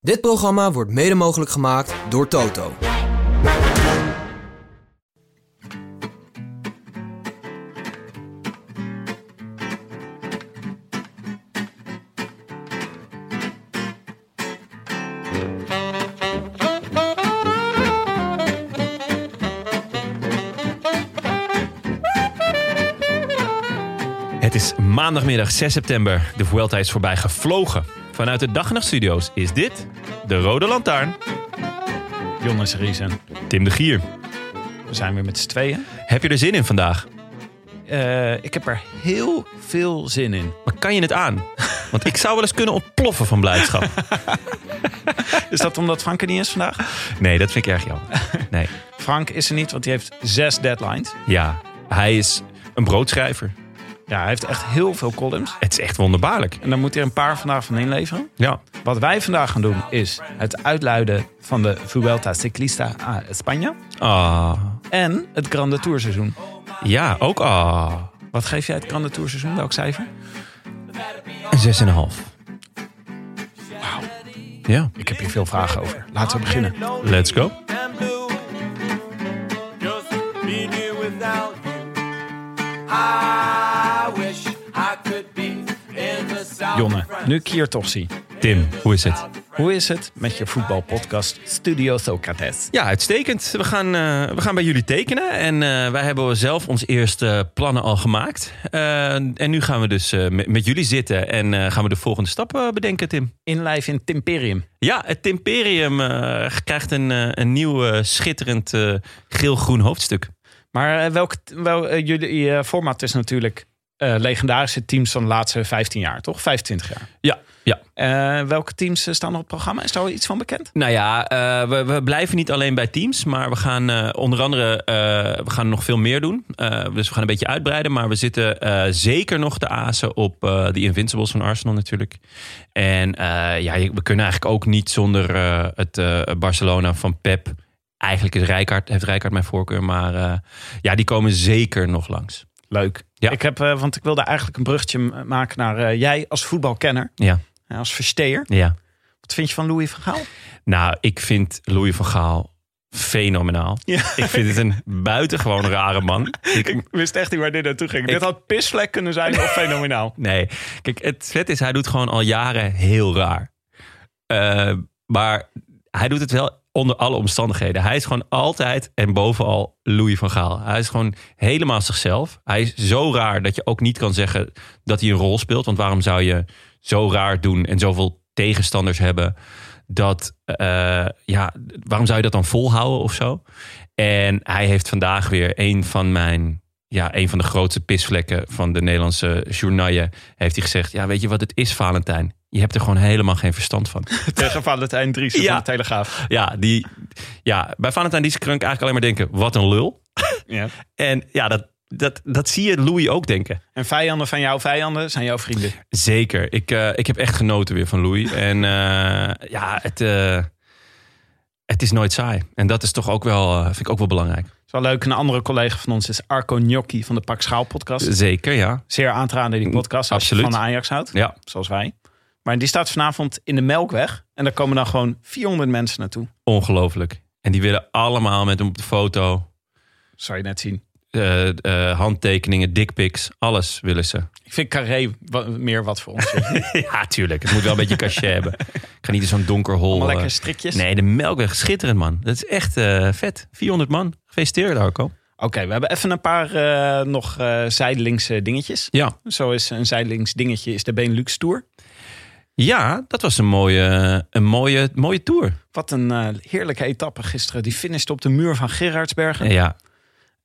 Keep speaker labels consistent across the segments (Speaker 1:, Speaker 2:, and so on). Speaker 1: Dit programma wordt mede mogelijk gemaakt door Toto.
Speaker 2: Het is maandagmiddag 6 september. De Vuelta is voorbij gevlogen. Vanuit de dag en nacht studio's is dit de Rode Lantaarn.
Speaker 3: Jonas Riesen,
Speaker 2: Tim de Gier,
Speaker 3: we zijn weer met z'n tweeën.
Speaker 2: heb je er zin in vandaag?
Speaker 3: Eh, ik heb er heel veel zin in.
Speaker 2: Maar kan je het aan? Want ik zou wel eens kunnen ontploffen van blijdschap.
Speaker 3: Is dat omdat Frank er niet is vandaag?
Speaker 2: Nee, dat vind ik erg jammer. Nee.
Speaker 3: Frank is er niet, want hij heeft zes deadlines.
Speaker 2: Ja, hij is een broodschrijver.
Speaker 3: Ja, hij heeft echt heel veel columns.
Speaker 2: Het is echt wonderbaarlijk.
Speaker 3: En daar moet hij een paar vandaag van inleveren.
Speaker 2: Ja.
Speaker 3: Wat wij vandaag gaan doen is het uitluiden van de Vuelta Ciclista a España.
Speaker 2: Ah.
Speaker 3: En het Grande Tour seizoen.
Speaker 2: Ja, ook ah.
Speaker 3: Wat geef jij het Grande Tour seizoen? Welk cijfer?
Speaker 2: Een zes en een half. Ja,
Speaker 3: Ik heb hier veel vragen over. Laten we beginnen.
Speaker 2: let's go.
Speaker 4: and blue. Just being here without you. I wish I could be in the south.
Speaker 3: Jonne,
Speaker 4: of France.
Speaker 3: nu ik hier toch zie.
Speaker 2: Tim, hoe is het?
Speaker 3: Hoe is het met je voetbalpodcast Studio Socrates?
Speaker 2: Ja, uitstekend. We gaan, eh, we gaan bij jullie tekenen. En eh, wij hebben zelf ons eerste eh, plannen al gemaakt. Eh, en nu gaan we dus eh, met, met jullie zitten en eh, gaan we de volgende stappen bedenken, Tim.
Speaker 3: Inlijf in Timperium.
Speaker 2: Ja, het Timperium eh, krijgt een, eh, een nieuw eh, schitterend eh, geel-groen hoofdstuk.
Speaker 3: Maar eh, welk, wel, eh, jullie eh, format is natuurlijk eh, legendarische teams van de laatste 15 jaar, toch? 25 jaar.
Speaker 2: Ja, ja.
Speaker 3: Eh, welke teams eh, staan er op het programma? Is daar al iets van bekend?
Speaker 2: Nou ja, eh, we, we blijven niet alleen bij teams, maar we gaan eh, onder andere eh, we gaan nog veel meer doen. Eh, dus we gaan een beetje uitbreiden, maar we zitten eh, zeker nog te azen op eh de Invincibles van Arsenal natuurlijk. En eh, ja, je- we kunnen eigenlijk ook niet zonder eh, het eh, Barcelona van Pep. Eigenlijk is Rijkaard, heeft Rijkaard mijn voorkeur, maar eh, ja, die komen zeker nog langs.
Speaker 3: Leuk.
Speaker 2: Ja.
Speaker 3: Ik heb, eh, want ik wilde eigenlijk een bruggetje m- maken naar eh, jij als voetbalkenner,
Speaker 2: Ja,
Speaker 3: eh, als versteer.
Speaker 2: ja.
Speaker 3: Wat vind je van Louis van Gaal?
Speaker 2: Nou, ik vind Louis van Gaal fenomenaal.
Speaker 3: Ja.
Speaker 2: Ik vind het een buitengewoon rare man. Ik,
Speaker 3: wist echt niet waar dit naartoe ging.
Speaker 2: Dit
Speaker 3: had pisvlek kunnen zijn of fenomenaal.
Speaker 2: Nou, Nee, kijk, het vet is, hij doet gewoon al jaren heel raar. Eh, maar hij doet het wel onder alle omstandigheden. Hij is gewoon altijd en bovenal Louis van Gaal. Hij is gewoon helemaal zichzelf. Hij is zo raar dat je ook niet kan zeggen dat hij een rol speelt. Want waarom zou je zo raar doen en zoveel tegenstanders hebben? Dat, eh, ja, waarom zou je dat dan volhouden of zo? En hij heeft vandaag weer een van mijn ja, een van de grootste pisvlekken van de Nederlandse journaille heeft hij gezegd: Ja, weet je wat het is, Valentijn? Je hebt er gewoon helemaal geen verstand van.
Speaker 3: Tegen Valentijn Driessen
Speaker 2: Ja.
Speaker 3: van de Telegraaf.
Speaker 2: Ja, die, ja bij Valentijn die kan ik eigenlijk alleen maar denken: Wat een lul.
Speaker 3: Ja.
Speaker 2: En ja, dat, dat, dat zie je Louis ook denken.
Speaker 3: En vijanden van jouw vijanden zijn jouw vrienden.
Speaker 2: Zeker. Ik, eh, ik heb echt genoten weer van Louis. En eh, ja, het, eh, het is nooit saai. En dat is toch ook wel, eh, vind ik ook wel belangrijk.
Speaker 3: Het is wel leuk. Een andere collega van ons is Arco Gnocchi van de Pak Schaal podcast.
Speaker 2: Zeker, ja.
Speaker 3: Zeer aan te raden die podcast als je
Speaker 2: Absoluut.
Speaker 3: van Ajax houdt,
Speaker 2: Ja,
Speaker 3: zoals wij. Maar die staat vanavond in de Melkweg. En daar komen dan gewoon 400 mensen naartoe.
Speaker 2: ongelooflijk. En die willen allemaal met hem op de foto.
Speaker 3: Zou je net zien.
Speaker 2: eh, eh, handtekeningen, dickpics, alles willen ze.
Speaker 3: Ik vind Carré wa- meer wat voor ons. Allemaal
Speaker 2: ja, tuurlijk. Het moet wel een beetje cachet hebben. Ik ga niet in zo'n donker hol. eh,
Speaker 3: lekker strikjes.
Speaker 2: nee, de Melkweg, schitterend man. Dat is echt eh, vet. 400 man. Gefeliciteerd, Arco.
Speaker 3: Oké, we hebben even een paar eh, nog eh zijdelings eh, dingetjes.
Speaker 2: Ja.
Speaker 3: Zo is een zijdelings dingetje is de Benelux Tour.
Speaker 2: ja, dat was een mooie, een mooie, mooie tour.
Speaker 3: Wat een eh, heerlijke etappe gisteren. Die finishte op de muur van Gerardsbergen.
Speaker 2: Ja,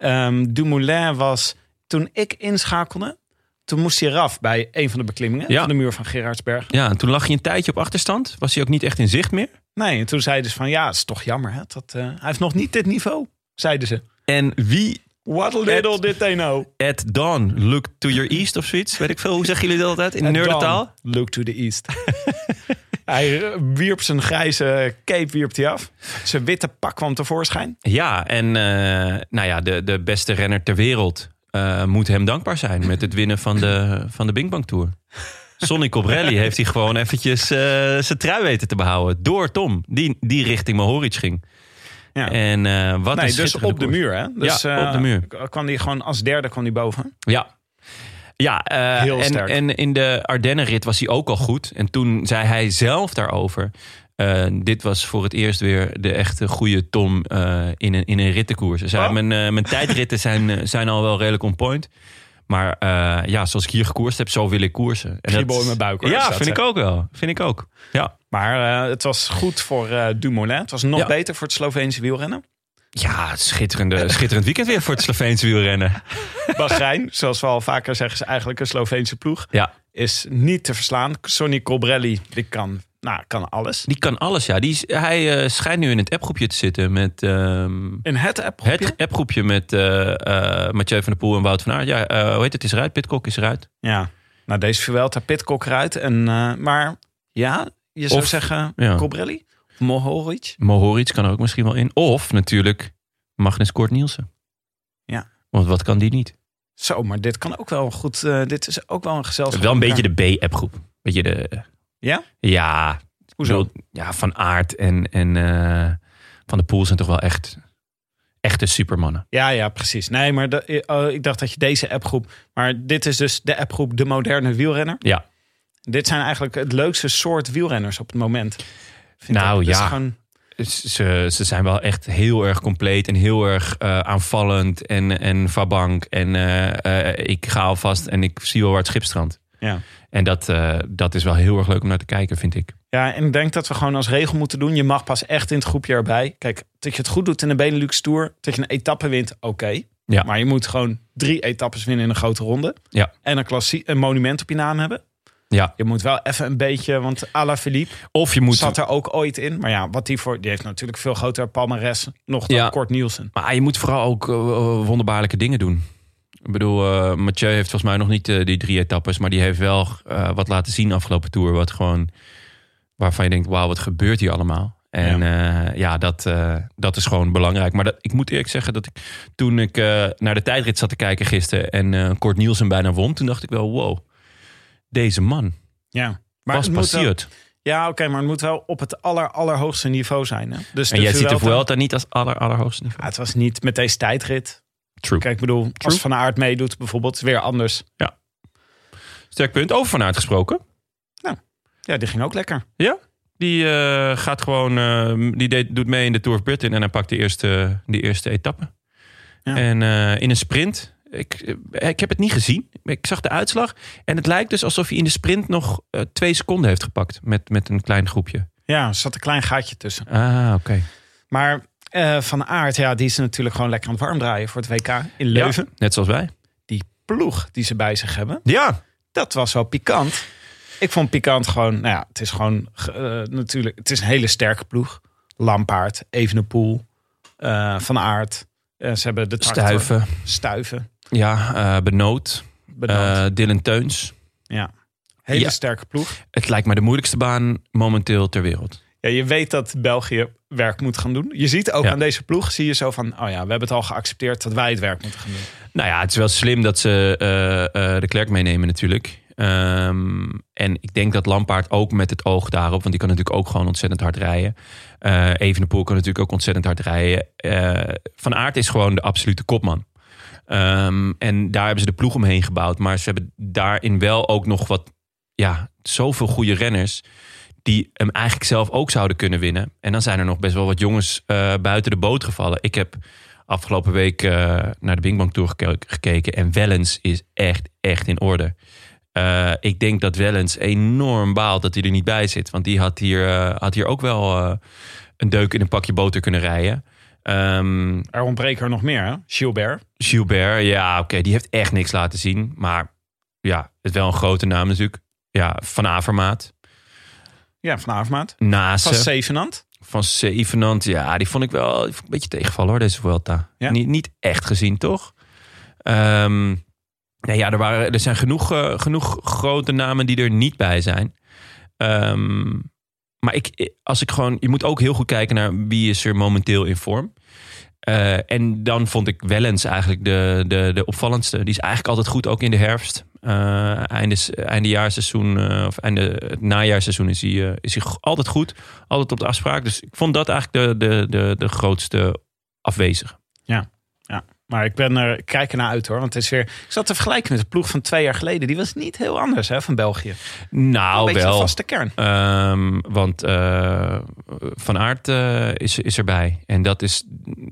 Speaker 3: Ehm Dumoulin was, toen ik inschakelde, Toen moest hij eraf bij een van de beklimmingen
Speaker 2: Ja.
Speaker 3: van de muur van Gerardsberg.
Speaker 2: Ja, en toen lag je een tijdje op achterstand. Was hij ook niet echt in zicht meer.
Speaker 3: Nee, en toen zeiden ze van ja, het is toch jammer. Hè, dat, eh, hij heeft nog niet dit niveau, zeiden ze.
Speaker 2: En wie
Speaker 3: What little did they know.
Speaker 2: at dawn look to your east of zoiets? Weet ik veel, hoe zeggen jullie dat altijd in
Speaker 3: En
Speaker 2: nerdentaal?
Speaker 3: dan Look to the east. hij eh, wierp zijn grijze cape wierp hij af. Zijn witte pak kwam tevoorschijn.
Speaker 2: Ja, en eh, nou ja, de, de beste renner ter wereld eh, moet hem dankbaar zijn met het winnen van de, van de Bing Bang Tour. Sonny Cobrelli heeft hij gewoon eventjes eh, zijn trui weten te behouden. Door Tom, die, die richting Mohoric ging.
Speaker 3: Ja.
Speaker 2: En eh, wat
Speaker 3: nee,
Speaker 2: is
Speaker 3: dus op de muur. Hè? Dus,
Speaker 2: Ja, op de
Speaker 3: eh,
Speaker 2: muur.
Speaker 3: k- Kwam hij gewoon als derde kwam hij boven.
Speaker 2: Ja. Ja, eh,
Speaker 3: Heel
Speaker 2: en,
Speaker 3: sterk.
Speaker 2: en in de Ardennenrit was hij ook al goed. En toen zei hij zelf daarover... eh, dit was voor het eerst weer de echte goede Tom eh, in, een, in een rittenkoers. Hij zei,
Speaker 3: Oh.
Speaker 2: mijn, eh, mijn tijdritten zijn, eh, zijn al wel redelijk on point. Maar eh, ja, zoals ik hier gekoerst heb, zo wil ik koersen. En
Speaker 3: Kriebel in mijn buik, hoor, is
Speaker 2: Ja,
Speaker 3: dat,
Speaker 2: vind ik
Speaker 3: hè?
Speaker 2: ook wel. Vind ik ook. Ja,
Speaker 3: Maar eh, het was goed voor eh, Dumoulin. Het was nog
Speaker 2: Ja.
Speaker 3: beter voor het Sloveense wielrennen.
Speaker 2: ja schitterende, schitterend weekend weer voor het Sloveense wielrennen.
Speaker 3: Bahrein, zoals we al vaker zeggen, is eigenlijk een Sloveense ploeg.
Speaker 2: Ja,
Speaker 3: Is niet te verslaan. Sonny Colbrelli, die kan, nou, kan alles.
Speaker 2: die kan alles. Ja. Die, is- hij eh, schijnt nu in het appgroepje te zitten met... ehm,
Speaker 3: In het app
Speaker 2: Het appgroepje met eh, eh, Mathieu van der Poel en Wout van Aert. Ja, eh, hoe heet het? Is eruit. Pitcock is eruit.
Speaker 3: Ja, nou deze Vuelta Pitcock eruit. En, eh, maar ja, je zou
Speaker 2: Of-
Speaker 3: zeggen
Speaker 2: ja.
Speaker 3: Colbrelli, Mohoric.
Speaker 2: Mohoric kan er ook misschien wel in. Of natuurlijk Magnus Kort Nielsen.
Speaker 3: Ja.
Speaker 2: Want wat kan die niet?
Speaker 3: Zo, maar dit kan ook wel goed. eh, dit is ook wel een gezelschap.
Speaker 2: Wel een beetje de B-appgroep. Beetje de...
Speaker 3: Ja?
Speaker 2: Ja.
Speaker 3: Hoezo?
Speaker 2: Ik bedoel, Ja, Van Aert en, en eh, Van der Poel zijn toch wel echt... Echte supermannen.
Speaker 3: Ja, ja, precies. Nee, maar de- eh, oh, ik dacht dat je deze appgroep. Maar dit is dus de appgroep De Moderne Wielrenner.
Speaker 2: Ja.
Speaker 3: Dit zijn eigenlijk het leukste soort wielrenners op het moment. Vind
Speaker 2: Nou,
Speaker 3: ik. Dus
Speaker 2: ja.
Speaker 3: gewoon-
Speaker 2: Ze, ze zijn wel echt heel erg compleet en heel erg eh, aanvallend en, en vabank. En eh, eh, ik ga alvast en ik zie wel waar het schip strandt.
Speaker 3: ja.
Speaker 2: En dat, eh, dat is wel heel erg leuk om naar te kijken, vind ik.
Speaker 3: ja, en ik denk dat we gewoon als regel moeten doen. Je mag pas echt in het groepje erbij. Kijk, dat je het goed doet in de Benelux Tour. Dat je een etappe wint, oké.
Speaker 2: Ja.
Speaker 3: Maar je moet gewoon drie etappes winnen in een grote ronde.
Speaker 2: Ja.
Speaker 3: En een, klassie, een monument op je naam hebben.
Speaker 2: Ja.
Speaker 3: Je moet wel even een beetje, want Ala Philippe
Speaker 2: Of je moet.
Speaker 3: zat er ook ooit in. Maar ja, wat die voor. Die heeft natuurlijk veel groter palmares nog dan
Speaker 2: Ja.
Speaker 3: Kort Nielsen.
Speaker 2: Maar je moet vooral ook eh, wonderbaarlijke dingen doen. Ik bedoel, eh, Mathieu heeft volgens mij nog niet eh, die drie etappes. Maar die heeft wel eh, wat laten zien afgelopen tour. Wat gewoon. Waarvan je denkt: wauw, wat gebeurt hier allemaal? En ja, ja dat, eh, dat is gewoon belangrijk. Maar dat, ik moet eerlijk zeggen dat ik. Toen ik eh, naar de tijdrit zat te kijken gisteren. en eh Kort Nielsen bijna won. toen dacht ik wel: wow, deze man.
Speaker 3: Ja. Maar
Speaker 2: was
Speaker 3: het moet wel-
Speaker 2: passiert.
Speaker 3: ja, oké, maar het moet wel op het aller, allerhoogste niveau zijn. Hè? Dus
Speaker 2: En jij ziet de
Speaker 3: Vuelta-
Speaker 2: Vuelta niet als aller, allerhoogste niveau.
Speaker 3: Ja, Ah, het was niet met deze tijdrit.
Speaker 2: True.
Speaker 3: Kijk, ik bedoel, als Van Aert meedoet bijvoorbeeld, weer anders.
Speaker 2: Sterk punt. Over vanuit gesproken.
Speaker 3: Ja, die ging ook lekker.
Speaker 2: Die eh, gaat gewoon, eh, die deed, doet mee in de Tour of Britain en hij pakt de eerste, de eerste etappe.
Speaker 3: Ja.
Speaker 2: En eh, in een sprint, ik, eh, ik heb het niet gezien, ik zag de uitslag. En het lijkt dus alsof hij in de sprint nog eh, twee seconden heeft gepakt met, met een klein groepje.
Speaker 3: Ja, er zat een klein gaatje tussen.
Speaker 2: Ah, oké.
Speaker 3: Maar eh, Van Aert, ja, die is natuurlijk gewoon lekker aan het warm draaien voor het WK in Leuven.
Speaker 2: Ja, net zoals wij.
Speaker 3: Die ploeg die ze bij zich hebben,
Speaker 2: Ja.
Speaker 3: dat was wel pikant. Ik vond pikant gewoon, nou ja, het is gewoon eh, natuurlijk, het is een hele sterke ploeg. Lampaard, Evenepoel, eh, Van Aert. Eh, ze hebben de tractor,
Speaker 2: Stuiven.
Speaker 3: Stuiven,
Speaker 2: Ja, eh, Benoot.
Speaker 3: bedankt.
Speaker 2: Eh, Dylan Teuns.
Speaker 3: ja. Hele
Speaker 2: ja.
Speaker 3: sterke ploeg.
Speaker 2: Het lijkt mij de moeilijkste baan momenteel ter wereld.
Speaker 3: Ja, je weet dat België werk moet gaan doen. Je ziet ook
Speaker 2: Ja.
Speaker 3: aan deze ploeg, zie je zo van... oh ja, we hebben het al geaccepteerd dat wij het werk moeten gaan doen.
Speaker 2: Nou ja, het is wel slim dat ze eh, eh, de klerk meenemen natuurlijk. Ehm, en ik denk dat Lampaard ook met het oog daarop... want die kan natuurlijk ook gewoon ontzettend hard rijden. Eh Evenepoel kan natuurlijk ook ontzettend hard rijden. Eh, Van Aert is gewoon de absolute kopman. Ehm, en daar hebben ze de ploeg omheen gebouwd. Maar ze hebben daarin wel ook nog wat... ja, zoveel goede renners... die hem eigenlijk zelf ook zouden kunnen winnen. En dan zijn er nog best wel wat jongens eh, buiten de boot gevallen. Ik heb afgelopen week eh, naar de Bing Bang Tour geke- gekeken. En Wellens is echt, echt in orde. Eh, ik denk dat Wellens enorm baalt dat hij er niet bij zit. Want die had hier, eh, had hier ook wel eh, een deuk in een pakje boter kunnen rijden. Ehm,
Speaker 3: Er ontbreken er nog meer, hè? Gilbert.
Speaker 2: Gilbert, ja, oké, die heeft echt niks laten zien. Maar ja, het is wel een grote naam natuurlijk. Ja, Van Avermaat,
Speaker 3: Ja, van Avermaat. Van
Speaker 2: Nase,
Speaker 3: Zevenand.
Speaker 2: Van Zevenand. Ja, die vond ik wel die vond ik een beetje tegenvallen hoor, deze Vuelta.
Speaker 3: Ja?
Speaker 2: Niet, niet echt gezien, toch? Ehm, nee, ja, er, waren, er zijn genoeg, eh, genoeg grote namen die er niet bij zijn. Ehm, maar ik, als ik gewoon, je moet ook heel goed kijken naar wie is er momenteel in vorm. Eh en dan vond ik Wellens eigenlijk de, de, de opvallendste. Die is eigenlijk altijd goed, ook in de herfst. Eh einde, eindejaarseizoen, eh, of einde, het najaarseizoen is hij, eh, is hij g- altijd goed. Altijd op de afspraak. Dus ik vond dat eigenlijk de, de, de, de grootste afwezige.
Speaker 3: Maar ik ben er, ik kijk ernaar uit hoor. Want het is weer. Ik zat te vergelijken met de ploeg van twee jaar geleden. Die was niet heel anders hè, van België. een
Speaker 2: Nou,
Speaker 3: beetje de
Speaker 2: wel.
Speaker 3: vaste kern.
Speaker 2: Ehm, want eh, Van Aert eh, is, is erbij. En dat is.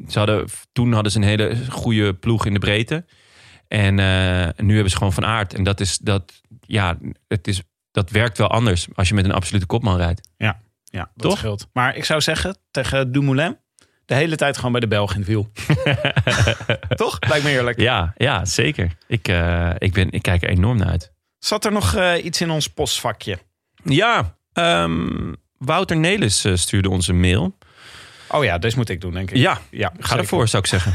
Speaker 2: Ze hadden, toen hadden ze een hele goede ploeg in de breedte. En eh, nu hebben ze gewoon Van Aert. En dat is dat. Ja, het is, dat werkt wel anders als je met een absolute kopman rijdt.
Speaker 3: Ja, dat
Speaker 2: Toch?
Speaker 3: scheelt. Maar ik zou zeggen tegen Dumoulin. De hele tijd gewoon bij de Belg in het wiel. Toch? Lijkt me eerlijk.
Speaker 2: Ja, ja zeker. Ik, eh, ik, ben, ik kijk er enorm naar uit.
Speaker 3: Zat er nog eh, iets in ons postvakje?
Speaker 2: Ja, ehm, Wouter Nelis eh, stuurde ons een mail.
Speaker 3: Oh ja, deze moet ik doen, denk ik.
Speaker 2: Ja,
Speaker 3: ja
Speaker 2: ga ervoor zou ik zeggen.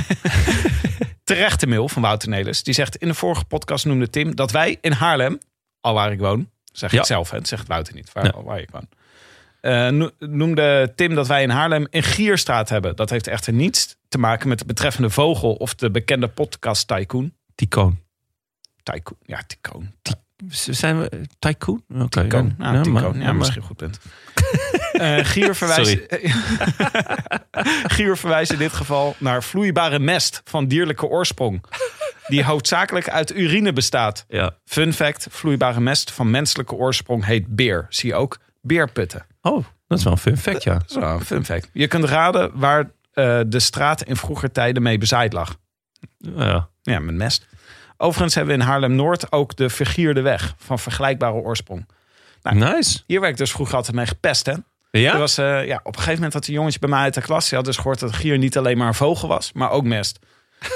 Speaker 3: terechte mail van Wouter Nelis. Die zegt, in de vorige podcast noemde Tim dat wij in Haarlem, al waar ik woon, zeg
Speaker 2: Ja.
Speaker 3: ik zelf, hè, dat zegt Wouter niet, waar,
Speaker 2: Nee.
Speaker 3: al waar ik woon. Eh, no- noemde Tim dat wij in Haarlem een gierstraat hebben. Dat heeft echter niets te maken met de betreffende vogel of de bekende podcast Tycoon.
Speaker 2: Tycoon.
Speaker 3: Tycoon, ja, Tycoon.
Speaker 2: Zijn we eh, tycoon? Oké.
Speaker 3: Tycoon, ja,
Speaker 2: maar-
Speaker 3: Tycoon. Ja,
Speaker 2: maar-
Speaker 3: misschien goed punt. Eh, gier, verwijst, gier verwijst in dit geval naar vloeibare mest van dierlijke oorsprong. Die hoofdzakelijk uit urine bestaat.
Speaker 2: Ja.
Speaker 3: Fun fact: vloeibare mest van menselijke oorsprong heet beer. Zie ook beerputten.
Speaker 2: Oh, dat is wel een fun fact, ja.
Speaker 3: Dat is wel een fun fact. Je kunt raden waar eh, de straat in vroeger tijden mee bezaaid lag.
Speaker 2: Ja.
Speaker 3: Ja, met mest. Overigens hebben we in Haarlem Noord ook de Vergierde Weg van vergelijkbare oorsprong.
Speaker 2: Nice.
Speaker 3: Hier werd ik dus vroeger altijd mee gepest, hè? Er
Speaker 2: Ja?
Speaker 3: was, eh, ja, op een gegeven moment had een jongetje bij mij uit de klas. Die had dus gehoord dat gier niet alleen maar een vogel was, maar ook mest.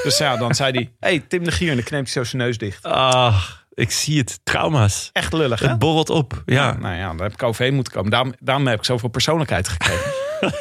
Speaker 3: Dus ja, dan zei hij: hey, Tim de Gier. En dan kneep hij zo zijn neus dicht.
Speaker 2: Ach, Ah, ik zie het. Trauma's.
Speaker 3: Echt lullig, hè?
Speaker 2: Het borrelt op. Ja.
Speaker 3: Nou ja, daar heb ik overheen moeten komen. Daarom, daarom heb ik zoveel persoonlijkheid gekregen.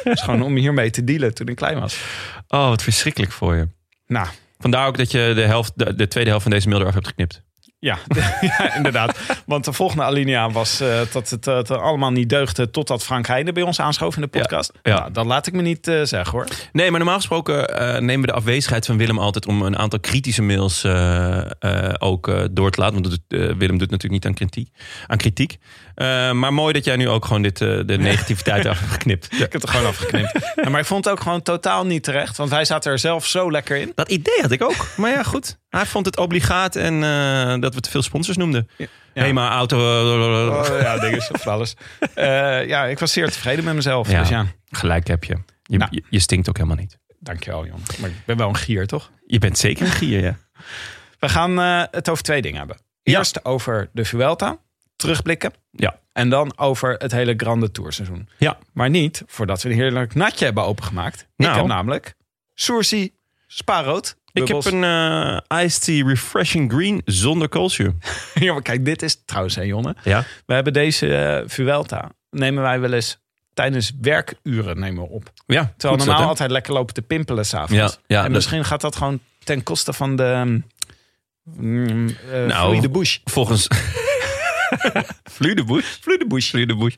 Speaker 3: dus gewoon om hiermee te dealen toen ik klein was.
Speaker 2: Oh, wat verschrikkelijk voor je.
Speaker 3: Nou,
Speaker 2: Vandaar ook dat je de, helft, de, de tweede helft van deze mail eraf hebt geknipt.
Speaker 3: ja, ja inderdaad. Want de volgende alinea was eh, dat het eh, allemaal niet deugde... totdat Frank Heijnen bij ons aanschoof in de podcast.
Speaker 2: Ja, ja.
Speaker 3: Nou, dat laat ik me niet eh, zeggen, hoor.
Speaker 2: Nee, maar normaal gesproken eh, nemen we de afwezigheid van Willem altijd om een aantal kritische mails eh, eh, ook eh, door te laten. Want dat doet, eh, Willem doet natuurlijk niet aan kritiek. Aan kritiek. Eh, maar mooi dat jij nu ook gewoon dit, eh, de negativiteit eraf hebt geknipt. Ja.
Speaker 3: Ik heb het er gewoon afgeknipt. Ja, maar ik vond het ook gewoon totaal niet terecht. Want wij zaten er zelf zo lekker in.
Speaker 2: Dat idee had ik ook. Maar ja, goed. Hij vond het obligaat en eh, dat we te veel sponsors noemden.
Speaker 3: Ja.
Speaker 2: Hey, maar auto. eh,
Speaker 3: Oh, ja, dingen is van alles. Eh, ja, ik was zeer tevreden met mezelf.
Speaker 2: Ja.
Speaker 3: Dus ja,
Speaker 2: Gelijk heb je. Je,
Speaker 3: Nou.
Speaker 2: je. je stinkt ook helemaal niet.
Speaker 3: dankjewel, Jan. Maar ik ben wel een gier, toch?
Speaker 2: Je bent zeker een gier, ja.
Speaker 3: We gaan eh, het over twee dingen hebben.
Speaker 2: Ja.
Speaker 3: Eerst over de Vuelta, terugblikken.
Speaker 2: Ja.
Speaker 3: En dan over het hele Grande Tourseizoen.
Speaker 2: Ja.
Speaker 3: Maar niet voordat we een heerlijk natje hebben opengemaakt.
Speaker 2: Nou.
Speaker 3: Ik heb namelijk Sourcy Spaarrood.
Speaker 2: Ik heb een eh iced tea refreshing green zonder koolzuur.
Speaker 3: Ja, maar kijk, dit is trouwens, hè Jonne.
Speaker 2: Ja.
Speaker 3: We hebben deze eh Vuelta, nemen wij wel eens tijdens werkuren nemen we op.
Speaker 2: Ja.
Speaker 3: Terwijl
Speaker 2: goed zo,
Speaker 3: normaal
Speaker 2: hè?
Speaker 3: altijd lekker lopen te pimpelen s'avonds.
Speaker 2: Ja, ja, dus-
Speaker 3: en
Speaker 2: dat-
Speaker 3: misschien gaat dat gewoon ten koste van de... Mm, eh,
Speaker 2: Nou,
Speaker 3: Louis de Bush.
Speaker 2: Volgens. Vloeidebush. Vloeidebush. Vloeidebush.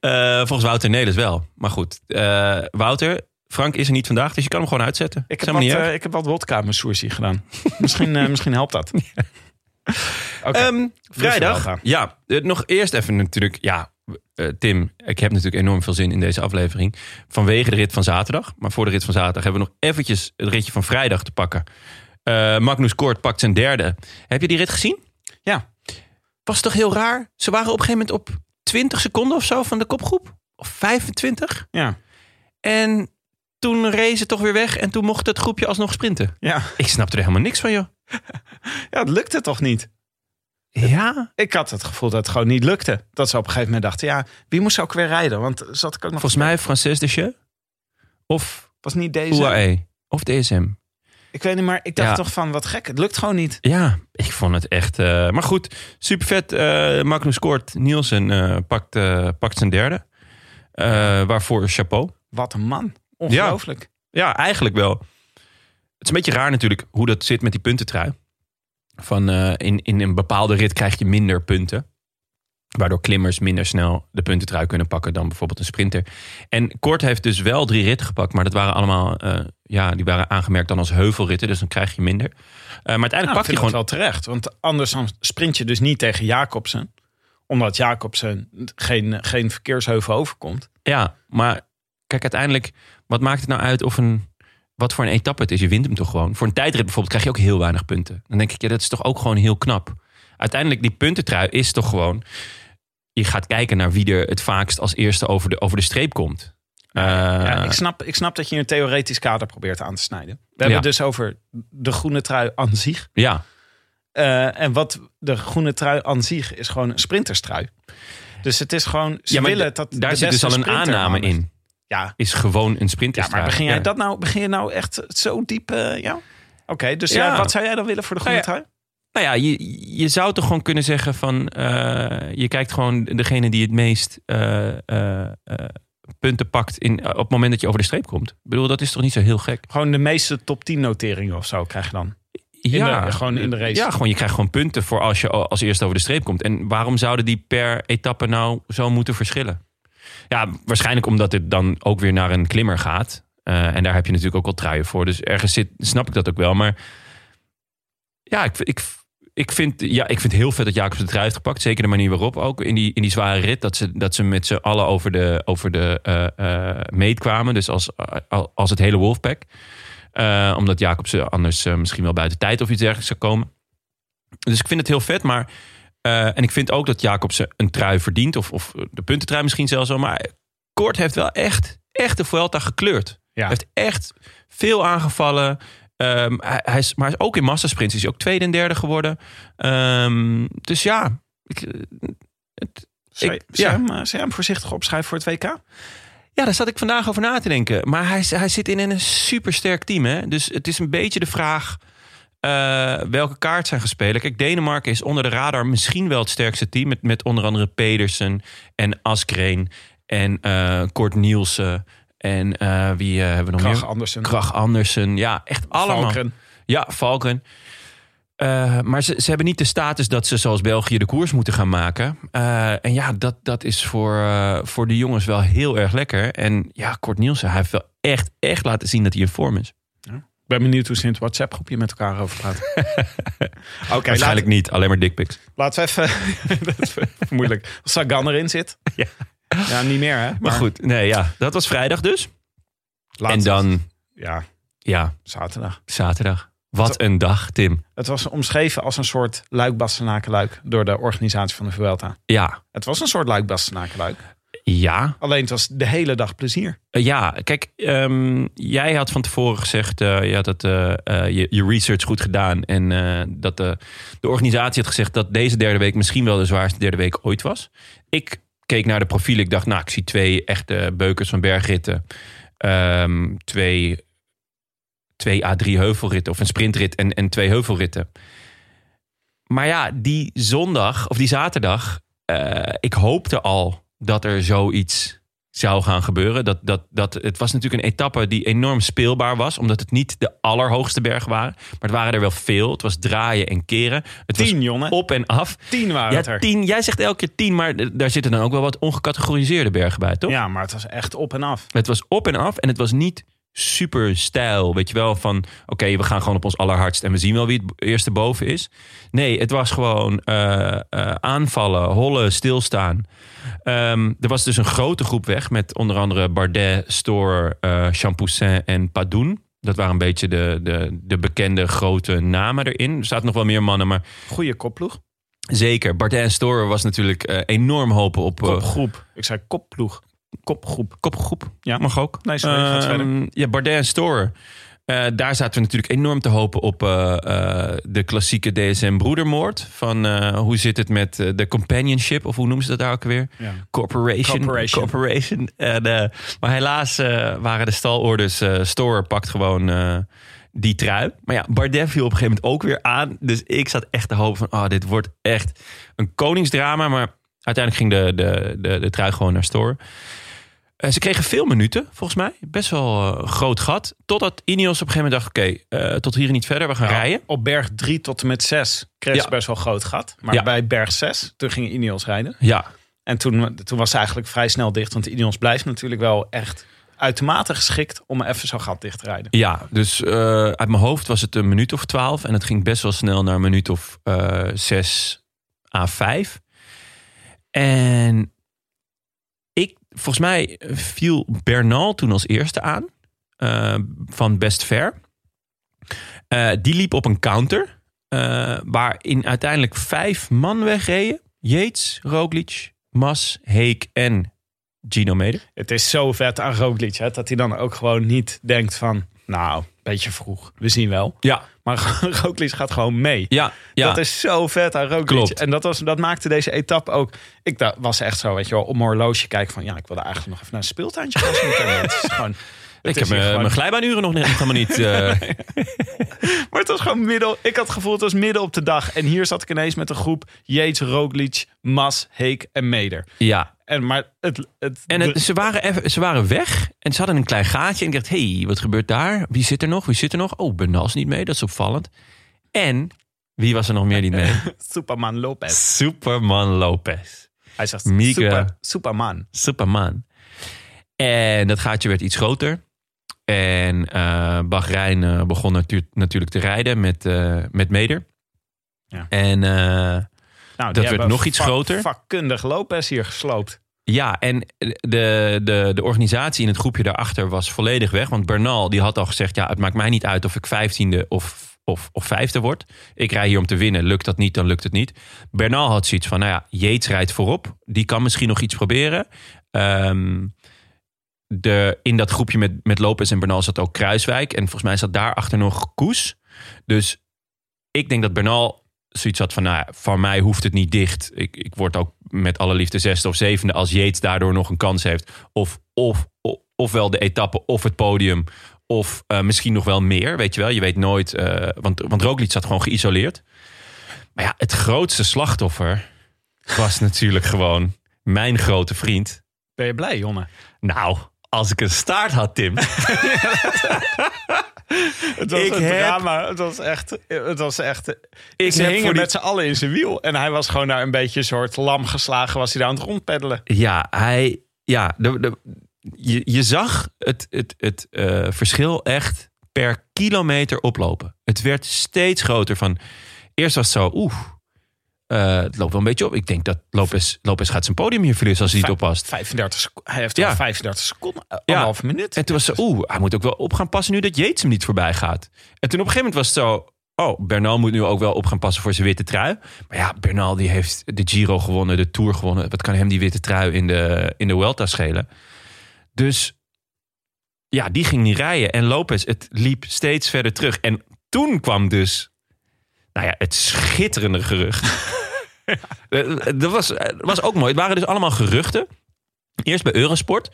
Speaker 2: Eh volgens Wouter Nelis wel. Maar goed. eh, Wouter, Frank is er niet vandaag, dus je kan hem gewoon uitzetten.
Speaker 3: Ik
Speaker 2: Is
Speaker 3: heb,
Speaker 2: helemaal
Speaker 3: wat,
Speaker 2: niet erg.
Speaker 3: eh, ik heb wat wodka aan mijn sourcy gedaan. misschien, eh, misschien helpt dat. Oké.
Speaker 2: Ehm, vrijdag.
Speaker 3: Vuelta.
Speaker 2: Ja, eh, nog eerst even natuurlijk. Ja, eh, Tim, ik heb natuurlijk enorm veel zin in deze aflevering. Vanwege de rit van zaterdag. Maar voor de rit van zaterdag hebben we nog eventjes het ritje van vrijdag te pakken. Eh, Magnus Kort pakt zijn derde. Heb je die rit gezien?
Speaker 3: Ja.
Speaker 2: Was toch heel raar? Ze waren op een gegeven moment op 20 seconden of zo van de kopgroep. Of 25.
Speaker 3: ja,
Speaker 2: En toen rezen ze toch weer weg. En toen mocht het groepje alsnog sprinten.
Speaker 3: ja.
Speaker 2: Ik snapte er helemaal niks van, joh.
Speaker 3: ja, het lukte toch niet?
Speaker 2: Ja,
Speaker 3: Ik had het gevoel dat het gewoon niet lukte. Dat ze op een gegeven moment dachten, ja, wie moest ook weer rijden? Want zat ik ook nog... E
Speaker 2: volgens mij Frances Deschamps. Of E.
Speaker 3: was niet deze.
Speaker 2: UAE of DSM.
Speaker 3: Ik weet niet, maar ik dacht
Speaker 2: eh. Ja.
Speaker 3: toch van, wat gek. Het lukt gewoon niet.
Speaker 2: Ja, ik vond het echt. eh, maar goed, super vet. eh, Magnus scoort. Nielsen eh, pakt, eh, pakt zijn derde. Eh, waarvoor chapeau.
Speaker 3: Wat een man. Ongelooflijk.
Speaker 2: Ja, eigenlijk wel. Het is een beetje raar natuurlijk hoe dat zit met die puntentrui. Van eh, in, in een bepaalde rit krijg je minder punten. Waardoor klimmers minder snel de puntentrui kunnen pakken dan bijvoorbeeld een sprinter. En Kort heeft dus wel drie ritten gepakt. Maar dat waren allemaal, eh, ja, die waren aangemerkt dan als heuvelritten. Dus dan krijg je minder. Eh, maar uiteindelijk
Speaker 3: Nou,
Speaker 2: pak je
Speaker 3: ik vind
Speaker 2: gewoon...
Speaker 3: dat wel terecht. Want anders dan sprint je dus niet tegen Jacobsen. Omdat Jacobsen geen, geen verkeersheuvel overkomt.
Speaker 2: Ja, maar kijk, uiteindelijk, wat maakt het nou uit of een. Wat voor een etappe het is, je wint hem toch gewoon. Voor een tijdrit bijvoorbeeld krijg je ook heel weinig punten. Dan denk ik, ja, dat is toch ook gewoon heel knap. Uiteindelijk, die puntentrui is toch gewoon... Je gaat kijken naar wie er het vaakst als eerste over de, over de streep komt.
Speaker 3: ja,
Speaker 2: Eh,
Speaker 3: ik, snap, ik snap dat je een theoretisch kader probeert aan te snijden. We
Speaker 2: Ja.
Speaker 3: hebben het dus over de groene trui aan zich.
Speaker 2: ja,
Speaker 3: Eh, en wat de groene trui aan zich is gewoon een sprinterstrui. Dus het is gewoon, ze
Speaker 2: ja maar
Speaker 3: willen
Speaker 2: d-
Speaker 3: dat de
Speaker 2: daar zit dus
Speaker 3: beste
Speaker 2: al een
Speaker 3: sprinter
Speaker 2: aanname
Speaker 3: wint.
Speaker 2: in.
Speaker 3: Ja,
Speaker 2: Is gewoon een
Speaker 3: ja
Speaker 2: sprinterstrui.
Speaker 3: maar begin, jij
Speaker 2: Ja.
Speaker 3: Dat nou, begin je nou echt zo diep, eh, ja? Oké, dus ja.
Speaker 2: Ja.
Speaker 3: wat zou jij dan willen voor de
Speaker 2: Nou
Speaker 3: groene
Speaker 2: ja,
Speaker 3: trui?
Speaker 2: Nou ja, je, je zou toch gewoon kunnen zeggen van... eh, je kijkt gewoon degene die het meest eh, eh, eh, punten pakt in, op het moment dat je over de streep komt. Ik bedoel, dat is toch niet zo heel gek?
Speaker 3: Gewoon de meeste top 10 noteringen of zo krijg je dan. de- gewoon in de race.
Speaker 2: Ja, gewoon, je krijgt gewoon punten voor als je als eerste over de streep komt. En waarom zouden die per etappe nou zo moeten verschillen? Ja, waarschijnlijk omdat het dan ook weer naar een klimmer gaat. Eh, en daar heb je natuurlijk ook al truien voor. Dus ergens zit, snap ik dat ook wel. Maar ja, ik, ik, ik, vind, ja, ik vind heel vet dat Jacobs de trui heeft gepakt. Zeker de manier waarop ook. In die, in die zware rit. Dat ze, dat ze met z'n allen over de, over de eh, eh, meet kwamen. Dus als, al- als het hele Wolfpack. Eh, omdat Jacobsen anders eh, misschien wel buiten tijd of iets dergelijks zou komen. Dus ik vind het heel vet, maar... eh, en ik vind ook dat Jacobsen een trui verdient. Of, of de puntentrui misschien zelfs wel. Maar Kort heeft wel echt, echt de Vuelta gekleurd.
Speaker 3: Ja.
Speaker 2: Hij heeft echt veel aangevallen. Ehm, hij, hij is, maar hij is ook in massasprints is hij ook tweede en derde geworden. Ehm, dus ja, ik, eh, het,
Speaker 3: Zou je,
Speaker 2: Ik-
Speaker 3: zou
Speaker 2: ja.
Speaker 3: je hem, eh, zou je hem voorzichtig opschrijven voor het WK?
Speaker 2: ja, daar zat ik vandaag over na te denken. Maar hij, hij zit in een supersterk team. Hè? Dus het is een beetje de vraag eh, welke kaart zijn gespeeld. Kijk, Denemarken is onder de radar misschien wel het sterkste team. Met, met onder andere Pedersen en Askreen en eh Kort Nielsen. En eh, wie eh, hebben we nog
Speaker 3: Krach
Speaker 2: meer?
Speaker 3: Andersen.
Speaker 2: Krach Andersen. Ja, echt allemaal.
Speaker 3: Valkeren.
Speaker 2: Ja, Valken. Eh, maar ze, ze hebben niet de status dat ze zoals België de koers moeten gaan maken. Eh, en ja, dat, dat is voor, eh, voor de jongens wel heel erg lekker. En ja, Kort Nielsen, hij heeft wel echt, echt laten zien dat hij in vorm is.
Speaker 3: Ik ben benieuwd hoe ze in het WhatsApp-groepje met elkaar over praten. Oké,
Speaker 2: Waarschijnlijk niet, alleen maar dickpics.
Speaker 3: laten we even... dat is moeilijk. Als Sagan erin zit.
Speaker 2: Ja.
Speaker 3: ja, niet meer hè.
Speaker 2: Maar goed, nee, ja, dat was vrijdag dus.
Speaker 3: laatst-
Speaker 2: En dan,
Speaker 3: Ja,
Speaker 2: ja,
Speaker 3: zaterdag.
Speaker 2: zaterdag. Wat een dag, Tim.
Speaker 3: Het was omschreven als een soort luik-bastenakenluik door de organisatie van de Vuelta.
Speaker 2: Ja,
Speaker 3: Het was een soort luik-bastenakenluik.
Speaker 2: ja,
Speaker 3: Alleen het was de hele dag plezier.
Speaker 2: Eh, Ja, kijk, ehm, jij had van tevoren gezegd eh, ja, dat eh, eh, je, je research goed gedaan. En eh, dat de, de organisatie had gezegd dat deze derde week misschien wel de zwaarste derde week ooit was. Ik keek naar de profielen. Ik dacht, nou, ik zie twee echte beukers van bergritten. Ehm, twee, twee à drie heuvelritten of een sprintrit en, en twee heuvelritten. Maar ja, die zondag of die zaterdag, eh, ik hoopte al dat er zoiets zou gaan gebeuren. Dat, dat, dat, het was natuurlijk een etappe die enorm speelbaar was. Omdat het niet de allerhoogste bergen waren. Maar het waren er wel veel. Het was draaien en keren. Het
Speaker 3: Tien, jongen.
Speaker 2: was op en af.
Speaker 3: Tien waren het
Speaker 2: Ja,
Speaker 3: er.
Speaker 2: tien. Jij zegt elke keer tien, maar d- daar zitten dan ook wel wat ongecategoriseerde bergen bij, toch?
Speaker 3: Ja, maar het was echt op en af.
Speaker 2: Het was op en af en het was niet super stijl. Weet je wel, van oké, we gaan gewoon op ons allerhardst en we zien wel wie het b- eerste boven is. Nee, het was gewoon eh, eh, aanvallen, hollen, stilstaan. Ehm, er was dus een grote groep weg met onder andere Bardet, Stoor, eh Champoussin en Padoen. Dat waren een beetje de, de, de bekende grote namen erin. Er zaten nog wel meer mannen, maar
Speaker 3: Goeie kopploeg.
Speaker 2: zeker. Bardet en Stoor was natuurlijk eh, enorm hopen op... eh,
Speaker 3: Kopgroep. Ik zei kopploeg. Kopgroep.
Speaker 2: kopgroep.
Speaker 3: Ja.
Speaker 2: mag ook.
Speaker 3: Nee, sorry, gaat
Speaker 2: Ehm, Ja, Bardet en Storer. Eh, daar zaten we natuurlijk enorm te hopen op eh, eh, de klassieke DSM-broedermoord. Van eh, hoe zit het met eh, de companionship, of hoe noemen ze dat daar ook weer?
Speaker 3: Ja.
Speaker 2: Corporation.
Speaker 3: Corporation.
Speaker 2: Corporation. En, eh, maar helaas eh, waren de stalorders. eh Storer pakt gewoon eh, die trui. Maar ja, Bardet viel op een gegeven moment ook weer aan. Dus ik zat echt te hopen van, oh, dit wordt echt een koningsdrama. Maar uiteindelijk ging de, de, de, de trui gewoon naar store. Eh, ze kregen veel minuten, volgens mij. Best wel eh, een groot gat. Totdat Ineos op een gegeven moment dacht, oké, eh, tot hier en niet verder. We gaan rijden.
Speaker 3: Op berg 3 tot en met 6 kreeg
Speaker 2: Ja.
Speaker 3: ze best wel een groot gat. Maar
Speaker 2: Ja.
Speaker 3: bij berg 6, toen ging Ineos rijden.
Speaker 2: Ja,
Speaker 3: En toen, toen was ze eigenlijk vrij snel dicht. Want Ineos blijft natuurlijk wel echt uitermate geschikt om even zo'n gat dicht te rijden.
Speaker 2: Ja, dus eh, uit mijn hoofd was het een minuut of twaalf. En het ging best wel snel naar een minuut of eh, zes à vijf. En ik, volgens mij eh, viel Bernal toen als eerste aan. eh, van Best Fair. Eh, die liep op een counter. eh, waarin uiteindelijk vijf man wegreden. Yates, Roglic, Mas, Heek en Gino Meder.
Speaker 3: Het is zo vet aan Roglic, hè, dat hij dan ook gewoon niet denkt van... Nou, beetje vroeg. We zien wel.
Speaker 2: Ja,
Speaker 3: Maar Roglic gaat gewoon mee.
Speaker 2: ja, ja.
Speaker 3: Dat is zo vet aan Roglic.
Speaker 2: Klopt.
Speaker 3: En dat, was, dat maakte deze etappe ook... Ik da- was echt zo, weet je wel, op mijn horloge kijken van... Ja, ik wilde eigenlijk nog even naar een speeltuintje gaan. zitten. Het is gewoon...
Speaker 2: ik
Speaker 3: het is
Speaker 2: heb
Speaker 3: hier
Speaker 2: mijn,
Speaker 3: gewoon-
Speaker 2: mijn glijbaanuren nog niet, helemaal niet. eh,
Speaker 3: Maar het was gewoon middel. Ik had het gevoel, het was midden op de dag. En hier zat ik ineens met een groep Yates, Roglic, Mas, Heek en Meder.
Speaker 2: Ja.
Speaker 3: En maar het. het
Speaker 2: En het- ze, waren even, ze waren weg en ze hadden een klein gaatje. En ik dacht, hé, hey, wat gebeurt daar? Wie zit er nog? Wie zit er nog? Oh, Bernal is niet mee, dat is opvallend. En, wie was er nog meer niet mee?
Speaker 3: de- Superman Lopez.
Speaker 2: Superman Lopez.
Speaker 3: Hij zegt
Speaker 2: Mieke.
Speaker 3: super, Superman. Nou,
Speaker 2: Superman. En dat gaatje werd iets groter. En eh Bahrein eh, begon natuur- natuurlijk te rijden met, eh, met Meder.
Speaker 3: Ja.
Speaker 2: En eh,
Speaker 3: Nou,
Speaker 2: werd nog iets groter.
Speaker 3: Vakkundig Lopez hier gesloopt.
Speaker 2: Ja, en de, de, de organisatie in het groepje daarachter was volledig weg. Want Bernal die had al gezegd: ja, het maakt mij niet uit of ik vijftiende of, of, of vijfde word. Ik rij hier om te winnen. Lukt dat niet, dan lukt het niet. Bernal had zoiets van: nou ja, Yates rijdt voorop. Die kan misschien nog iets proberen. Ehm, de, in dat groepje met, met Lopez en Bernal zat ook Kruiswijk. En volgens mij zat daarachter nog Koes. Dus ik denk dat Bernal zoiets had van... Nou, ja, van mij hoeft het niet dicht. Ik, ik word ook met alle liefde zesde of zevende... als Yates daardoor nog een kans heeft. Of, of, of- ofwel de etappe of het podium... Of eh, misschien nog wel meer, weet je wel. Je weet nooit, eh, want, want Roglic zat gewoon geïsoleerd. Maar ja, het grootste slachtoffer was natuurlijk gewoon mijn grote vriend,
Speaker 3: Ben je blij, jongen?
Speaker 2: nou, als ik een staart had, Tim.
Speaker 3: Het was
Speaker 2: Ik
Speaker 3: een
Speaker 2: heb-
Speaker 3: drama. Het was echt. Het was echt
Speaker 2: Ik
Speaker 3: ze
Speaker 2: heb
Speaker 3: hingen
Speaker 2: voor die-
Speaker 3: met z'n allen in zijn wiel. En hij was gewoon daar een beetje een soort lam geslagen. Was hij daar aan het rondpeddelen.
Speaker 2: Ja, hij. Ja, de, de, je, je zag het, het, het eh, verschil echt per kilometer oplopen. Het werd steeds groter. Van, eerst was het zo, oeh, eh, het loopt wel een beetje op. Ik denk dat Lopez, Lopez gaat zijn podium hier verliezen als hij niet
Speaker 3: Vij-
Speaker 2: oppast.
Speaker 3: 35 seco- hij heeft
Speaker 2: Ja.
Speaker 3: al 35 seconden. eh, Anderhalve minuut.
Speaker 2: En toen was ze, oeh, hij moet ook wel op gaan passen nu dat Yates hem niet voorbij gaat. En toen op een gegeven moment was het zo, oh, Bernal moet nu ook wel op gaan passen voor zijn witte trui. Maar ja, Bernal die heeft de Giro gewonnen, de Tour gewonnen. Wat kan hem die witte trui in de, in de Vuelta schelen? Dus ja, die ging niet rijden. En Lopez, het liep steeds verder terug. En toen kwam dus, nou ja, het schitterende gerucht. Eh, eh, Dat was, eh, was ook mooi. Het waren dus allemaal geruchten. Eerst bij Eurosport.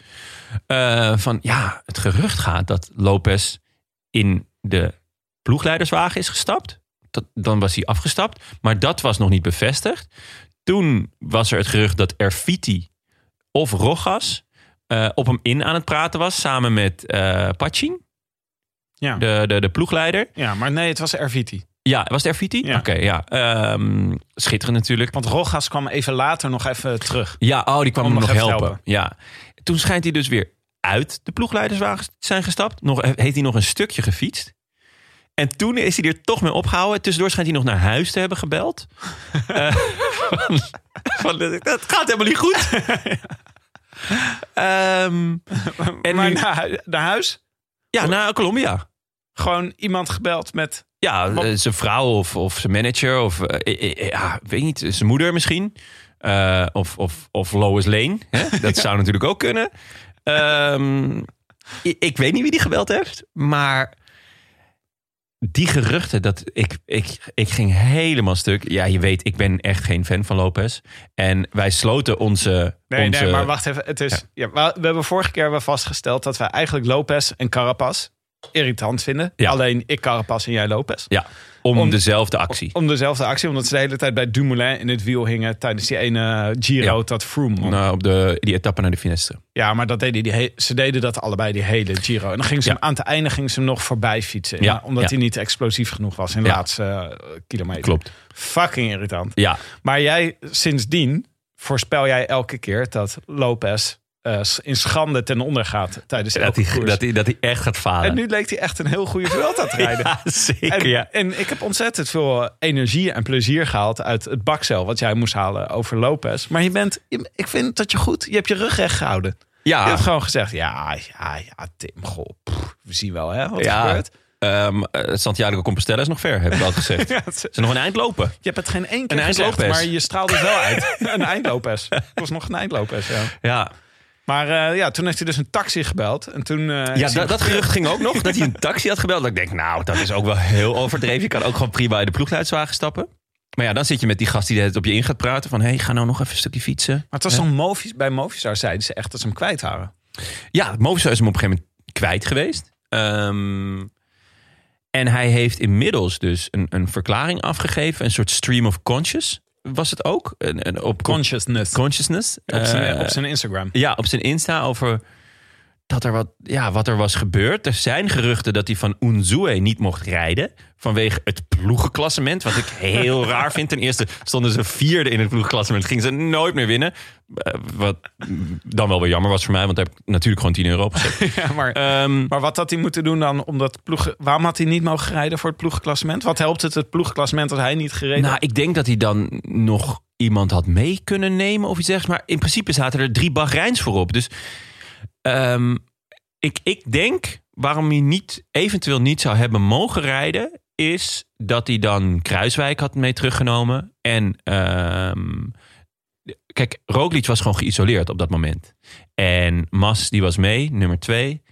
Speaker 2: Eh, van ja, het gerucht gaat dat Lopez in de ploegleiderswagen is gestapt. Dat, dan was hij afgestapt, maar dat was nog niet bevestigd. Toen was er het gerucht dat Erfiti of Rogas eh, op hem in aan het praten was, samen met eh Pachin,
Speaker 3: Ja.
Speaker 2: de, de, de ploegleider.
Speaker 3: ja, maar nee, het was Erviti.
Speaker 2: Ja, was het Erfiti?
Speaker 3: Ja.
Speaker 2: Oké, ja. Ehm, schitterend natuurlijk.
Speaker 3: Want Rogas kwam even later nog even terug.
Speaker 2: Ja, oh, die kwam
Speaker 3: Om
Speaker 2: hem nog
Speaker 3: nog even
Speaker 2: helpen.
Speaker 3: te
Speaker 2: Ja. Toen schijnt hij dus weer uit de ploegleiderswagen te zijn gestapt. Nog, eh, heeft hij nog een stukje gefietst. En toen is hij er toch mee opgehouden. Tussendoor schijnt hij nog naar huis te hebben gebeld. Eh, van, van, dat gaat helemaal niet goed. Ehm, en
Speaker 3: maar
Speaker 2: nu-
Speaker 3: naar, hu- naar huis
Speaker 2: ja, naar Colombia.
Speaker 3: gewoon iemand gebeld met...
Speaker 2: Ja,
Speaker 3: Wat-
Speaker 2: eh, zijn vrouw of, of zijn manager of eh, eh, eh, ja, weet niet, zijn moeder misschien. Eh, of, of, of Lois Lane. Hè? Dat zou natuurlijk ook kunnen. Ehm, ik, ik weet niet wie die gebeld heeft, maar die geruchten, dat ik, ik, ik ging helemaal stuk. Ja, je weet, ik ben echt geen fan van Lopez. En wij sloten onze.
Speaker 3: Nee,
Speaker 2: onze
Speaker 3: nee, maar wacht even. Het is, ja. we, we hebben vorige keer hebben we vastgesteld dat wij eigenlijk Lopez en Carapaz irritant vinden.
Speaker 2: Ja.
Speaker 3: Alleen ik Carapaz en jij Lopez.
Speaker 2: Ja, om,
Speaker 3: Om-
Speaker 2: dezelfde actie.
Speaker 3: Om dezelfde actie, omdat ze de hele tijd bij Dumoulin in het wiel hingen tijdens die ene eh, Giro
Speaker 2: Ja.
Speaker 3: dat Froome. won.
Speaker 2: Nou, op de, die etappe naar de Finestre.
Speaker 3: Ja, maar dat deden die he- ze deden dat allebei die hele Giro. En dan ging ze
Speaker 2: Ja.
Speaker 3: hem, aan het einde ging ze hem nog voorbij fietsen.
Speaker 2: Ja,
Speaker 3: Omdat
Speaker 2: ja.
Speaker 3: hij niet explosief genoeg was in de
Speaker 2: Ja.
Speaker 3: laatste eh, kilometer.
Speaker 2: Klopt.
Speaker 3: Fucking irritant.
Speaker 2: Ja,
Speaker 3: Maar jij, sindsdien voorspel jij elke keer dat Lopez eh, in schande ten onder gaat tijdens
Speaker 2: dat
Speaker 3: elke
Speaker 2: hij,
Speaker 3: koers.
Speaker 2: dat, hij, dat hij echt gaat falen.
Speaker 3: En nu leek hij echt een heel goede Vuelta te rijden.
Speaker 2: ja, zeker.
Speaker 3: En,
Speaker 2: ja.
Speaker 3: en ik heb ontzettend veel eh, energie en plezier gehaald uit het bakcel wat jij moest halen over Lopez. Maar je bent, je- ik vind dat je goed, je hebt je rug recht gehouden.
Speaker 2: Ja.
Speaker 3: Je hebt gewoon gezegd, ja, ja, ja, Tim, goh, pff, we zien wel hè, wat er
Speaker 2: Ja.
Speaker 3: gebeurt.
Speaker 2: Ehm, eh, Santiago Compostela is nog ver, heb ik al gezegd.
Speaker 3: Ja, het-
Speaker 2: Ze nog een eind lopen.
Speaker 3: je hebt het geen één keer
Speaker 2: Een
Speaker 3: gezegd,
Speaker 2: eindlopers.
Speaker 3: maar je straalde het wel uit. een eindlopers. Het was nog een eindlopers, ja.
Speaker 2: Ja,
Speaker 3: Maar eh, ja, toen heeft hij dus een taxi gebeld. En toen... eh,
Speaker 2: ja
Speaker 3: is
Speaker 2: dat, dat gerucht ging ook nog. Dat hij een taxi had gebeld. Dat ik denk, nou, dat is ook wel heel overdreven. Je kan ook gewoon prima in de ploegleidswagen stappen. Maar ja, dan zit je met die gast die het op je in gaat praten. Van, hé, hey, ga nou nog even een stukje fietsen.
Speaker 3: Maar het was dan Movis, bij Movistar zeiden ze echt dat ze hem kwijt waren.
Speaker 2: Ja, Movistar is hem op een gegeven moment kwijt geweest. Ehm, en hij heeft inmiddels dus een, een verklaring afgegeven. Een soort stream of conscious was het ook. Een, een, op,
Speaker 3: Consciousness.
Speaker 2: consciousness.
Speaker 3: op, zijn,
Speaker 2: Eh,
Speaker 3: op zijn Instagram.
Speaker 2: ja, op zijn Insta over dat er wat, ja, wat er was gebeurd. Er zijn geruchten dat hij van Unzue niet mocht rijden. Vanwege het ploegenklassement. Wat ik heel raar vind. Ten eerste stonden ze vierde in het ploegenklassement. Gingen ze nooit meer winnen. Eh, wat dan wel weer jammer was voor mij. Want daar heb ik natuurlijk gewoon 10 euro op gezet.
Speaker 3: Ja, maar,
Speaker 2: Ehm,
Speaker 3: Eh, maar wat had hij moeten doen dan? Omdat ploeg, waarom had hij niet mogen rijden voor het ploegklassement? Wat helpt het het ploegklassement dat hij niet gereden
Speaker 2: nou, ik denk dat hij dan nog iemand had mee kunnen nemen. Of iets zegt. Maar in principe zaten er drie Bahreins voorop. Dus Ehm, ik, ik denk waarom hij niet, eventueel niet zou hebben mogen rijden, is dat hij dan Kruiswijk had mee teruggenomen. En ehm, kijk, Roglic was gewoon geïsoleerd op dat moment. En Mas, die was mee, nummer twee.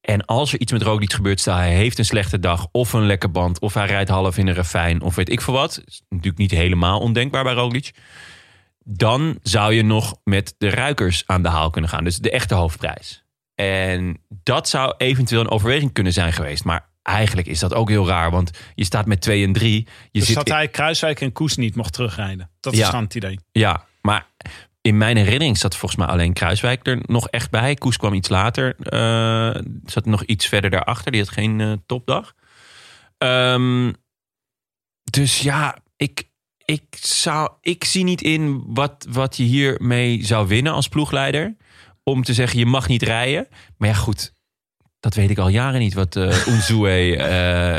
Speaker 2: En als er iets met Roglic gebeurt, stel hij heeft een slechte dag... of een lekke band, of hij rijdt half in een refijn... of weet ik veel wat. is natuurlijk niet helemaal ondenkbaar bij Roglic dan zou je nog met de ruikers aan de haal kunnen gaan. Dus de echte hoofdprijs. En dat zou eventueel een overweging kunnen zijn geweest. Maar eigenlijk is dat ook heel raar, want je staat met 2 en 3. Je
Speaker 3: dus
Speaker 2: zit
Speaker 3: dat hij Kruiswijk en Koes niet mocht terugrijden. Dat
Speaker 2: Ja.
Speaker 3: is dan het idee.
Speaker 2: Ja, maar in mijn herinnering zat volgens mij alleen Kruiswijk er nog echt bij. Koes kwam iets later, eh, zat nog iets verder daarachter. Die had geen eh, topdag. Ehm, dus ja, ik, ik, zou, ik zie niet in wat, wat je hiermee zou winnen als ploegleider. Om te zeggen, je mag niet rijden. Maar ja, goed, dat weet ik al jaren niet wat eh Unzue eh,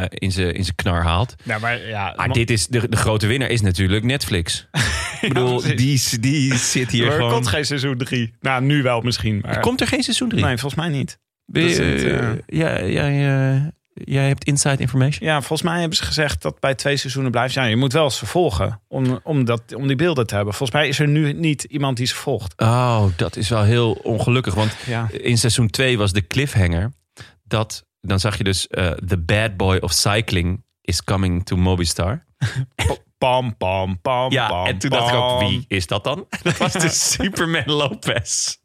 Speaker 2: eh, in zijn in zijn knar haalt.
Speaker 3: Ja, Nou, maar, ja,
Speaker 2: Maar Ah, dit is de, de grote winnaar is natuurlijk Netflix. Ik bedoel,
Speaker 3: precies.
Speaker 2: die, s- die zit hier
Speaker 3: er
Speaker 2: gewoon.
Speaker 3: komt geen seizoen 3. Nou, nu wel misschien. Maar...
Speaker 2: Komt er geen seizoen 3?
Speaker 3: Nee, volgens mij niet. dat is het,
Speaker 2: ja, jij, eh, jij hebt inside information.
Speaker 3: Ja, volgens mij hebben ze gezegd dat bij twee seizoenen blijft. Ja, je moet wel eens vervolgen om, om, dat, om die beelden te hebben. Volgens mij is er nu niet iemand die ze volgt.
Speaker 2: Oh, dat is wel heel ongelukkig. Want
Speaker 3: Ja.
Speaker 2: in seizoen 2 was de cliffhanger. Dat, dan zag je dus eh, The Bad Boy of Cycling is coming to Mobistar.
Speaker 3: Pam, pam, pam,
Speaker 2: Ja,
Speaker 3: pam,
Speaker 2: en toen dacht ik ook,
Speaker 3: pam.
Speaker 2: wie is dat dan? Dat was dus Superman Lopez.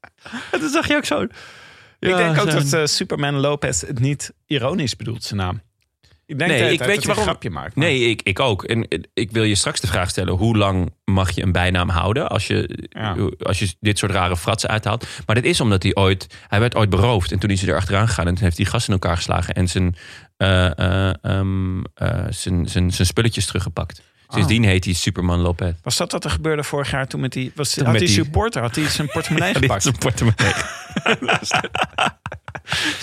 Speaker 2: En toen zag je ook zo...
Speaker 3: Ik denk ook
Speaker 2: zo'n-
Speaker 3: dat eh, Superman Lopez het niet ironisch bedoelt, zijn naam. Ik denk
Speaker 2: Nee,
Speaker 3: dat,
Speaker 2: ik weet je
Speaker 3: dat hij
Speaker 2: waarom-
Speaker 3: een grapje maakt. maar-
Speaker 2: Nee, ik, ik ook. En eh, ik wil je straks de vraag stellen: hoe lang mag je een bijnaam houden als je, eh,
Speaker 3: Ja.
Speaker 2: als je dit soort rare fratsen uithaalt? Maar dat is omdat hij ooit, hij werd ooit beroofd. En toen is hij erachteraan gegaan en toen heeft hij gas in elkaar geslagen en zijn, eh, eh, ehm, eh, zijn, zijn, zijn spulletjes teruggepakt. Sindsdien
Speaker 3: Oh.
Speaker 2: heet hij Superman Lopez.
Speaker 3: Was dat wat er gebeurde vorig jaar toen met die... Was, had
Speaker 2: met
Speaker 3: die
Speaker 2: die-
Speaker 3: supporter, had hij zijn portemonnee
Speaker 2: Ja, dit is
Speaker 3: gepakt?
Speaker 2: een portemonnee.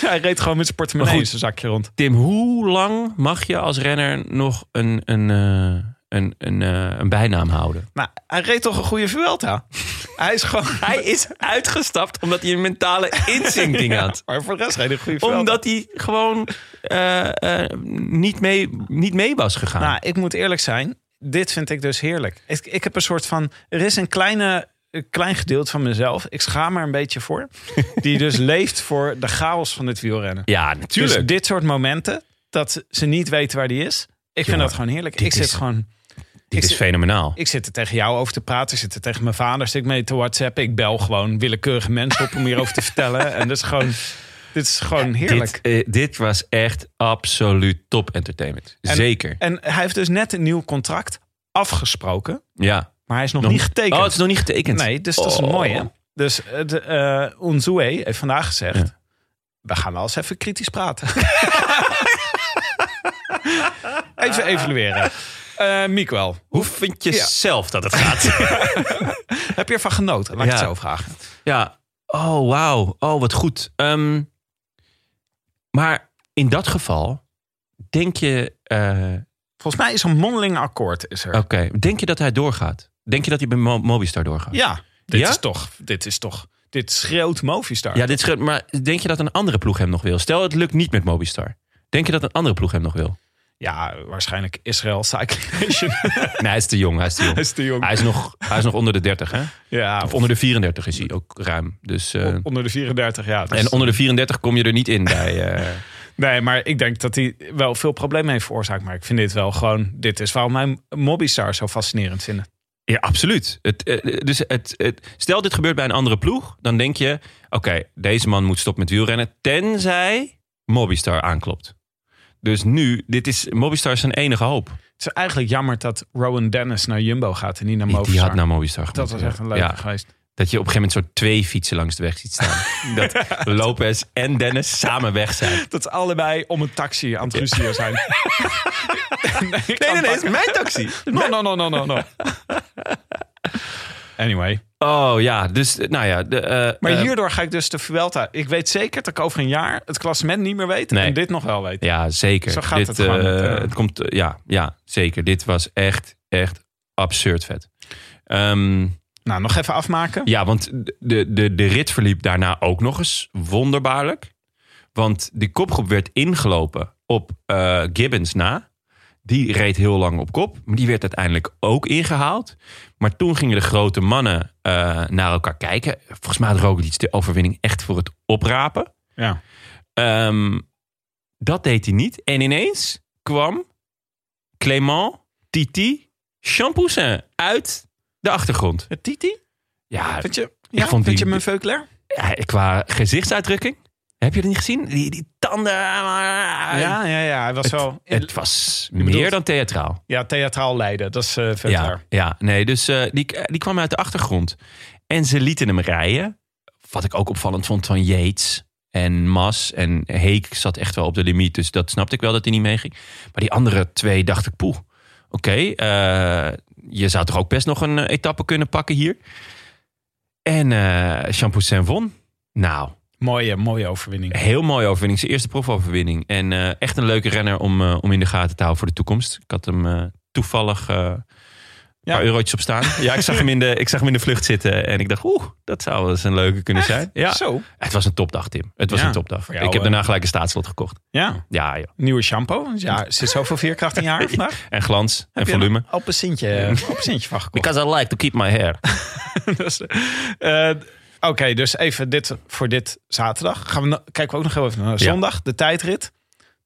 Speaker 3: hij reed gewoon met zijn portemonnee
Speaker 2: Maar
Speaker 3: in
Speaker 2: goed.
Speaker 3: zijn zakje rond.
Speaker 2: Tim, hoe lang mag je als renner nog een, een, eh, een, een, eh, een bijnaam houden?
Speaker 3: Nou, hij reed toch een goede Vuelta? hij is gewoon...
Speaker 2: Hij is uitgestapt omdat hij een mentale inzinking had.
Speaker 3: Maar voor de rest reed hij een goede Vuelta.
Speaker 2: Omdat hij gewoon eh, eh, niet, mee, niet mee was gegaan.
Speaker 3: Nou, ik moet eerlijk zijn. Dit vind ik dus heerlijk. Ik, ik heb een soort van... Er is een kleine, een klein gedeelte van mezelf. Ik schaam er een beetje voor. Die dus leeft voor de chaos van het wielrennen.
Speaker 2: ja,
Speaker 3: Dus dit soort momenten, dat ze niet weten waar die is. Ik vind
Speaker 2: Jongen,
Speaker 3: dat gewoon heerlijk.
Speaker 2: dit
Speaker 3: Ik zit
Speaker 2: is-
Speaker 3: gewoon...
Speaker 2: dit
Speaker 3: ik
Speaker 2: is
Speaker 3: zit-
Speaker 2: fenomenaal.
Speaker 3: Ik zit er tegen jou over te praten. Ik zit er tegen mijn vader. Zit ik mee te whatsappen. Ik bel gewoon willekeurige mensen op om hierover te vertellen. En dat is gewoon... Dit is gewoon heerlijk.
Speaker 2: Dit, eh, dit was echt absoluut top entertainment.
Speaker 3: En-
Speaker 2: Zeker.
Speaker 3: En hij heeft dus net een nieuw contract afgesproken.
Speaker 2: Ja.
Speaker 3: Maar hij is nog,
Speaker 2: Nog-
Speaker 3: niet getekend.
Speaker 2: Oh, het is nog niet getekend.
Speaker 3: Nee, dus dat is
Speaker 2: Oh.
Speaker 3: mooi hè. Dus eh, de, eh Unzue heeft vandaag gezegd... we gaan wel eens even kritisch praten. even evalueren. Eh Miguel,
Speaker 2: Hoe vind je
Speaker 3: Ja.
Speaker 2: zelf dat het gaat?
Speaker 3: heb je ervan genoten? Laat ik
Speaker 2: Ja.
Speaker 3: het zo vragen.
Speaker 2: ja. Oh, wauw. Oh, wat goed. Ehm, maar in dat geval, denk je, eh,
Speaker 3: Volgens mij is een mondeling akkoord is er.
Speaker 2: oké, denk je dat hij doorgaat? Denk je dat hij bij Mo- Mobistar doorgaat?
Speaker 3: Ja, dit
Speaker 2: Ja?
Speaker 3: is toch... Dit is toch... Dit schreeuwt Movistar.
Speaker 2: Ja, dit is, ge- maar denk je dat een andere ploeg hem nog wil? Stel, het lukt niet met Mobistar. Denk je dat een andere ploeg hem nog wil?
Speaker 3: Ja, waarschijnlijk Israël Cycling Nation.
Speaker 2: Nee, hij is te jong. Hij is te jong.
Speaker 3: Hij is te jong.
Speaker 2: Hij is nog, hij is nog onder de 30, hè?
Speaker 3: ja,
Speaker 2: Ah, Of onder de 34 is hij ook ruim. Dus, eh,
Speaker 3: O- onder de 34 jaar. Dus-
Speaker 2: en onder de 34 kom je er niet in bij. eh,
Speaker 3: Nee, maar ik denk dat hij wel veel problemen heeft veroorzaakt. Maar ik vind dit wel gewoon... Dit is waarom mijn Mobbystar zo fascinerend vinden.
Speaker 2: Ja, absoluut. Het, eh, dus het, het, stel dit gebeurt bij een andere ploeg, dan denk je: oké, deze man moet stoppen met wielrennen, tenzij Mobistar aanklopt. Dus nu, dit is Mobistar is zijn enige hoop.
Speaker 3: Het is eigenlijk jammer dat Rowan Dennis naar Jumbo gaat en niet naar
Speaker 2: Die, die
Speaker 3: Movistar.
Speaker 2: had naar Mobistar
Speaker 3: dat was
Speaker 2: gemoeten,
Speaker 3: echt een
Speaker 2: ja.
Speaker 3: leuke
Speaker 2: Ja,
Speaker 3: geweest.
Speaker 2: Dat je op een gegeven moment zo twee fietsen langs de weg ziet staan. dat Lopez en Dennis samen weg zijn.
Speaker 3: Dat ze allebei om een taxi aan het ruzieën zijn. nee, ik kan pakken.
Speaker 2: mijn taxi.
Speaker 3: No, no, no, no, no, no. Anyway.
Speaker 2: Oh ja, dus eh, nou ja. De, eh,
Speaker 3: Maar
Speaker 2: eh,
Speaker 3: hierdoor ga ik dus de Vuelta. Ik weet zeker dat ik over een jaar het klassement niet meer weet.
Speaker 2: Nee.
Speaker 3: En dit nog wel weet.
Speaker 2: Ja, zeker.
Speaker 3: Zo gaat
Speaker 2: dit,
Speaker 3: het gewoon
Speaker 2: eh,
Speaker 3: met, eh,
Speaker 2: het komt, eh, ja, ja, zeker. Dit was echt, echt absurd vet. Ehm,
Speaker 3: Nou, nog even afmaken.
Speaker 2: ja, want de, de, de rit verliep daarna ook nog eens wonderbaarlijk. Want die kopgroep werd ingelopen op eh, Gibbons na. Die reed heel lang op kop. Maar die werd uiteindelijk ook ingehaald. Maar toen gingen de grote mannen eh, naar elkaar kijken. Volgens mij had Roglic de overwinning echt voor het oprapen.
Speaker 3: Ja.
Speaker 2: Ehm, dat deed hij niet. En ineens kwam Clément Titi Champoussin uit de achtergrond.
Speaker 3: Eh, Titi?
Speaker 2: Ja,
Speaker 3: Vind je,
Speaker 2: Ik
Speaker 3: ja,
Speaker 2: vond
Speaker 3: vind
Speaker 2: die-
Speaker 3: je mijn Veuclair?
Speaker 2: ja, qua gezichtsuitdrukking. Heb je dat niet gezien? Die, die tanden. Ja,
Speaker 3: Ja, ja, ja. Hij was wel...
Speaker 2: het was meer
Speaker 3: bedoelt-
Speaker 2: dan theatraal.
Speaker 3: Ja, theatraal leiden. Dat is eh
Speaker 2: Ja,
Speaker 3: Veuclair.
Speaker 2: ja, nee, dus eh, die, die kwam uit de achtergrond. En ze lieten hem rijden. Wat ik ook opvallend vond van Yates en Mas. En Heek zat echt wel op de limiet. Dus dat snapte ik wel dat hij niet meeging. Maar die andere twee dacht ik, poeh. Oké, eh, je zou toch ook best nog een eh, etappe kunnen pakken hier. En eh Champoussin won. Nou,
Speaker 3: Mooie, mooie overwinning.
Speaker 2: heel mooie overwinning. Zijn eerste profoverwinning. En eh, echt een leuke renner om, eh, om in de gaten te houden voor de toekomst. Ik had hem eh, toevallig eh, een paar eurotjes op staan. Ja, ik zag, hem in de, ik zag hem in de vlucht zitten. En ik dacht, oeh, dat zou wel eens een leuke kunnen zijn. Ja,
Speaker 3: Zo.
Speaker 2: het was een topdag, Tim. Het was
Speaker 3: Ja,
Speaker 2: een topdag.
Speaker 3: voor jou,
Speaker 2: ik heb
Speaker 3: eh.
Speaker 2: daarna gelijk een staatslot gekocht.
Speaker 3: Ja.
Speaker 2: Ja, joh.
Speaker 3: Nieuwe shampoo. Ja, er zit zoveel veerkracht in je haar vandaag.
Speaker 2: En glans en
Speaker 3: Heb je
Speaker 2: volume.
Speaker 3: een appelsintje, appelsintje van gekocht.
Speaker 2: Because I like to keep my hair.
Speaker 3: Dus, eh, Oké, dus even dit voor dit zaterdag. Gaan we, no- kijken we ook nog heel even naar zondag, de tijdrit.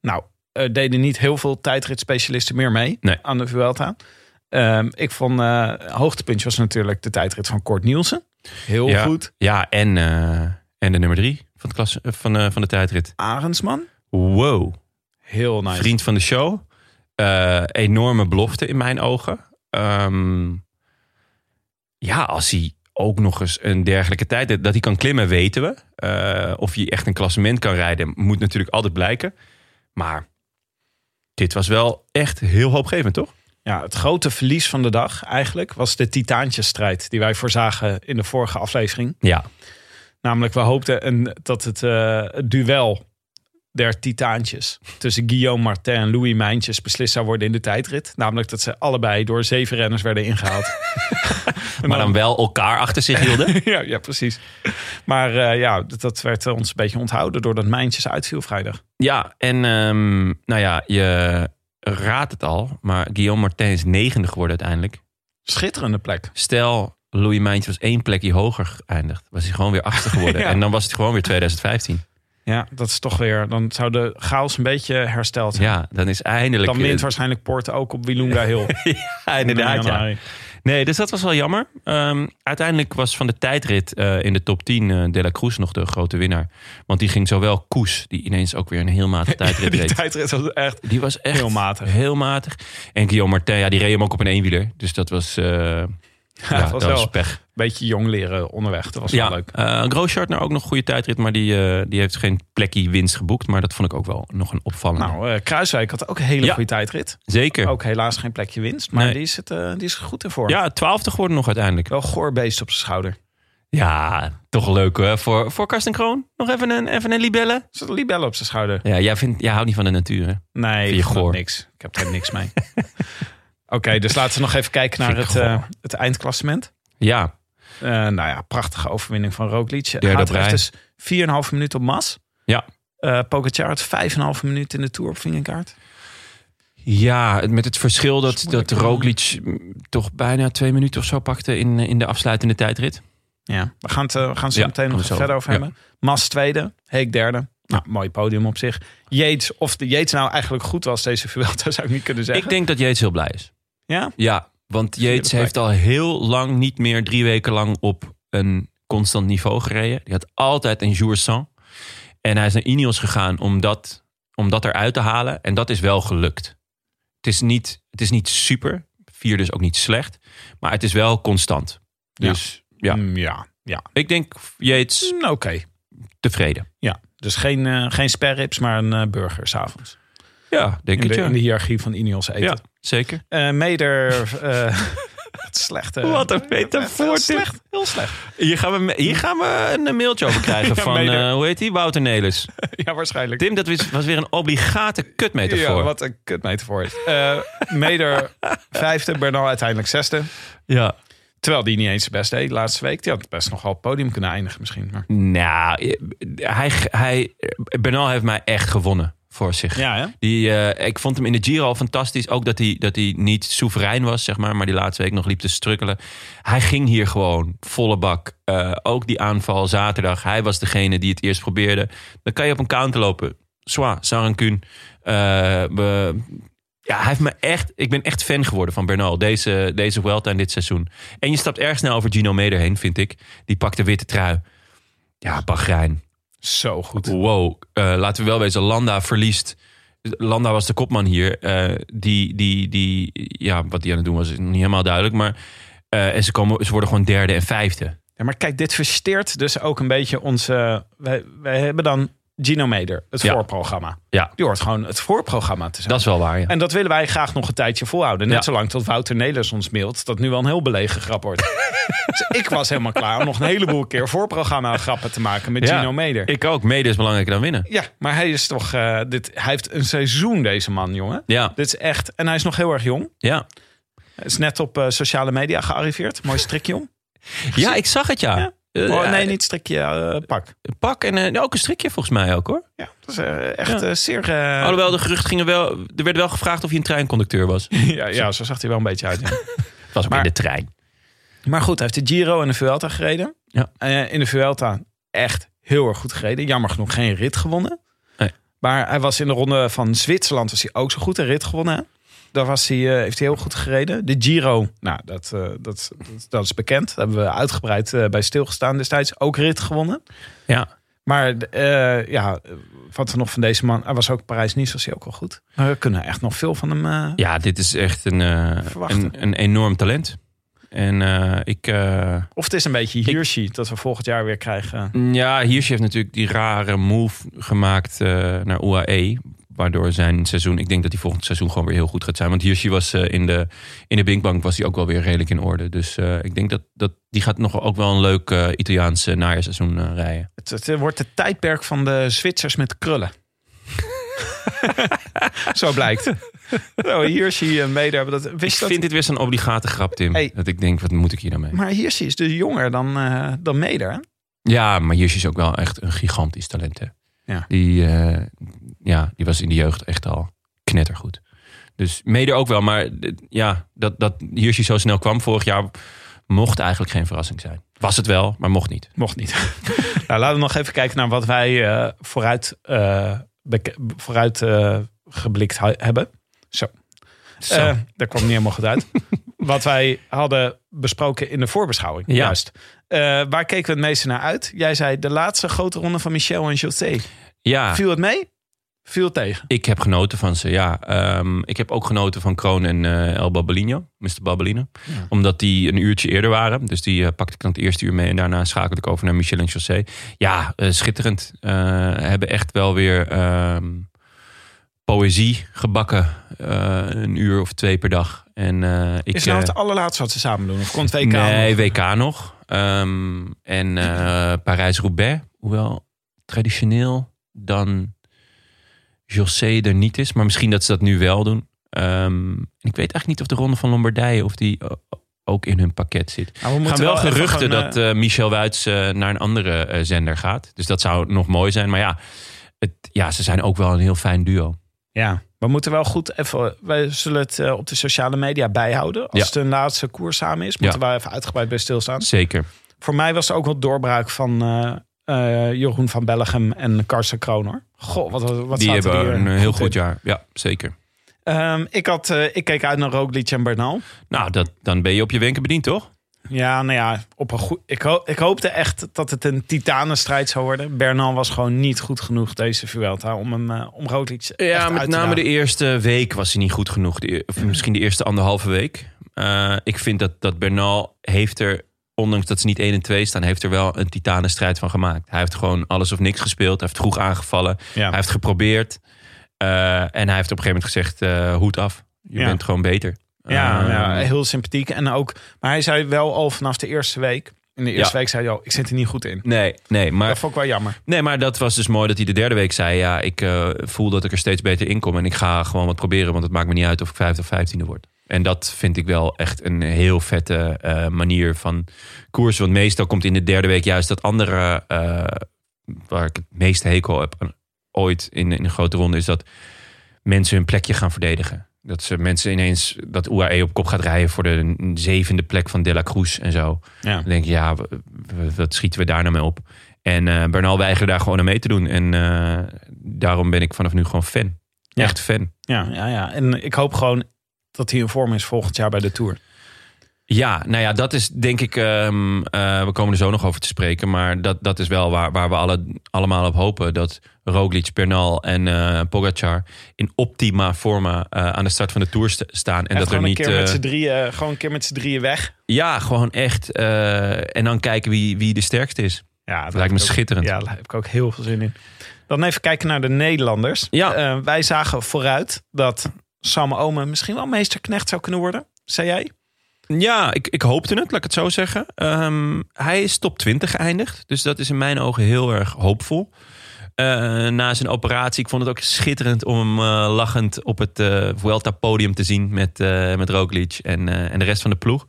Speaker 3: Nou, eh, deden niet heel veel tijdritspecialisten meer mee
Speaker 2: Nee.
Speaker 3: aan de Vuelta. Ehm, ik vond, eh hoogtepuntje was natuurlijk de tijdrit van Kort Nielsen. Heel
Speaker 2: ja.
Speaker 3: goed.
Speaker 2: Ja, en, eh, en de nummer drie van, het klasse, eh, van, eh, van de tijdrit.
Speaker 3: Arendsman,
Speaker 2: Wow.
Speaker 3: heel nice.
Speaker 2: Vriend van de show. Eh, enorme belofte in mijn ogen. Ehm, ja, als hij ook nog eens een dergelijke tijd... dat- Dat hij kan klimmen, weten we. Eh, of hij echt een klassement kan rijden, moet natuurlijk altijd blijken. Maar dit was wel echt heel hoopgevend, toch?
Speaker 3: Ja, het grote verlies van de dag eigenlijk was de titaantjesstrijd die wij voorzagen in de vorige aflevering.
Speaker 2: Ja.
Speaker 3: Namelijk, we hoopten en dat het, eh, het duel der titaantjes tussen Guillaume Martin en Louis Mijntjes beslist zou worden in de tijdrit. Namelijk dat ze allebei door zeven renners werden ingehaald. En
Speaker 2: Maar dan wel elkaar achter zich hielden.
Speaker 3: ja, ja, precies. Maar eh, ja, dat, dat werd eh, ons een beetje onthouden doordat Mijntjes uitviel vrijdag.
Speaker 2: ja, en ehm, nou ja, je raadt het al. Maar Guillaume Martin is negende geworden uiteindelijk.
Speaker 3: Schitterende plek.
Speaker 2: Stel, Louis Mijntje was één plekje hoger geëindigd. Was hij gewoon weer achter geworden.
Speaker 3: Ja.
Speaker 2: En dan was het gewoon weer 2015.
Speaker 3: Ja, dat is toch weer. Dan zou de chaos een beetje hersteld zijn.
Speaker 2: Ja, dan is eindelijk...
Speaker 3: Dan wint waarschijnlijk Poort ook op Wilunga Hill.
Speaker 2: Ja, inderdaad, ja. Nee, dus dat was wel jammer. Ehm, uiteindelijk was van de tijdrit eh, in de top 10 eh De La Cruz nog de grote winnaar. Want die ging zowel Koes, die ineens ook weer een heel matige tijdrit
Speaker 3: Die
Speaker 2: reed.
Speaker 3: tijdrit was echt...
Speaker 2: Die was echt
Speaker 3: Heel matig.
Speaker 2: heel matig. En Guillaume Martin, ja, die reed hem ook op een eenwieler. Dus dat was, eh, ja,
Speaker 3: was
Speaker 2: dat
Speaker 3: wel
Speaker 2: was pech.
Speaker 3: beetje jong leren onderweg. Dat was
Speaker 2: Ja,
Speaker 3: wel leuk.
Speaker 2: eh, Grosjean nou ook nog een goede tijdrit, maar die, eh, die heeft geen plekje winst geboekt. Maar dat vond ik ook wel nog een opvallende.
Speaker 3: Nou, eh Kruiswijk had ook een hele
Speaker 2: Ja.
Speaker 3: goede tijdrit.
Speaker 2: Zeker.
Speaker 3: Ook helaas geen plekje winst. Maar
Speaker 2: Nee.
Speaker 3: die, is het, eh, die is er goed ervoor.
Speaker 2: Ja, twaalfde geworden nog uiteindelijk.
Speaker 3: Wel goorbeest op zijn schouder.
Speaker 2: Ja, toch leuk hè. Voor, voor Karsten Kroon. Nog even een, even een libelle.
Speaker 3: Er zat een libelle op zijn schouder.
Speaker 2: Ja, jij, vindt, jij houdt niet van de natuur hè?
Speaker 3: Nee,
Speaker 2: je
Speaker 3: ik vond het
Speaker 2: goor?
Speaker 3: niks. Ik heb er niks mee. Oké, dus laten we nog even kijken naar
Speaker 2: Vind ik
Speaker 3: het, eh,
Speaker 2: goor.
Speaker 3: het eindklassement.
Speaker 2: Ja,
Speaker 3: Eh, nou ja, prachtige overwinning van Roglic.
Speaker 2: op
Speaker 3: Haatrecht
Speaker 2: rij.
Speaker 3: dus 4,5 minuut op Mas.
Speaker 2: Ja.
Speaker 3: Eh Pogacar had 5,5 minuut in de Tour op Vingegaard.
Speaker 2: ja met het verschil dat, dat
Speaker 3: moeilijk, hè?
Speaker 2: Roglic mm, toch bijna twee minuten of zo pakte in, eh, in de afsluitende tijdrit.
Speaker 3: Ja, we gaan het, eh, we gaan het zo
Speaker 2: Ja,
Speaker 3: meteen nog
Speaker 2: gaan we zo
Speaker 3: verder over
Speaker 2: over.
Speaker 3: hebben. Mas tweede, Heek derde. Nou, mooi podium op zich. Yates, of de Yates nou eigenlijk goed was deze Vuelta, zou ik niet kunnen zeggen.
Speaker 2: Ik denk dat Yates heel blij is.
Speaker 3: Ja?
Speaker 2: Ja, want
Speaker 3: Vierde
Speaker 2: Yates
Speaker 3: plek.
Speaker 2: heeft al heel lang niet meer drie weken lang op een constant niveau gereden. Die had altijd een jour sans. En hij is naar Ineos gegaan om dat, om dat eruit te halen. En dat is wel gelukt. Het is niet, het is niet super. Vier dus ook niet slecht. Maar het is wel constant.
Speaker 3: Ja.
Speaker 2: Dus ja,
Speaker 3: Mm, ja, ja.
Speaker 2: ik denk Yates
Speaker 3: Mm, Oké.
Speaker 2: tevreden.
Speaker 3: Ja, dus geen, eh geen sperrips, maar een eh, burger s'avonds.
Speaker 2: Ja, denk
Speaker 3: In,
Speaker 2: ik
Speaker 3: de-
Speaker 2: ja.
Speaker 3: in de hiërarchie van Ineos
Speaker 2: Ja,
Speaker 3: eten.
Speaker 2: zeker.
Speaker 3: Eh, meder... eh, het slechte...
Speaker 2: Wat een
Speaker 3: eh,
Speaker 2: metafoor,
Speaker 3: Heel
Speaker 2: dit.
Speaker 3: slecht, heel slecht.
Speaker 2: Hier gaan we, hier gaan we een mailtje over krijgen
Speaker 3: Ja,
Speaker 2: van,
Speaker 3: mede.
Speaker 2: eh, hoe heet die, Wouter Nelis.
Speaker 3: Ja, waarschijnlijk.
Speaker 2: Tim, dat was, was weer een obligate kutmetafoor.
Speaker 3: Ja, wat een kutmetafoor is. Eh, meder vijfde, Bernal uiteindelijk zesde.
Speaker 2: Ja.
Speaker 3: Terwijl die niet eens zijn best deed laatste week. Die had best nog wel op het podium kunnen eindigen misschien. Maar...
Speaker 2: Nou, eh, hij, hij, Bernal heeft mij echt gewonnen voor zich.
Speaker 3: Ja, hè?
Speaker 2: Die, eh, ik vond hem in de Giro al fantastisch. Ook dat hij, dat hij niet soeverein was, zeg maar. Maar die laatste week nog liep te strukkelen. Hij ging hier gewoon volle bak. Eh, ook die aanval zaterdag. Hij was degene die het eerst probeerde. Dan kan je op een counter lopen. Sois, Sarancun. Eh, we- ja, hij heeft me echt, ik ben echt fan geworden van Bernal. Deze, deze Vuelta en dit seizoen. En je stapt erg snel over Gino Meder heen, vind ik. Die pakt de witte trui. Ja, Bahrein.
Speaker 3: Zo goed.
Speaker 2: Wow, eh, laten we wel wezen, Landa verliest. Landa was de kopman hier. eh, die, die, die, ja, wat die aan het doen was, is niet helemaal duidelijk. Maar eh, en ze, komen, ze worden gewoon derde en vijfde.
Speaker 3: Ja, maar kijk, dit versteert dus ook een beetje onze... eh, Wij, wij hebben dan Gino Meder, het
Speaker 2: Ja.
Speaker 3: voorprogramma.
Speaker 2: Ja,
Speaker 3: Die hoort gewoon het voorprogramma te zijn.
Speaker 2: dat is wel waar. Ja.
Speaker 3: En dat willen wij graag nog een tijdje volhouden. Net
Speaker 2: Ja.
Speaker 3: zolang tot Wouter Nelis ons mailt. Dat nu wel een heel belegen grap wordt. dus ik was helemaal klaar om nog een heleboel keer voorprogramma grappen te maken met
Speaker 2: Ja,
Speaker 3: Gino Meder.
Speaker 2: Ik ook. Mede is belangrijker dan winnen.
Speaker 3: Ja, maar hij is toch... eh, dit, hij heeft een seizoen, deze man, jongen.
Speaker 2: Ja,
Speaker 3: Dit is echt... En hij is nog heel erg jong.
Speaker 2: ja.
Speaker 3: Hij is net op eh, sociale media gearriveerd. Mooi strikje om.
Speaker 2: ja ik zag het, ja.
Speaker 3: Ja.
Speaker 2: Eh,
Speaker 3: Oh, nee,
Speaker 2: eh,
Speaker 3: niet strikje, eh, pak.
Speaker 2: Pak en eh, ook een strikje volgens mij ook, hoor.
Speaker 3: Ja, dat is eh,
Speaker 2: Ja.
Speaker 3: echt eh, zeer... eh,
Speaker 2: Alhoewel, de geruchten gingen wel... Er werd wel gevraagd of hij een treinconducteur was.
Speaker 3: ja, ja, zo zag hij wel een beetje uit. ja.
Speaker 2: Het was ook
Speaker 3: Maar-
Speaker 2: in de trein.
Speaker 3: Maar goed, hij heeft de Giro en de Vuelta gereden.
Speaker 2: Ja.
Speaker 3: Eh, in de Vuelta echt heel erg goed gereden. Jammer genoeg geen rit gewonnen.
Speaker 2: Nee.
Speaker 3: Maar hij was in de ronde van Zwitserland was hij ook zo goed een rit gewonnen. hè? Daar was hij, eh, heeft hij heel goed gereden. De Giro, nou, dat, eh, dat, dat, dat is bekend. Daar hebben we uitgebreid eh, bij stilgestaan destijds. Ook rit gewonnen.
Speaker 2: Ja.
Speaker 3: Maar eh, ja, wat we nog van deze man... Hij was ook Parijs-Nice, was hij ook al goed. Maar we kunnen echt nog veel van hem... eh,
Speaker 2: Ja, dit is echt een, eh,
Speaker 3: Verwachten.
Speaker 2: een, een enorm talent. En eh, ik... eh,
Speaker 3: Of het is een beetje Hirschi dat we volgend jaar weer krijgen.
Speaker 2: Ja, Hirschi heeft natuurlijk die rare move gemaakt eh, naar UAE. Waardoor zijn seizoen, ik denk dat hij volgend seizoen gewoon weer heel goed gaat zijn. Want Hirschi was eh, in, de, in de Binkbank was hij ook wel weer redelijk in orde. Dus eh, ik denk dat, dat die gaat nog ook wel een leuk eh Italiaanse najaarseizoen eh, rijden.
Speaker 3: Het, het wordt het tijdperk van de Zwitsers met krullen. Zo blijkt. Nou, Hirschi en Meder hebben dat.
Speaker 2: Ik
Speaker 3: Wist je dat?
Speaker 2: vind dit weer zo'n obligate grap, Tim.
Speaker 3: Hey.
Speaker 2: Dat ik denk, wat moet ik hier nou mee?
Speaker 3: Maar Hirschi is dus jonger dan, eh, dan Meder. hè?
Speaker 2: Ja, maar Hirschi is ook wel echt een gigantisch talent. Hè?
Speaker 3: Ja.
Speaker 2: Die, eh, ja, die was in de jeugd echt al knettergoed. Dus mede ook wel, maar eh, ja, dat, dat Hirschi zo snel kwam vorig jaar mocht eigenlijk geen verrassing zijn. Was het wel, maar mocht niet.
Speaker 3: Mocht niet. nou, laten we nog even kijken naar wat wij eh, vooruit, eh, beke- vooruit eh, geblikt hu- hebben. Zo.
Speaker 2: Zo.
Speaker 3: Eh, daar kwam niet helemaal goed uit. Wat wij hadden besproken in de voorbeschouwing.
Speaker 2: Ja.
Speaker 3: Juist. Eh, waar keken we het meeste naar uit? Jij zei de laatste grote ronde van Michel en José.
Speaker 2: ja,
Speaker 3: Viel het mee? Viel het tegen?
Speaker 2: ik heb genoten van ze, ja. Ehm, ik heb ook genoten van Kroon en eh, El Babelino, Mr. Babelino. Omdat die een uurtje eerder waren. Dus die eh, pakte ik dan het eerste uur mee. En daarna schakelde ik over naar Michel en José. Ja, eh, schitterend. Eh, hebben echt wel weer ehm, poëzie gebakken. Eh, een uur of twee per dag. En, eh, ik,
Speaker 3: Is nou
Speaker 2: eh,
Speaker 3: het allerlaatste wat ze samen doen? Of komt WK?
Speaker 2: Nee,
Speaker 3: nog?
Speaker 2: WK nog. Ehm, en eh, Parijs-Roubaix. Hoewel traditioneel dan José er niet is. Maar misschien dat ze dat nu wel doen. Ehm, ik weet eigenlijk niet of de Ronde van Lombardije... of die eh, ook in hun pakket zit.
Speaker 3: Nou, we
Speaker 2: Er gaan
Speaker 3: moeten
Speaker 2: wel
Speaker 3: even
Speaker 2: geruchten
Speaker 3: gewoon,
Speaker 2: dat
Speaker 3: eh,
Speaker 2: eh, Michel Wuits eh, naar een andere eh, zender gaat. Dus dat zou nog mooi zijn. Maar ja, het, ja, ze zijn ook wel een heel fijn duo.
Speaker 3: ja, we moeten wel goed even... Wij zullen het eh, op de sociale media bijhouden. Als
Speaker 2: Ja.
Speaker 3: het een laatste koers samen is, moeten we even uitgebreid bij stilstaan.
Speaker 2: Zeker.
Speaker 3: Voor mij was het ook wel doorbraak van eh, eh, Jeroen van Bellegem en Karsten Kroon, hoor. Goh, wat, wat- wat
Speaker 2: die
Speaker 3: zaten
Speaker 2: hebben een eh,
Speaker 3: die er
Speaker 2: heel
Speaker 3: in?
Speaker 2: goed jaar. Ja, zeker.
Speaker 3: Ehm, ik, had, eh, ik keek uit naar Roglic en Bernal.
Speaker 2: Nou, dat, dan ben je op je wenken bediend, toch?
Speaker 3: Ja, nou ja, op een goed, ik, ho- ik hoopte echt dat het een titanenstrijd zou worden. Bernal was gewoon niet goed genoeg deze Vuelta om, hem, eh, om Roglic echt
Speaker 2: Ja,
Speaker 3: uit
Speaker 2: met
Speaker 3: te
Speaker 2: name
Speaker 3: dagen.
Speaker 2: de eerste week was hij niet goed genoeg. De e- of misschien de eerste anderhalve week. Eh, ik vind dat, dat Bernal heeft er, ondanks dat ze niet 1 en 2 staan, heeft er wel een titanenstrijd van gemaakt. Hij heeft gewoon alles of niks gespeeld. Hij heeft vroeg aangevallen.
Speaker 3: Ja.
Speaker 2: Hij heeft geprobeerd. Eh, en hij heeft op een gegeven moment gezegd, eh, hoed af. Je
Speaker 3: Ja.
Speaker 2: bent gewoon beter.
Speaker 3: Ja,
Speaker 2: Eh,
Speaker 3: ja, heel sympathiek. En ook, maar hij zei wel al vanaf de eerste week. In de eerste
Speaker 2: Ja.
Speaker 3: week zei hij al, ik zit er niet goed in.
Speaker 2: Nee, nee, maar
Speaker 3: Dat vond ik wel jammer.
Speaker 2: Nee, maar dat was dus mooi dat hij de derde week zei... ja, ik eh, voel dat ik er steeds beter in kom... en ik ga gewoon wat proberen, want het maakt me niet uit... of ik vijfde of vijftiende word. En dat vind ik wel echt een heel vette eh, manier van koers. Want meestal komt in de derde week juist dat andere... eh, waar ik het meeste hekel heb aan ooit in, in een grote ronde... is dat mensen hun plekje gaan verdedigen. Dat ze mensen ineens dat UAE op kop gaat rijden... voor de zevende plek van De La Cruz en zo.
Speaker 3: Ja.
Speaker 2: Dan denk je, ja, w- w- wat schieten we daar nou mee op? En eh, Bernal weigerde daar gewoon aan mee te doen. En eh, daarom ben ik vanaf nu gewoon fan.
Speaker 3: Ja.
Speaker 2: Echt fan.
Speaker 3: Ja, ja, ja. En ik hoop gewoon dat hij in vorm is volgend jaar bij de Tour.
Speaker 2: Ja, nou ja, dat is denk ik... ehm, eh, we komen er zo nog over te spreken. Maar dat, dat is wel waar, waar we alle, allemaal op hopen. Dat Roglic, Bernal en eh, Pogacar in optima forma eh, aan de start van de Tour st- staan. En
Speaker 3: En
Speaker 2: dat er
Speaker 3: gewoon,
Speaker 2: niet...
Speaker 3: een keer met
Speaker 2: eh,
Speaker 3: z'n drieën, gewoon een keer met z'n drieën weg.
Speaker 2: ja, gewoon echt. eh, en dan kijken wie, wie de sterkste is.
Speaker 3: Ja,
Speaker 2: lijkt
Speaker 3: dat
Speaker 2: me
Speaker 3: heb ik ook-
Speaker 2: schitterend.
Speaker 3: Ja, daar heb ik ook heel veel zin in. Dan even kijken naar de Nederlanders.
Speaker 2: Ja.
Speaker 3: Eh, wij zagen vooruit dat Sam Omen misschien wel meesterknecht zou kunnen worden. Zei jij?
Speaker 2: Ja, ik, ik hoopte het, laat ik het zo zeggen. Ehm, hij is top 20 geëindigd. Dus dat is in mijn ogen heel erg hoopvol. Eh, na zijn operatie, ik vond het ook schitterend om hem eh, lachend op het eh Vuelta-podium te zien met, eh met Roglic en, eh, en de rest van de ploeg.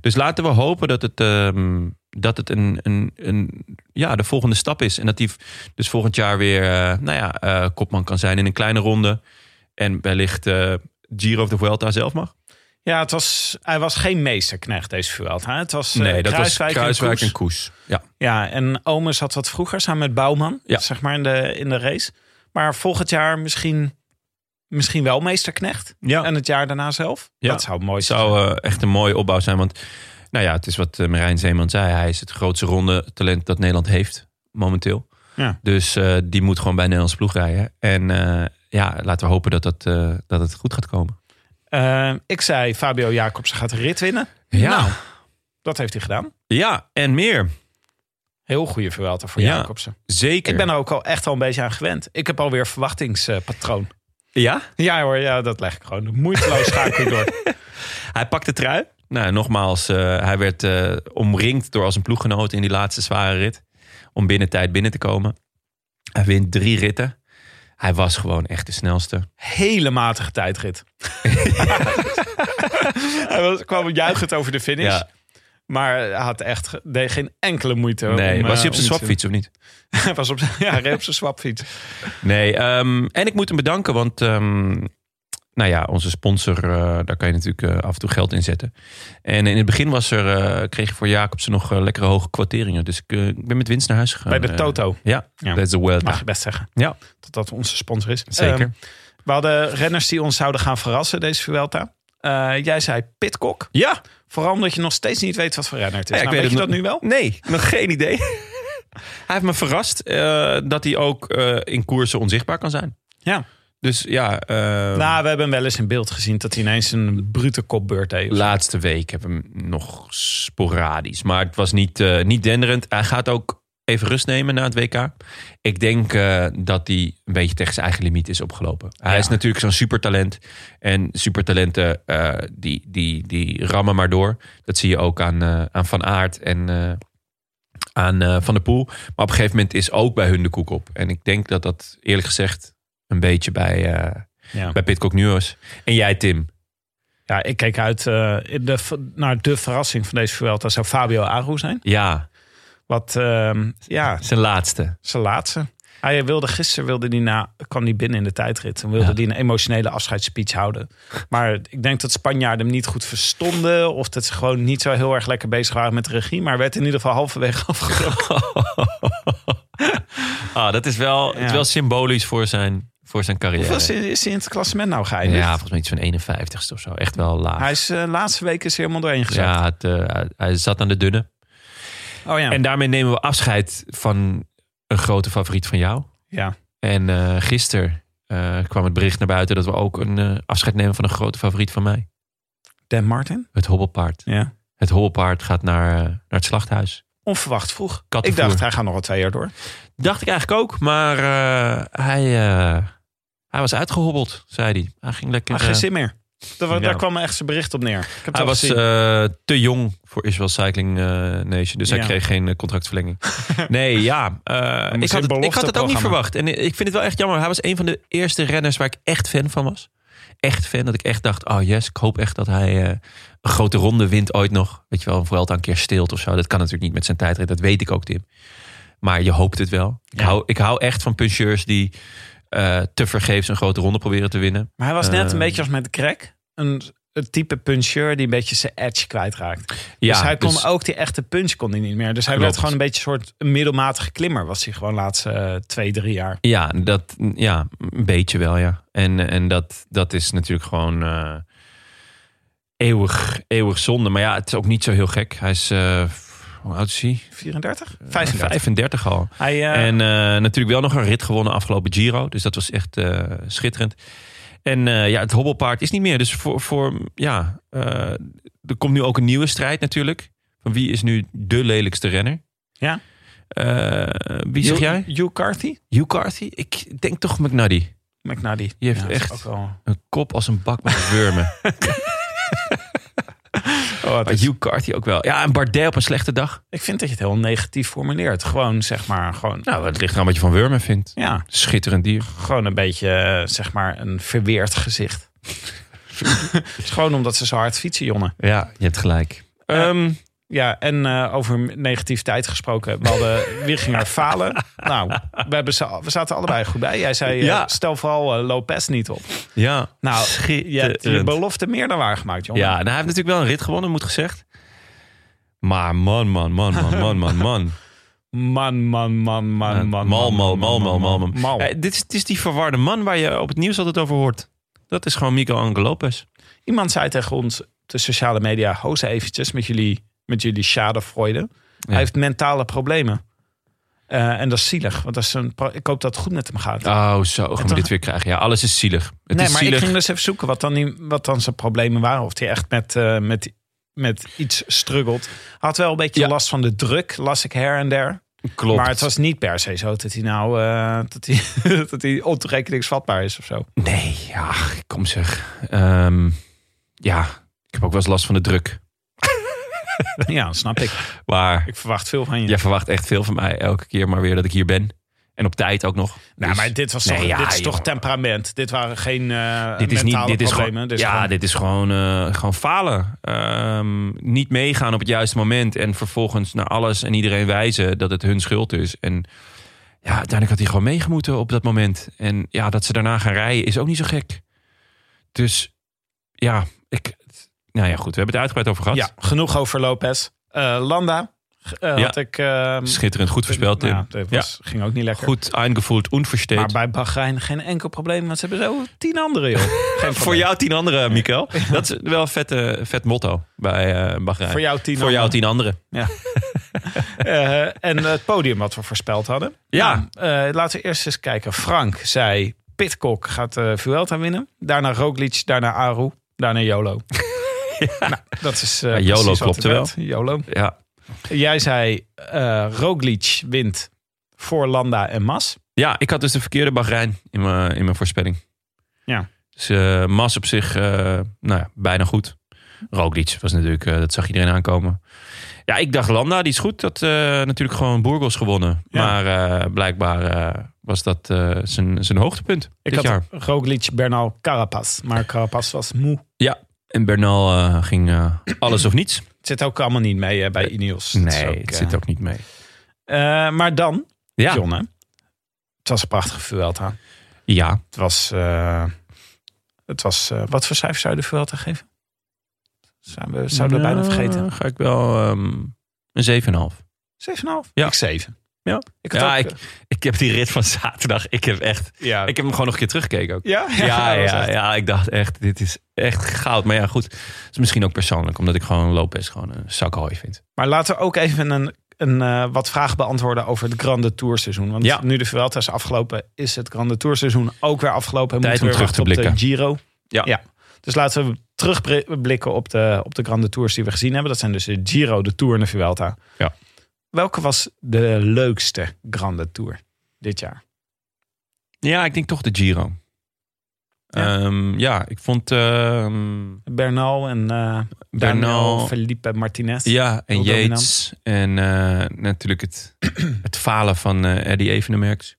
Speaker 2: Dus laten we hopen dat het, ehm, dat het een, een, een, ja, de volgende stap is. En dat hij v- dus volgend jaar weer eh, nou ja, eh, kopman kan zijn in een kleine ronde. En wellicht eh, Giro of de Vuelta zelf mag.
Speaker 3: Ja, het was, hij was geen meesterknecht deze Vuelta. Het was eh,
Speaker 2: Nee, dat
Speaker 3: Kruiswijk,
Speaker 2: was Kruiswijk en
Speaker 3: en Koes.
Speaker 2: Koes. Ja.
Speaker 3: Ja, en Omen zat wat vroeger samen met Bouwman,
Speaker 2: Ja.
Speaker 3: zeg maar, in de, in de race. Maar volgend jaar misschien, misschien wel meesterknecht.
Speaker 2: Ja.
Speaker 3: En het jaar daarna zelf.
Speaker 2: Ja.
Speaker 3: Dat zou mooi
Speaker 2: Het
Speaker 3: zijn.
Speaker 2: zou eh, echt een mooie opbouw zijn. Want nou ja, het is wat eh, Marijn Zeeman zei. Hij is het grootste ronde talent dat Nederland heeft momenteel.
Speaker 3: Ja.
Speaker 2: Dus eh, die moet gewoon bij Nederlands ploeg rijden. En eh, ja, laten we hopen dat, dat, eh, dat het goed gaat komen.
Speaker 3: Eh, ik zei, Fabio Jacobsen gaat de rit winnen.
Speaker 2: Ja,
Speaker 3: Nou. Dat heeft hij gedaan.
Speaker 2: ja en meer.
Speaker 3: Heel goede Vuelta voor
Speaker 2: Ja.
Speaker 3: Jacobsen.
Speaker 2: Zeker.
Speaker 3: Ik ben er ook al echt al een beetje aan gewend. Ik heb alweer verwachtingspatroon.
Speaker 2: Ja?
Speaker 3: ja hoor, ja, dat leg ik gewoon moeiteloos schakel door.
Speaker 2: Hij pakt de trui. Nou, nogmaals, eh, hij werd eh, omringd door als een ploeggenoot in die laatste zware rit. Om binnen tijd binnen te komen. Hij wint drie ritten. Hij was gewoon echt de snelste.
Speaker 3: Hele matige tijdrit. Hij was, kwam juichend over de finish.
Speaker 2: Ja.
Speaker 3: Maar hij had echt ge- deed geen enkele moeite.
Speaker 2: Nee,
Speaker 3: om,
Speaker 2: was hij op
Speaker 3: eh,
Speaker 2: zijn
Speaker 3: om te-
Speaker 2: swapfiets of niet?
Speaker 3: Hij was op, ja, hij reed op zijn swapfiets.
Speaker 2: Nee, ehm, en ik moet hem bedanken, want ehm, nou ja, onze sponsor, eh, daar kan je natuurlijk eh, af en toe geld in zetten. En in het begin was er, eh, kreeg je voor Jacobsen nog eh, lekkere hoge kwarteringen. Dus ik, eh, ik ben met winst naar huis gegaan.
Speaker 3: Bij de Tota.
Speaker 2: Eh,
Speaker 3: Toto,
Speaker 2: Ja,
Speaker 3: Ja.
Speaker 2: dat is de world.
Speaker 3: mag je best zeggen.
Speaker 2: Ja.
Speaker 3: Dat dat onze sponsor is.
Speaker 2: Zeker.
Speaker 3: Ehm, We hadden renners die ons zouden gaan verrassen deze Vuelta. Eh, jij zei Pitcock.
Speaker 2: Ja,
Speaker 3: Vooral omdat je nog steeds niet weet wat voor renner het is.
Speaker 2: Ja,
Speaker 3: Nou, weet je dat
Speaker 2: het
Speaker 3: nu wel?
Speaker 2: nog- Nee, nog geen idee. hij heeft me verrast eh, dat hij ook eh, in koersen onzichtbaar kan zijn.
Speaker 3: Ja.
Speaker 2: Dus ja, eh,
Speaker 3: Nou, we hebben hem wel eens in beeld gezien dat hij ineens een brute kopbeurt heeft.
Speaker 2: laatste week heb ik hem nog sporadisch. Maar het was niet, eh, niet denderend. Hij gaat ook even rust nemen na het WK. Ik denk eh, dat hij een beetje tegen zijn eigen limiet is opgelopen. Hij
Speaker 3: Ja.
Speaker 2: is natuurlijk zo'n supertalent. En supertalenten, eh, die, die, die rammen maar door. Dat zie je ook aan, eh, aan Van Aert en... eh, aan eh, Van der Poel. Maar op een gegeven moment is ook bij hun de koek op. En ik denk dat dat eerlijk gezegd een beetje bij, eh
Speaker 3: ja.
Speaker 2: bij Pitcock nu is. En jij Tim.
Speaker 3: ja, ik keek uit eh, in de, naar de verrassing van deze Vuelta zou Fabio Aru zijn.
Speaker 2: Ja,
Speaker 3: Wat, ehm, ja,
Speaker 2: zijn laatste.
Speaker 3: zijn laatste. Hij wilde gisteren wilde die na, kwam hij binnen in de tijdrit. En wilde
Speaker 2: Ja.
Speaker 3: die een emotionele afscheidsspeech houden. Maar ik denk dat Spanjaarden hem niet goed verstonden. Of dat ze gewoon niet zo heel erg lekker bezig waren met de regie. Maar werd in ieder geval halverwege afgebroken.
Speaker 2: ah, dat is wel, het is
Speaker 3: Ja.
Speaker 2: wel symbolisch voor zijn, voor zijn carrière.
Speaker 3: Hoeveel is, hij- is hij in het klassement nou geëindigd?
Speaker 2: ja, volgens mij iets van 51ste of zo. Echt wel laag.
Speaker 3: Hij is eh, laatste week is hij helemaal doorheen gezet.
Speaker 2: ja, het, eh, hij- hij zat aan de dunne.
Speaker 3: Oh ja.
Speaker 2: En daarmee nemen we afscheid van een grote favoriet van jou.
Speaker 3: ja.
Speaker 2: En eh gisteren eh, kwam het bericht naar buiten dat we ook een eh, afscheid nemen van een grote favoriet van mij.
Speaker 3: Dan Martin?
Speaker 2: Het hobbelpaard.
Speaker 3: Ja.
Speaker 2: Het hobbelpaard gaat naar, eh, naar het slachthuis.
Speaker 3: Onverwacht vroeg. Ik
Speaker 2: Kattenvoer.
Speaker 3: dacht, hij gaat nog wel twee jaar door.
Speaker 2: Dacht ik eigenlijk ook, maar eh, hij, eh, hij was uitgehobbeld, zei hij. Hij ging lekker.
Speaker 3: Maar geen
Speaker 2: eh,
Speaker 3: zin meer. Daar,
Speaker 2: Ja.
Speaker 3: daar kwam echt zijn bericht op neer. Ik heb het
Speaker 2: hij
Speaker 3: al
Speaker 2: was
Speaker 3: gezien.
Speaker 2: eh, te jong voor Israel Cycling eh, Nation, dus
Speaker 3: Ja.
Speaker 2: hij kreeg geen eh, contractverlenging. nee, ja. eh, ik,
Speaker 3: moest
Speaker 2: had
Speaker 3: in
Speaker 2: het, ik had het ook niet
Speaker 3: belofteprogramma.
Speaker 2: verwacht. En eh, ik vind het wel echt jammer. Hij was een van de eerste renners waar ik echt fan van was. Echt fan, dat ik echt dacht, oh yes, ik hoop echt dat hij eh, een grote ronde wint ooit nog. Weet je wel, een Vuelta een keer stilt of zo. Dat kan natuurlijk niet met zijn tijdrit, dat weet ik ook, Tim. Maar je hoopt het wel. Ik,
Speaker 3: Ja.
Speaker 2: hou, ik hou echt van puncheurs die eh te vergeefs een grote ronde proberen te winnen.
Speaker 3: maar hij was net een
Speaker 2: eh,
Speaker 3: beetje als met Crack. Een, een type puncheur die een beetje zijn edge kwijtraakt.
Speaker 2: Ja,
Speaker 3: dus hij kon
Speaker 2: dus-
Speaker 3: ook die echte punch kon hij niet meer. Dus hij
Speaker 2: Klopt.
Speaker 3: werd gewoon een beetje een soort middelmatige klimmer. Was hij gewoon de laatste eh, twee, drie jaar.
Speaker 2: Ja, dat, ja, een beetje wel, ja. En, en dat, dat is natuurlijk gewoon eh, eeuwig, eeuwig zonde. Maar ja, het is ook niet zo heel gek. Hij is, eh, hoe oud is hij?
Speaker 3: 34? 35.
Speaker 2: 35 al.
Speaker 3: Hij, eh,
Speaker 2: Eh, En eh, natuurlijk wel nog een rit gewonnen afgelopen Giro. Dus dat was echt eh, schitterend. En eh, ja, het hobbelpaard is niet meer. Dus voor, voor ja, eh, er komt nu ook een nieuwe strijd natuurlijk. Van wie is nu de lelijkste renner?
Speaker 3: Ja.
Speaker 2: Eh, wie zeg
Speaker 3: Hugh-
Speaker 2: jij?
Speaker 3: Hugh Carthy?
Speaker 2: Hugh Carthy? Ik denk toch McNuddy.
Speaker 3: McNally.
Speaker 2: Die heeft
Speaker 3: dat is
Speaker 2: echt-
Speaker 3: ook wel-
Speaker 2: Een kop als een bak met wurmen.
Speaker 3: Oh, dat
Speaker 2: Maar
Speaker 3: is-
Speaker 2: Hugh Carthy ook wel. Ja, en Bardet op een slechte dag.
Speaker 3: Ik vind dat je het heel negatief formuleert. Gewoon, zeg maar, gewoon...
Speaker 2: Nou, het ligt eraan wat je van wurmen vindt.
Speaker 3: Ja,
Speaker 2: Schitterend dier.
Speaker 3: gewoon een beetje, eh, zeg maar, een verweerd gezicht. Het is gewoon omdat ze zo hard fietsen, Jonne.
Speaker 2: Ja, je hebt gelijk. Ehm,
Speaker 3: Ja, en eh, over negativiteit gesproken. We hadden wie ging er falen. Nou, we, hebben, ze- we zaten allebei goed bij. Jij zei, eh,
Speaker 2: Ja.
Speaker 3: stel vooral eh, Lopez niet op.
Speaker 2: ja,
Speaker 3: Nou, je hebt je
Speaker 2: schitterend.
Speaker 3: belofte meer dan waargemaakt, jongen.
Speaker 2: Ja, nou, hij heeft natuurlijk wel een rit gewonnen, moet gezegd. Maar man, man, man, man, man, man, man.
Speaker 3: Man, man, man, man, man. man,
Speaker 2: Mal, mal,
Speaker 3: man,
Speaker 2: mal, mal, mal, mal.
Speaker 3: Mal.
Speaker 2: Eh, dit, is, dit is die verwarde man waar je op het nieuws altijd over hoort. Dat is gewoon Miguel Angel Lopez.
Speaker 3: Iemand zei tegen ons, op de sociale media, hoze eventjes met jullie, met jullie schadefreude. Hij heeft mentale problemen. Eh, en dat is zielig, want dat is een pro- ik hoop dat het goed met hem gaat.
Speaker 2: Oh, zo gaan we
Speaker 3: toch-
Speaker 2: dit weer krijgen. Ja, alles is zielig. Het
Speaker 3: nee,
Speaker 2: is
Speaker 3: maar
Speaker 2: zielig.
Speaker 3: ik ging dus even zoeken wat dan, die, wat dan zijn problemen waren. Of hij echt met, eh, met, met iets struggelt. Hij had wel een beetje
Speaker 2: Ja.
Speaker 3: last van de druk, las ik her en der.
Speaker 2: Klopt.
Speaker 3: Maar het was niet per se zo dat hij nou eh, dat hij, dat hij ontoerekeningsvatbaar is of zo.
Speaker 2: Nee, ja, kom zeg. Ehm, ja, ik heb ook wel eens last van de druk.
Speaker 3: ja, dat snap ik.
Speaker 2: Maar
Speaker 3: Ik verwacht veel van je.
Speaker 2: jij verwacht echt veel van mij elke keer maar weer dat ik hier ben. En op tijd ook nog.
Speaker 3: nou,
Speaker 2: Dus
Speaker 3: maar dit, was toch,
Speaker 2: Nee, ja,
Speaker 3: dit is toch
Speaker 2: joh.
Speaker 3: temperament. Dit waren geen eh
Speaker 2: dit is niet,
Speaker 3: mentale
Speaker 2: dit is
Speaker 3: problemen.
Speaker 2: gewoon,
Speaker 3: Dit is
Speaker 2: ja,
Speaker 3: gewoon-
Speaker 2: dit is gewoon, eh, gewoon falen. Ehm, niet meegaan op het juiste moment. En vervolgens naar alles en iedereen wijzen dat het hun schuld is. En ja, uiteindelijk had hij gewoon meegemoeten op dat moment. En ja, dat ze daarna gaan rijden is ook niet zo gek. Dus ja, ik. Nou ja, goed, we hebben het uitgebreid over gehad.
Speaker 3: Ja, genoeg over Lopez. Eh, Landa eh,
Speaker 2: Ja.
Speaker 3: had ik... ehm,
Speaker 2: Schitterend goed voorspeld, Tim.
Speaker 3: nou, dat was, ging ook niet lekker.
Speaker 2: Goed aangevoeld,
Speaker 3: Maar
Speaker 2: onversteed.
Speaker 3: bij Bahrein geen enkel probleem, want ze hebben zo tien anderen, joh. Geen probleem.
Speaker 2: Voor jou tien anderen, Mikkel. Dat is wel een vette, vet motto bij eh Bahrein.
Speaker 3: Voor jou tien
Speaker 2: Voor jou
Speaker 3: anderen.
Speaker 2: tien anderen.
Speaker 3: Eh, en het podium wat we voorspeld hadden.
Speaker 2: Ja.
Speaker 3: Nou, eh, laten we eerst eens kijken. Frank zei, Pitcock gaat eh Vuelta winnen. Daarna Roglic, daarna Aru, daarna Jolo. Nou, dat is eh,
Speaker 2: Ja, YOLO
Speaker 3: precies wat
Speaker 2: klopte
Speaker 3: er
Speaker 2: wel.
Speaker 3: werd. YOLO.
Speaker 2: Ja.
Speaker 3: Jij zei, eh Roglic wint voor Landa en Mas.
Speaker 2: ja, ik had dus de verkeerde Bahrein in mijn, in mijn voorspelling.
Speaker 3: Ja.
Speaker 2: Dus eh, Mas op zich, eh, nou ja, bijna goed. Roglic was natuurlijk, eh, dat zag iedereen aankomen. Ja, ik dacht Landa, die is goed. Dat eh, natuurlijk gewoon Burgos gewonnen.
Speaker 3: Ja.
Speaker 2: Maar eh, blijkbaar eh, was dat eh, zijn zijn hoogtepunt
Speaker 3: Ik
Speaker 2: dit
Speaker 3: had
Speaker 2: jaar.
Speaker 3: Roglic, Bernal, Carapaz. Maar Carapaz was moe.
Speaker 2: En Bernal eh, ging eh, alles of niets.
Speaker 3: Het zit ook allemaal niet mee hè, bij Ineos. Dat is
Speaker 2: Eh, Nee, het
Speaker 3: eh,
Speaker 2: zit ook niet mee.
Speaker 3: eh, maar dan,
Speaker 2: Ja,
Speaker 3: John, hè? Het was een prachtige Vuelta.
Speaker 2: ja.
Speaker 3: Het was. eh, het was eh, wat voor cijfer zou je de Vuelta geven? Zouden we, zouden we
Speaker 2: Ja,
Speaker 3: bijna vergeten.
Speaker 2: Ga ik wel ehm, een 7,5.
Speaker 3: 7,5?
Speaker 2: Ja.
Speaker 3: Ik 7.
Speaker 2: Ja.
Speaker 3: Ik had
Speaker 2: Ja,
Speaker 3: ook- eh,
Speaker 2: ik, ik heb die rit van zaterdag. Ik heb echt.
Speaker 3: ja.
Speaker 2: Ik heb hem gewoon nog een keer teruggekeken ook.
Speaker 3: ja?
Speaker 2: Ja,
Speaker 3: dat was
Speaker 2: ja,
Speaker 3: echt-
Speaker 2: ja, ik dacht echt, dit is echt goud. Maar ja, goed. Het is misschien ook persoonlijk, omdat ik gewoon Lopez gewoon een zak hooi vind.
Speaker 3: Maar laten we ook even een, een, eh, wat vragen beantwoorden over het Grande Tour seizoen. Want
Speaker 2: Ja.
Speaker 3: nu de Vuelta is afgelopen, is het Grande Tour seizoen ook weer afgelopen. En
Speaker 2: Tijd
Speaker 3: moeten we
Speaker 2: om
Speaker 3: weer
Speaker 2: terug te
Speaker 3: wachten op de Giro.
Speaker 2: Ja.
Speaker 3: Dus laten we terugblikken op de, op de Grande Tours die we gezien hebben. Dat zijn dus de Giro, de Tour en de Vuelta.
Speaker 2: Ja.
Speaker 3: Welke was de leukste Grande Tour dit jaar?
Speaker 2: Ja, ik denk toch de Giro. Ja, ja ik vond ehm,
Speaker 3: Bernal en eh Bernal,
Speaker 2: Bernal,
Speaker 3: Felipe Martinez.
Speaker 2: Ja, en
Speaker 3: Heel
Speaker 2: Yates. En eh, natuurlijk het, het falen van eh Eddie Evenemerks.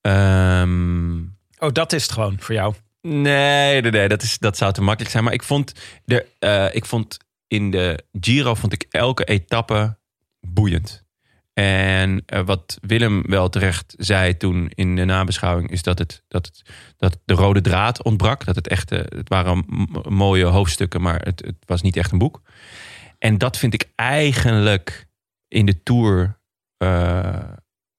Speaker 2: Ehm,
Speaker 3: Oh, dat is het gewoon voor jou.
Speaker 2: nee, nee, nee dat, is, dat zou te makkelijk zijn. Maar ik vond, er, eh, ik vond in de Giro vond ik elke etappe boeiend. En eh, wat Willem wel terecht zei toen in de nabeschouwing... is dat, het, dat, het, dat de rode draad ontbrak. Dat het echt... eh, het waren m- mooie hoofdstukken, maar het, het was niet echt een boek. En dat vind ik eigenlijk in de Tour... eh,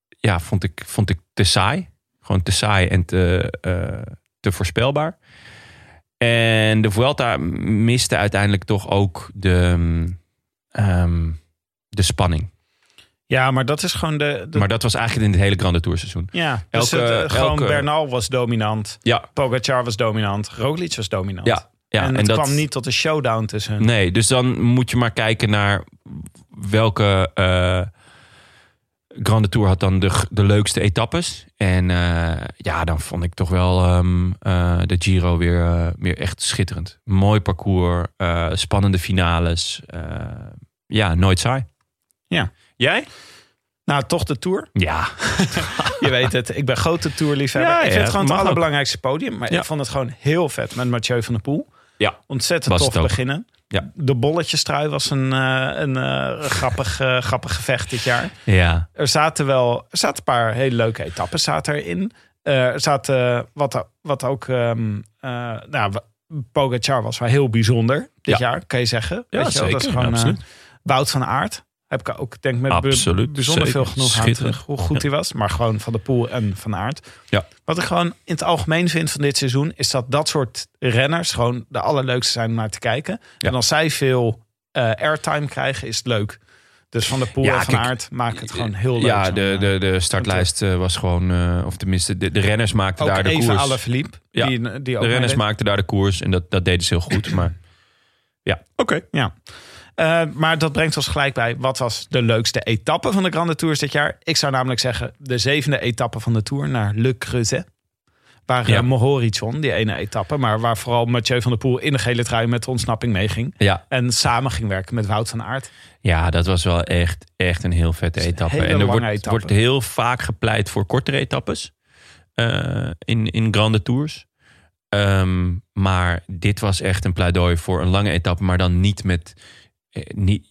Speaker 2: ja, vond ik, vond ik te saai. Gewoon te saai en te, eh, te voorspelbaar. En de Vuelta miste uiteindelijk toch ook de, mm, ehm, de spanning.
Speaker 3: Ja, maar dat is gewoon de... de
Speaker 2: Maar dat was eigenlijk in het hele Grande Tourseizoen.
Speaker 3: ja, dus
Speaker 2: elke-
Speaker 3: het, eh, gewoon
Speaker 2: elke-
Speaker 3: Bernal was dominant.
Speaker 2: Ja,
Speaker 3: Pogacar was dominant. Roglic was dominant.
Speaker 2: ja, ja.
Speaker 3: en het kwam niet tot een showdown tussen hen.
Speaker 2: Nee, dus dan moet je maar kijken naar welke eh, Grande Tour had dan de, g- de leukste etappes. En eh, ja, dan vond ik toch wel ehm, eh, de Giro weer, eh, weer echt schitterend. Mooi parcours, eh, spannende finales. eh, ja, nooit saai.
Speaker 3: Ja.
Speaker 2: Jij?
Speaker 3: Nou, toch de Tour.
Speaker 2: Ja.
Speaker 3: Je weet het, ik ben grote Tourliefhebber.
Speaker 2: Ja,
Speaker 3: ik vind
Speaker 2: ja,
Speaker 3: het gewoon
Speaker 2: mag
Speaker 3: het
Speaker 2: ook.
Speaker 3: allerbelangrijkste podium. Maar
Speaker 2: Ja.
Speaker 3: ik vond het gewoon heel vet met Mathieu van der Poel.
Speaker 2: Ja.
Speaker 3: Ontzettend
Speaker 2: Was
Speaker 3: tof
Speaker 2: het ook.
Speaker 3: beginnen.
Speaker 2: Ja.
Speaker 3: De bolletjestrui was een, eh, een eh, grappig, eh, grappig gevecht dit jaar.
Speaker 2: Ja.
Speaker 3: Er zaten wel er zaten een paar hele leuke etappes zaten erin. Eh, er zaten eh, wat, wat ook... ehm eh, nou, wa- Pogacar was wel heel bijzonder dit
Speaker 2: Ja.
Speaker 3: jaar, kan je zeggen.
Speaker 2: Ja,
Speaker 3: Weet je wel, dat is
Speaker 2: zeker,
Speaker 3: gewoon, eh,
Speaker 2: absoluut.
Speaker 3: Wout van Aert. Heb ik ook, denk ik, met
Speaker 2: Absoluut,
Speaker 3: be- bijzonder
Speaker 2: zeker.
Speaker 3: veel genoeg aan
Speaker 2: Schitterend.
Speaker 3: terug. Hoe goed hij was. Maar gewoon van de Poel en van Aert.
Speaker 2: Ja.
Speaker 3: Wat ik gewoon in het algemeen vind van dit seizoen... is dat dat soort renners gewoon de allerleukste zijn om naar te kijken.
Speaker 2: Ja.
Speaker 3: En als zij veel eh, airtime krijgen, is het leuk. Dus van de Poel
Speaker 2: Ja,
Speaker 3: en van
Speaker 2: kijk,
Speaker 3: Aart maken het gewoon heel leuk.
Speaker 2: Ja,
Speaker 3: zo'n,
Speaker 2: de,
Speaker 3: eh,
Speaker 2: de, de startlijst eh, was gewoon, eh, of tenminste, de, de renners maakten
Speaker 3: Ook
Speaker 2: daar de
Speaker 3: even
Speaker 2: koers.
Speaker 3: alle verliep.
Speaker 2: Ja,
Speaker 3: Die, die ook
Speaker 2: de renners
Speaker 3: meedeed.
Speaker 2: maakten daar de koers en dat, dat deden ze heel goed. Maar
Speaker 3: Oké. Ja. Eh, maar dat brengt ons gelijk bij wat was de leukste etappe van de Grande Tours dit jaar. Ik zou namelijk zeggen de zevende etappe van de Tour naar Le Creuset. Waar
Speaker 2: Ja.
Speaker 3: ja. Mohoric won, die ene etappe. Maar waar vooral Mathieu van der Poel in de gele trui met de ontsnapping meeging.
Speaker 2: ja,
Speaker 3: En samen ging werken met Wout van Aert.
Speaker 2: ja, dat was wel echt, echt een heel vette etappe.
Speaker 3: hele
Speaker 2: en er
Speaker 3: lange
Speaker 2: wordt,
Speaker 3: etappe.
Speaker 2: wordt heel vaak gepleit voor kortere etappes eh, in, in grande tours. Ehm, maar dit was echt een pleidooi voor een lange etappe, maar dan niet met. eh, niet,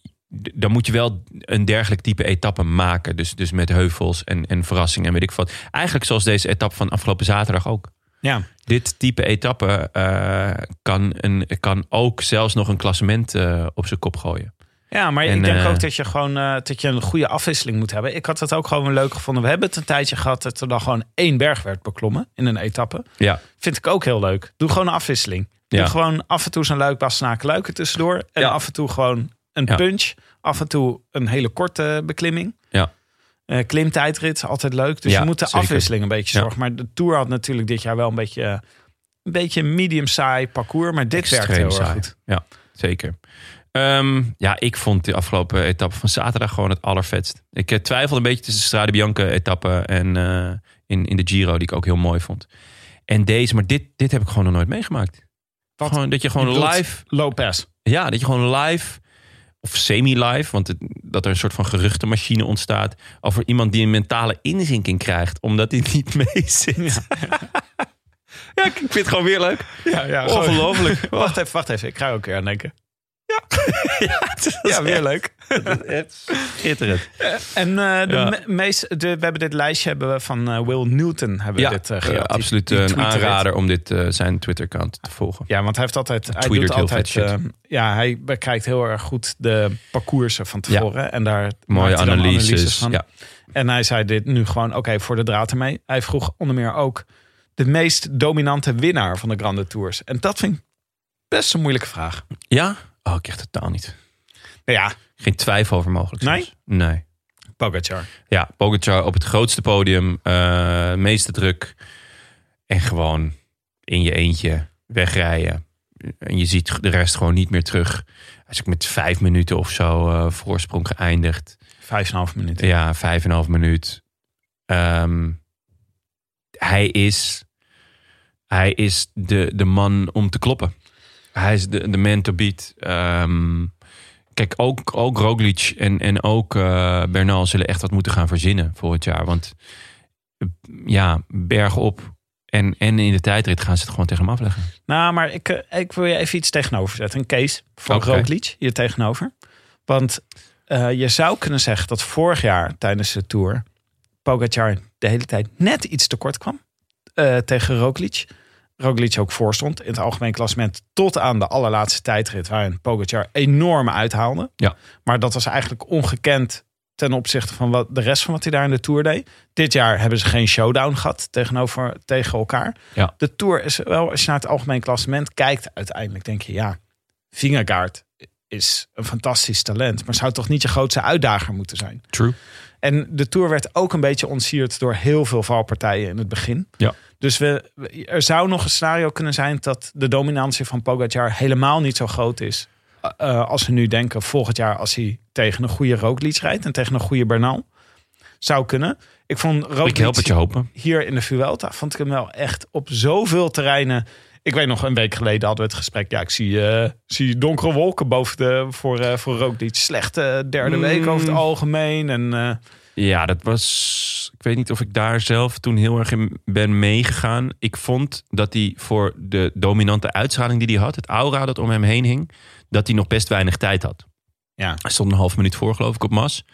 Speaker 2: d- dan moet je wel een dergelijk type etappe maken. Dus, dus met heuvels en, en verrassingen en weet ik wat. Eigenlijk zoals deze etappe van afgelopen zaterdag ook.
Speaker 3: Ja.
Speaker 2: dit type etappe eh, kan, een, kan ook zelfs nog een klassement eh, op zijn kop gooien.
Speaker 3: Ja, maar
Speaker 2: En,
Speaker 3: ik denk
Speaker 2: eh,
Speaker 3: ook dat je gewoon eh, dat je een goede afwisseling moet hebben. Ik had dat ook gewoon leuk gevonden. We hebben het een tijdje gehad dat er dan gewoon één berg werd beklommen in een etappe.
Speaker 2: Ja,
Speaker 3: Vind ik ook heel leuk. Doe gewoon een afwisseling.
Speaker 2: Ja.
Speaker 3: Doe gewoon af en toe zo'n luik bassenaken luiken tussendoor. En
Speaker 2: Ja.
Speaker 3: af en toe gewoon een
Speaker 2: Ja.
Speaker 3: punch. Af en toe een hele korte beklimming.
Speaker 2: Ja.
Speaker 3: Eh, klimtijdrit, altijd leuk. Dus
Speaker 2: Ja,
Speaker 3: je moet de
Speaker 2: zeker.
Speaker 3: afwisseling een beetje
Speaker 2: Ja.
Speaker 3: zorgen. Maar de Tour had natuurlijk dit jaar wel een beetje, eh, een beetje een medium saai parcours. Maar dit werkt heel erg
Speaker 2: saai.
Speaker 3: goed.
Speaker 2: Ja, zeker. Ehm, ja, ik vond de afgelopen etappe van zaterdag gewoon het allervetst. Ik eh, twijfelde een beetje tussen de Strade Bianca etappe en eh, in, in de Giro, die ik ook heel mooi vond. En deze, maar dit, dit heb ik gewoon nog nooit meegemaakt.
Speaker 3: Wat?
Speaker 2: Gewoon, dat je gewoon
Speaker 3: Je bedoelt-
Speaker 2: live,
Speaker 3: Lopez.
Speaker 2: ja, dat je gewoon live of semi-live, want het- dat er een soort van geruchtenmachine ontstaat over iemand die een mentale inzinking krijgt, omdat hij niet mee zit. Ja, ik vind het gewoon weer leuk.
Speaker 3: Ja, ja,
Speaker 2: Ongelooflijk.
Speaker 3: Wacht even, wacht even. Ik ga ook weer aan denken.
Speaker 2: Ja, weer
Speaker 3: leuk.
Speaker 2: Schitterend.
Speaker 3: En eh, de
Speaker 2: Ja.
Speaker 3: me- meest, de, we hebben dit lijstje hebben we van eh, Will Newton hebben
Speaker 2: Ja,
Speaker 3: we dit eh,
Speaker 2: eh,
Speaker 3: gejat. Die-
Speaker 2: absoluut
Speaker 3: die
Speaker 2: eh, een
Speaker 3: tweette dit.
Speaker 2: aanrader om dit, eh, zijn Twitter-account te volgen.
Speaker 3: Ja, want hij heeft altijd, hij
Speaker 2: tweetert
Speaker 3: doet
Speaker 2: heel
Speaker 3: altijd,
Speaker 2: vet shit.
Speaker 3: eh, ja, hij bekijkt heel erg goed de parcoursen van tevoren. En daar
Speaker 2: Mooie
Speaker 3: maakt hij dan
Speaker 2: analyses.
Speaker 3: van.
Speaker 2: Ja.
Speaker 3: En hij zei dit nu gewoon, oké, voor de draad ermee. Hij vroeg onder meer ook de meest dominante winnaar van de Grande Tours. En dat vind ik best een moeilijke vraag.
Speaker 2: ja? Oh, ik echt totaal niet.
Speaker 3: Nou ja,
Speaker 2: Geen twijfel over mogelijk. zelfs. Nee.
Speaker 3: Pogacar.
Speaker 2: Ja, Pogacar op het grootste podium. eh, meeste druk. En gewoon in je eentje wegrijden. En je ziet de rest gewoon niet meer terug. Hij is ook met vijf minuten of zo eh, voorsprong geëindigd.
Speaker 3: Vijf en een half minuten.
Speaker 2: Ja, vijf en een half minuut. Ehm, hij is, hij is de, de man om te kloppen. Hij is de, de man to beat. Ehm, kijk, ook, ook Roglic en, en ook eh, Bernal zullen echt wat moeten gaan verzinnen volgend jaar. Want eh, ja, bergop en, en in de tijdrit gaan ze het gewoon tegen hem afleggen.
Speaker 3: Nou, maar ik, eh, ik wil je even iets tegenover zetten. Een case van
Speaker 2: Oké.
Speaker 3: Roglic hier tegenover. Want eh, je zou kunnen zeggen dat vorig jaar tijdens de Tour... Pogacar de hele tijd net iets tekort kwam eh, tegen Roglic. Roglic ook voorstond in het algemeen klassement tot aan de allerlaatste tijdrit... waarin Pogacar enorm uithaalde.
Speaker 2: Ja.
Speaker 3: Maar dat was eigenlijk ongekend ten opzichte van wat, de rest van wat hij daar in de Tour deed. Dit jaar hebben ze geen showdown gehad tegenover, tegen elkaar de Tour is wel, als je naar het algemeen klassement kijkt, uiteindelijk denk je, ja, Vingegaard is een fantastisch talent, maar zou toch niet je grootste uitdager moeten zijn?
Speaker 2: True.
Speaker 3: En de Tour werd ook een beetje ontsierd door heel veel valpartijen in het begin.
Speaker 2: Ja.
Speaker 3: Dus we, we- er zou nog een scenario kunnen zijn dat de dominantie van Pogacar helemaal niet zo groot is. eh, als we nu denken, volgend jaar als hij tegen een goede Roglic rijdt en tegen een goede Bernal. Zou kunnen. Ik vond Roglic
Speaker 2: Ik help het je hopen.
Speaker 3: hier in de Vuelta vond ik hem wel echt op zoveel terreinen. Ik weet nog, een week geleden hadden we het gesprek. Ja, ik zie, eh, zie donkere wolken boven de, voor, eh voor Roglic. Slechte derde
Speaker 2: Mm.
Speaker 3: week over het algemeen. En, eh,
Speaker 2: Ja, dat was. Ik weet niet of ik daar zelf toen heel erg in ben meegegaan. Ik vond dat hij voor de dominante uitstraling die hij had, het aura dat om hem heen hing, dat hij nog best weinig tijd had.
Speaker 3: Ja.
Speaker 2: Hij stond een half minuut voor, geloof ik, op Mas.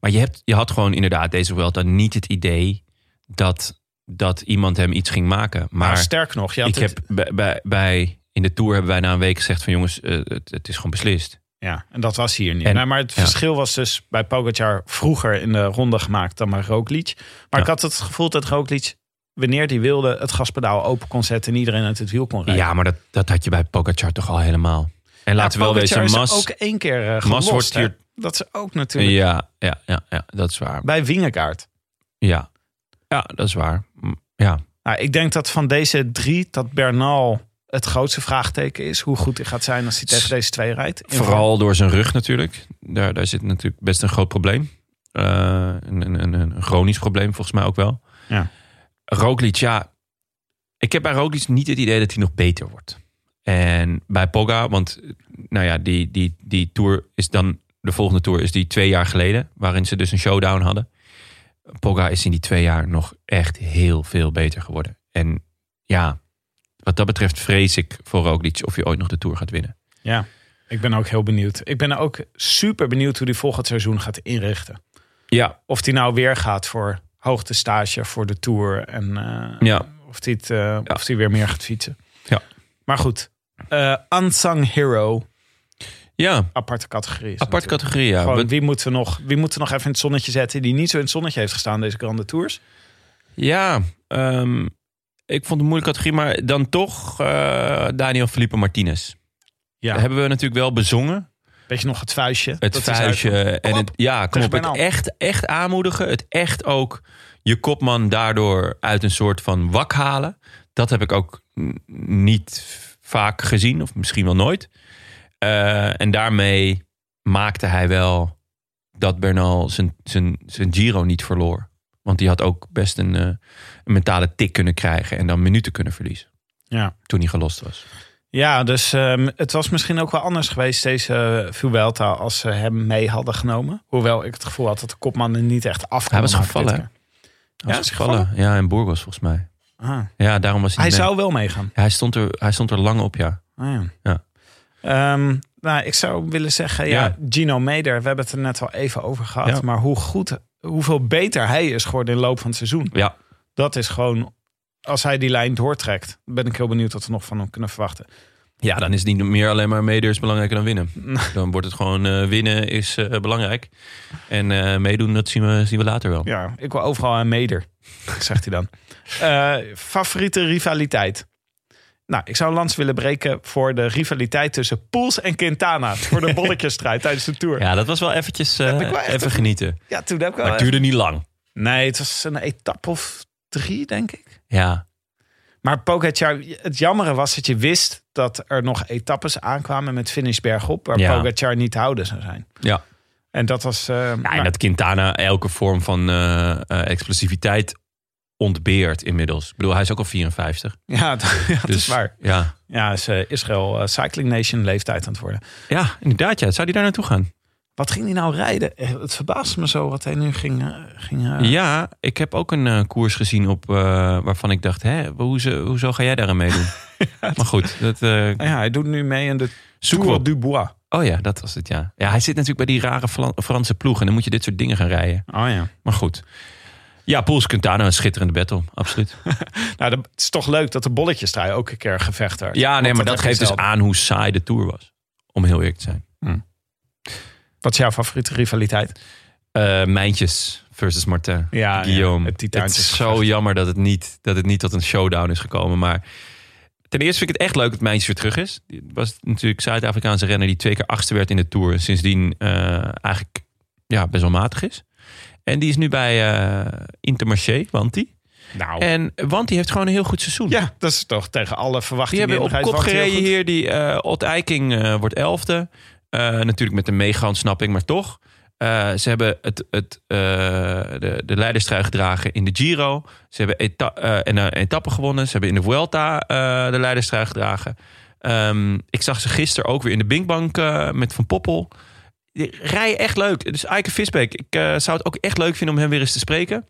Speaker 2: Maar je, hebt, je had gewoon inderdaad deze Vuelta niet het idee dat, dat iemand hem iets ging maken.
Speaker 3: maar
Speaker 2: Maar
Speaker 3: sterk nog, ja,
Speaker 2: ik heb bij, bij, bij- in de tour hebben wij na een week gezegd van jongens, eh, het, het is gewoon beslist.
Speaker 3: ja, en dat was hier niet.
Speaker 2: En-
Speaker 3: Nou, maar het
Speaker 2: ja.
Speaker 3: verschil was dus bij Pogacar vroeger in de ronde gemaakt dan bij Roglic. Maar
Speaker 2: Ja.
Speaker 3: ik had het gevoel dat Roglic, wanneer hij wilde, het gaspedaal open kon zetten en iedereen uit het wiel kon rijden.
Speaker 2: Ja, maar dat, dat had je bij Pogacar toch al helemaal. En laten we wel
Speaker 3: Pogacar
Speaker 2: wezen,
Speaker 3: is
Speaker 2: Mas...
Speaker 3: ook één keer eh, gelost.
Speaker 2: Mas wordt
Speaker 3: hè.
Speaker 2: hier-
Speaker 3: Dat is ook natuurlijk
Speaker 2: Ja, ja, ja, ja, dat is waar.
Speaker 3: bij Wingegaard.
Speaker 2: Ja, ja dat is waar. Mm, Ja,
Speaker 3: Nou, ik denk dat van deze drie dat Bernal het grootste vraagteken is. Hoe goed hij gaat zijn als hij tegen deze twee rijdt. In
Speaker 2: vooral door zijn rug natuurlijk. Daar, daar zit natuurlijk best een groot probleem. Eh, een, een, een, een chronisch probleem volgens mij ook wel.
Speaker 3: Ja.
Speaker 2: Roglic, ja. Ik heb bij Roglic niet het idee dat hij nog beter wordt. En bij Pogga, want nou ja, die, die, die tour is dan... De volgende tour is die twee jaar geleden, waarin ze dus een showdown hadden. Pogga is in die twee jaar nog echt heel veel beter geworden. En ja, wat dat betreft vrees ik voor Roglic of hij ooit nog de tour gaat winnen.
Speaker 3: Ja, ik ben ook heel benieuwd. Ik ben ook super benieuwd hoe hij volgend seizoen gaat inrichten.
Speaker 2: Ja,
Speaker 3: Of hij nou weer gaat voor hoogtestage, voor de Tour. En eh,
Speaker 2: Ja.
Speaker 3: of hij het, eh, of hij weer meer gaat fietsen.
Speaker 2: Ja.
Speaker 3: Maar goed, eh unsung hero
Speaker 2: Ja,
Speaker 3: aparte categorie. Is
Speaker 2: aparte
Speaker 3: natuurlijk.
Speaker 2: categorie. Ja.
Speaker 3: Gewoon,
Speaker 2: Wat-
Speaker 3: wie moeten we nog, wie moeten we nog even in het zonnetje zetten die niet zo in het zonnetje heeft gestaan deze Grande Tours?
Speaker 2: Ja, ehm, ik vond het een moeilijke categorie, maar dan toch eh, Daniel Felipe Martinez.
Speaker 3: Ja.
Speaker 2: Dat hebben we natuurlijk wel bezongen.
Speaker 3: Weet je nog het vuistje?
Speaker 2: Het
Speaker 3: Dat is
Speaker 2: vuistje
Speaker 3: uit-
Speaker 2: en het,
Speaker 3: op,
Speaker 2: ja, kom
Speaker 3: tegen
Speaker 2: op, het
Speaker 3: Bernal.
Speaker 2: echt, echt aanmoedigen. Het echt ook je kopman daardoor uit een soort van wak halen. Dat heb ik ook n- niet vaak gezien, of misschien wel nooit. Eh, en daarmee maakte hij wel dat Bernal zijn, zijn, zijn Giro niet verloor. Want die had ook best een, eh, een mentale tik kunnen krijgen en dan minuten kunnen verliezen.
Speaker 3: Ja.
Speaker 2: Toen hij gelost was.
Speaker 3: Ja, dus ehm, het was misschien ook wel anders geweest deze Vuelta als ze hem mee hadden genomen. Hoewel ik het gevoel had dat de kopman er niet echt af kon
Speaker 2: Hij was
Speaker 3: maken
Speaker 2: gevallen, hè?
Speaker 3: dit keer.
Speaker 2: Hij was
Speaker 3: is hij
Speaker 2: Ja, in Burgos volgens mij.
Speaker 3: Ah.
Speaker 2: Ja, daarom was hij,
Speaker 3: Hij
Speaker 2: niet mee.
Speaker 3: zou wel meegaan.
Speaker 2: Hij stond, er, hij stond er lang op, ja.
Speaker 3: Ah,
Speaker 2: Ja.
Speaker 3: ja. Ehm, nou, ik zou willen zeggen, ja,
Speaker 2: Ja.
Speaker 3: Gino Meder, we hebben het er net al even over gehad.
Speaker 2: Ja.
Speaker 3: Maar hoe goed, hoeveel beter hij is geworden in de loop van het seizoen.
Speaker 2: Ja,
Speaker 3: Dat is gewoon, als hij die lijn doortrekt, ben ik heel benieuwd wat we nog van hem kunnen verwachten.
Speaker 2: ja dan is het niet meer alleen maar meedoen is belangrijker dan winnen. Dan wordt het gewoon eh, winnen is eh, belangrijk. En eh, meedoen, dat zien we, zien we later wel.
Speaker 3: Ja, ik wil overal aan Meder, zegt hij dan. Eh, favoriete rivaliteit? Nou, ik zou een lans willen breken voor de rivaliteit tussen Poels en Quintana. Voor de bolletjesstrijd tijdens de Tour. Ja.
Speaker 2: Ja, dat was wel eventjes eh,
Speaker 3: Heb ik wel echt
Speaker 2: even
Speaker 3: een-
Speaker 2: genieten.
Speaker 3: toen heb ik wel...
Speaker 2: Maar het duurde niet lang.
Speaker 3: Nee, het was een etappe of drie, denk ik.
Speaker 2: Ja,
Speaker 3: Maar Pogacar, het jammere was dat je wist dat er nog etappes aankwamen met finish bergop. Waar
Speaker 2: Ja.
Speaker 3: Pogacar niet te houden zou zijn.
Speaker 2: ja.
Speaker 3: En dat was... eh,
Speaker 2: Nou, en
Speaker 3: nou,
Speaker 2: dat Quintana elke vorm van eh, eh, explosiviteit ontbeert inmiddels. Ik bedoel, hij is ook al 54.
Speaker 3: ja, dat, ja, dat
Speaker 2: dus,
Speaker 3: is waar.
Speaker 2: Ja.
Speaker 3: Ja, is, eh, Israël eh, Cycling Nation leeftijd aan het worden.
Speaker 2: ja, inderdaad. Ja. Zou hij daar naartoe gaan?
Speaker 3: Wat ging hij nou rijden? Eh, Het verbaasde me zo wat hij nu ging. eh, ging eh,
Speaker 2: Ja, ik heb ook een eh, koers gezien op, eh, waarvan ik dacht, hè, hoezo, hoezo ga jij daar aan meedoen? Maar goed, dat, eh,
Speaker 3: ja, hij doet nu mee in de
Speaker 2: zoeken we
Speaker 3: Tour
Speaker 2: op.
Speaker 3: du Bois.
Speaker 2: Oh ja, dat was het, ja. Ja, hij zit natuurlijk bij die rare Fla- Franse ploeg en dan moet je dit soort dingen gaan rijden.
Speaker 3: Oh ja.
Speaker 2: Maar goed. Ja, Pools Quintana, een schitterende battle, absoluut.
Speaker 3: Nou, dat, het is toch leuk dat de bolletjes daar ook een keer een gevecht werd.
Speaker 2: Ja, nee,
Speaker 3: Want
Speaker 2: maar dat
Speaker 3: heb je
Speaker 2: geeft dus
Speaker 3: zelden.
Speaker 2: aan hoe saai de Tour was. Om heel eerlijk te zijn.
Speaker 3: Wat is jouw favoriete rivaliteit?
Speaker 2: Eh, Mijntjes versus Martin.
Speaker 3: Ja, ja,
Speaker 2: Guillaume.
Speaker 3: het
Speaker 2: het,
Speaker 3: Titaantjes
Speaker 2: is
Speaker 3: gevecht.
Speaker 2: zo jammer dat het, niet, dat het niet tot een showdown is gekomen. Maar ten eerste vind ik het echt leuk dat Mijntjes weer terug is. Die was natuurlijk Zuid-Afrikaanse renner die twee keer achtste werd in de Tour. En sindsdien eh, eigenlijk ja, best wel matig is. En die is nu bij eh Intermarché, Wanti.
Speaker 3: Nou.
Speaker 2: En Wanti heeft gewoon een heel goed seizoen.
Speaker 3: Ja, dat is toch tegen alle
Speaker 2: Die
Speaker 3: verwachtingen.
Speaker 2: hebben op
Speaker 3: ingegaan.
Speaker 2: kop
Speaker 3: Want heel
Speaker 2: gereden
Speaker 3: goed.
Speaker 2: hier. Die eh Ot Eiking eh, wordt elfde. Eh, natuurlijk met een mega-ontsnapping, maar toch. Eh, ze hebben het, het, eh, de, de leiderstrui gedragen in de Giro. Ze hebben eta eh, en, eh, etappe gewonnen. Ze hebben in de Vuelta eh, de leiderstrui gedragen. Ehm, ik zag ze gisteren ook weer in de Binkbank eh, met Van Poppel. Die rijden echt leuk. Dus Eike Visbeek, ik eh, zou het ook echt leuk vinden om hem weer eens te spreken. Hij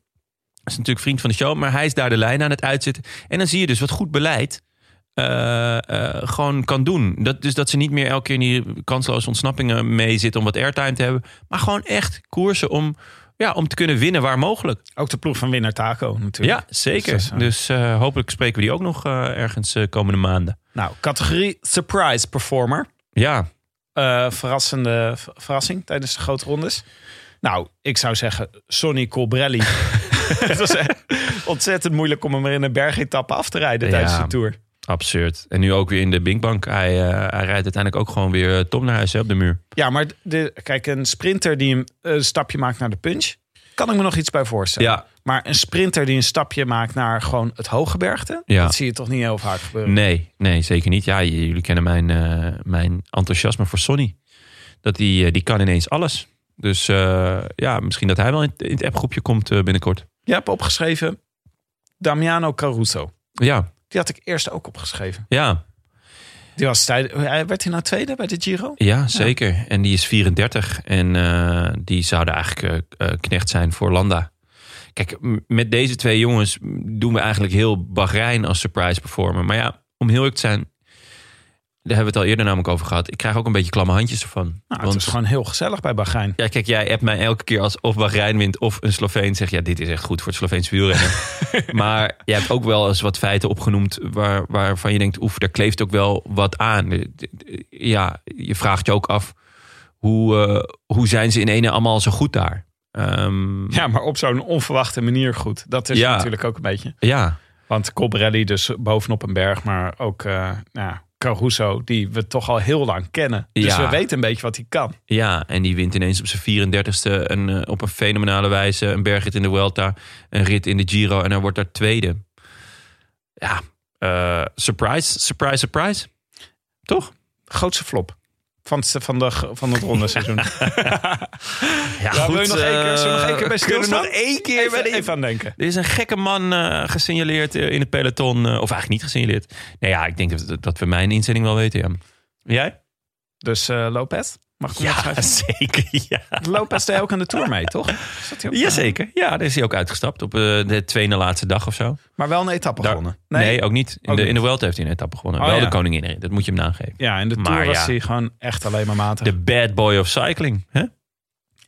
Speaker 2: is natuurlijk vriend van de show, maar hij is daar de lijn aan het uitzitten. En dan zie je dus wat goed beleid eh, eh, gewoon kan doen. Dat, dus dat ze niet meer elke keer in die kansloze ontsnappingen mee zitten om wat airtime te hebben. Maar gewoon echt koersen om, ja, om te kunnen winnen waar mogelijk.
Speaker 3: Ook de ploeg van winnaar Taco natuurlijk.
Speaker 2: Ja, zeker.
Speaker 3: Dus
Speaker 2: Dus,
Speaker 3: dat is, eh,
Speaker 2: eh, hopelijk spreken we die ook nog eh, ergens eh, komende maanden.
Speaker 3: Nou, categorie surprise performer.
Speaker 2: Ja,
Speaker 3: Eh, verrassende ver- verrassing tijdens de grote rondes. Nou, ik zou zeggen Sonny Colbrelli. Het was echt ontzettend moeilijk om hem er in een bergetappe af te rijden tijdens
Speaker 2: Ja.
Speaker 3: de Tour.
Speaker 2: absurd. En nu ook weer in de Binkbank. Hij, eh, hij rijdt uiteindelijk ook gewoon weer eh, Tom naar huis hè, op de muur.
Speaker 3: Ja, maar de, kijk, een sprinter die een, een stapje maakt naar de punch... kan ik me nog iets bij voorstellen.
Speaker 2: Ja.
Speaker 3: Maar een sprinter die een stapje maakt naar gewoon het hooggebergte...
Speaker 2: Ja.
Speaker 3: dat zie je toch niet heel vaak gebeuren.
Speaker 2: Nee, nee, zeker niet. Ja, j- jullie kennen mijn, eh, mijn enthousiasme voor Sonny. Dat die, eh, die kan ineens alles. Dus eh, ja, misschien dat hij wel in, in het appgroepje komt eh, binnenkort.
Speaker 3: Je hebt opgeschreven Damiano Caruso.
Speaker 2: Ja,
Speaker 3: Die had ik eerst ook opgeschreven.
Speaker 2: ja,
Speaker 3: Die was tijd, hij- werd hij nou tweede bij de Giro?
Speaker 2: ja zeker. En die is 34 en eh, die zouden eigenlijk eh, eh, knecht zijn voor Landa. Kijk, m- met deze twee jongens doen we eigenlijk heel Bahrein als surprise performer. Maar ja, om heel eerlijk te zijn, Daar hebben we het al eerder namelijk over gehad. Ik krijg ook een beetje klamme handjes ervan.
Speaker 3: Nou,
Speaker 2: Want-
Speaker 3: het is gewoon heel gezellig bij Bahrein.
Speaker 2: Ja, kijk, jij appt mij elke keer als of Bahrein wint of een Sloveen zegt... ja, dit is echt goed voor het Sloveense wielrennen. maar jij hebt ook wel eens wat feiten opgenoemd... Waar, waarvan je denkt, oef, daar kleeft ook wel wat aan. Eh, Ja, je vraagt je ook af... hoe, eh, hoe zijn ze in ene allemaal zo goed daar? Ehm, ja.
Speaker 3: Ja, maar op zo'n onverwachte manier goed. Dat is
Speaker 2: Ja.
Speaker 3: natuurlijk ook een beetje. Want Cobrelli dus bovenop een berg, maar ook eh, nou, ja, Caruso, die we toch al heel lang kennen. Dus
Speaker 2: Ja.
Speaker 3: we weten een beetje wat hij kan.
Speaker 2: ja, en die wint ineens op zijn 34ste... Een, eh, op een fenomenale wijze een bergrit in de Vuelta... een rit in de Giro en hij wordt daar tweede. Ja, eh, surprise, surprise, surprise. Toch?
Speaker 3: Grootste flop van, het- van, de, van het ronde seizoen.
Speaker 2: Ja,
Speaker 3: Ja, wil je nog één keer-
Speaker 2: eh,
Speaker 3: zullen we nog één keer bij
Speaker 2: kunnen we
Speaker 3: stilstaan?
Speaker 2: nog één keer bij
Speaker 3: even,
Speaker 2: de-
Speaker 3: even aan denken.
Speaker 2: Er is een gekke man eh, gesignaleerd eh, in het peloton. eh, of eigenlijk niet gesignaleerd. Nou ja, ik denk dat- dat, dat we mijn inzending wel weten, ja. Jij?
Speaker 3: Dus eh, Lopez, mag ik hem opschrijven?
Speaker 2: zeker. Ja.
Speaker 3: Lopez deed ook aan de Tour mee, toch? Zat hij ook-
Speaker 2: Jazeker. Ja, daar is hij ook uitgestapt op eh, de tweede laatste dag of zo.
Speaker 3: Maar wel een etappe
Speaker 2: Daar-
Speaker 3: gewonnen.
Speaker 2: Nee, ook niet. In,
Speaker 3: Ook
Speaker 2: de, in
Speaker 3: niet.
Speaker 2: de Welter heeft hij een etappe gewonnen.
Speaker 3: Oh,
Speaker 2: wel
Speaker 3: ja.
Speaker 2: de koningin. Dat moet je hem nageven.
Speaker 3: Ja, in de
Speaker 2: Maar
Speaker 3: Tour was
Speaker 2: ja.
Speaker 3: hij gewoon echt alleen maar matig.
Speaker 2: De bad boy of cycling. Hè?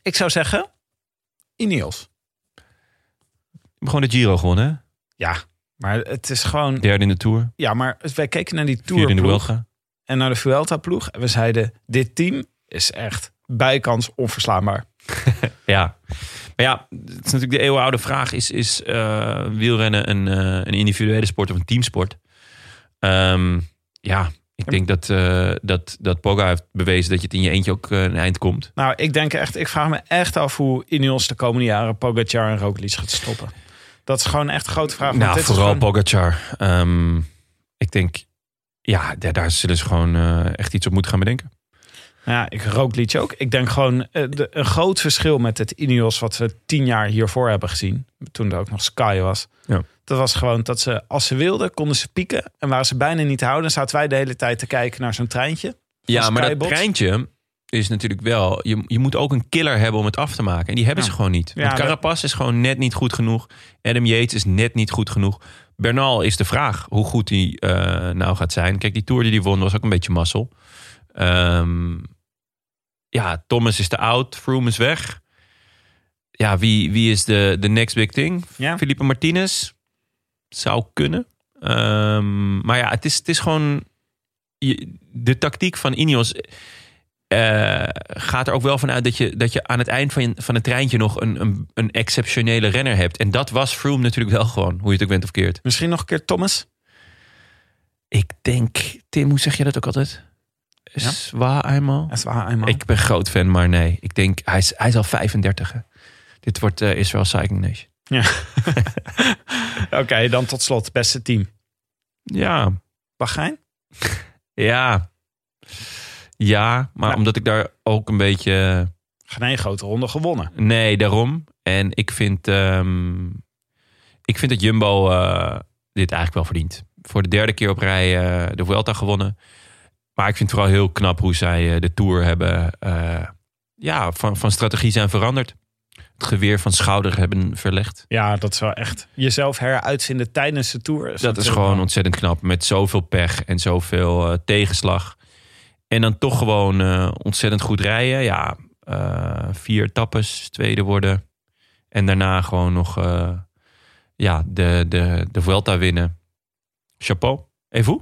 Speaker 3: Ik zou zeggen, Ineos.
Speaker 2: Gewoon de Giro gewonnen. hè?
Speaker 3: Ja, maar het is gewoon...
Speaker 2: Derde in de Tour.
Speaker 3: Ja, maar wij keken naar die
Speaker 2: Vierde in de
Speaker 3: Tour
Speaker 2: Welga.
Speaker 3: en naar de Vuelta-ploeg. En we zeiden, dit team is echt bijkans onverslaanbaar.
Speaker 2: Ja. Maar ja, het is natuurlijk de eeuwenoude vraag. Is, is eh, wielrennen een, eh, een individuele sport of een teamsport? Ehm, ja, ik denk dat, eh dat, dat Poga heeft bewezen dat je het in je eentje ook eh, een eind komt.
Speaker 3: Nou, ik denk echt, ik vraag me echt af hoe Ineos de komende jaren Pogacar en Roglic gaat stoppen. Dat is gewoon echt een grote vraag. want
Speaker 2: nou,
Speaker 3: dit is
Speaker 2: vooral
Speaker 3: gewoon-
Speaker 2: Pogacar. Ehm, ik denk, ja, daar, daar zullen ze gewoon eh, echt iets op moeten gaan bedenken.
Speaker 3: Ja, ik rook liedje ook. Ik denk gewoon eh, de, een groot verschil met het Ineos wat we tien jaar hiervoor hebben gezien. Toen er ook nog Sky was.
Speaker 2: Ja.
Speaker 3: Dat was gewoon dat ze, als ze wilden, konden ze pieken. En waren ze bijna niet te houden. Dan zaten wij de hele tijd te kijken naar zo'n treintje.
Speaker 2: Ja,
Speaker 3: Van
Speaker 2: maar dat
Speaker 3: Skybox.
Speaker 2: treintje is natuurlijk wel... Je, je moet ook een killer hebben om het af te maken. En die hebben
Speaker 3: Ja.
Speaker 2: ze gewoon niet.
Speaker 3: Ja,
Speaker 2: Want
Speaker 3: dat-
Speaker 2: Carapaz is gewoon net niet goed genoeg. Adam Yates is net niet goed genoeg. Bernal is de vraag hoe goed hij eh, nou gaat zijn. Kijk, die Tour die hij won was ook een beetje mazzel. Ehm, ja, Thomas is te oud. Froome is weg. Ja, wie, wie is de, de next big thing?
Speaker 3: Ja.
Speaker 2: Felipe Martinez zou kunnen. Ehm, maar ja, het is, het is gewoon... je- de tactiek van Ineos eh, gaat er ook wel van uit... dat je, dat je aan het eind van, van het treintje nog een, een, een exceptionele renner hebt. En dat was Froome natuurlijk wel gewoon. Hoe je het ook bent of keert.
Speaker 3: Misschien nog een keer Thomas.
Speaker 2: Ik denk... Tim, hoe zeg je dat ook altijd?
Speaker 3: Ja.
Speaker 2: Zwaar eenmaal?
Speaker 3: Dat is waar, eenmaal.
Speaker 2: Ik ben groot fan, maar nee. Ik denk, hij is, hij is al 35. hè. Dit wordt eh, Israel Cycling Nation.
Speaker 3: Oké, dan tot slot. Beste team.
Speaker 2: Ja,
Speaker 3: Bahrein?
Speaker 2: Ja. Ja, maar
Speaker 3: Maar-
Speaker 2: omdat ik daar ook een beetje...
Speaker 3: Geen één grote ronde gewonnen.
Speaker 2: Nee, daarom. En ik vind, ehm, ik vind dat Jumbo eh, dit eigenlijk wel verdient. Voor de derde keer op rij eh, de Vuelta gewonnen. Maar ik vind het vooral heel knap hoe zij eh, de Tour hebben... eh, ja, van, van strategie zijn veranderd. Het geweer van schouder hebben verlegd.
Speaker 3: Ja, dat is wel echt. Jezelf heruitvinden tijdens de Tour.
Speaker 2: Dus Dat is
Speaker 3: natuurlijk
Speaker 2: gewoon
Speaker 3: wel-
Speaker 2: ontzettend knap. Met zoveel pech en zoveel eh, tegenslag. En dan toch gewoon eh, ontzettend goed rijden. Ja, eh, vier tappes, tweede worden. En daarna gewoon nog eh, ja, de, de, de Vuelta winnen. Chapeau. Even hoe?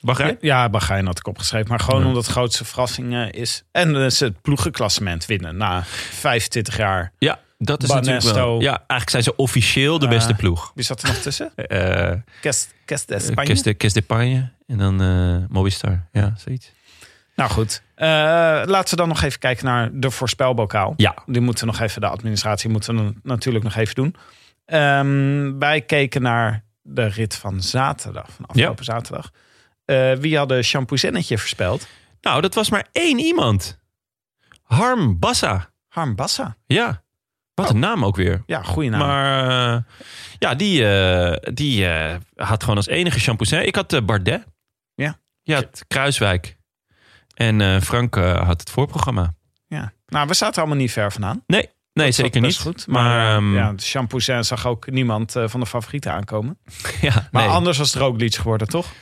Speaker 2: Bahrein?
Speaker 3: Ja, Bahrein had ik opgeschreven. Maar gewoon
Speaker 2: Ja.
Speaker 3: omdat het grootste verrassing eh, is. En eh, ze het ploegenklassement winnen na 25 jaar.
Speaker 2: Ja, dat is natuurlijk wel...
Speaker 3: Banesto.
Speaker 2: Ja, eigenlijk zijn ze officieel de
Speaker 3: Eh,
Speaker 2: beste ploeg.
Speaker 3: Wie zat er nog tussen?
Speaker 2: Eh
Speaker 3: Kest, Kest de Spanje?
Speaker 2: Kes de- Kes de Panje en dan eh Movistar. Ja, zoiets.
Speaker 3: Nou goed. Eh, laten we dan nog even kijken naar de voorspelbokaal.
Speaker 2: Ja,
Speaker 3: Die moeten we nog even, de administratie moeten we dan natuurlijk nog even doen. Ehm, wij keken naar de rit van zaterdag, van afgelopen zaterdag. Eh, wie had de shampoezennetje voorspeld?
Speaker 2: Nou, dat was maar één iemand. Harm Bassa.
Speaker 3: Harm Bassa.
Speaker 2: Ja. Wat een naam ook weer.
Speaker 3: Ja, goeie Oh. naam.
Speaker 2: Maar eh, ja, die, eh, die eh, had gewoon als enige shampoozijn. Ik had eh, Bardet.
Speaker 3: Ja.
Speaker 2: Ja, Kruiswijk. En eh, Frank eh, had het voorprogramma.
Speaker 3: Ja. Nou, we zaten allemaal niet ver vandaan.
Speaker 2: Nee, zeker
Speaker 3: Dat zat
Speaker 2: niet.
Speaker 3: best goed. Maar, eh,
Speaker 2: ehm,
Speaker 3: ja, de Champouzin zag ook niemand eh, van de favorieten aankomen.
Speaker 2: ja,
Speaker 3: Maar
Speaker 2: nee.
Speaker 3: anders was het Roglic geworden, toch?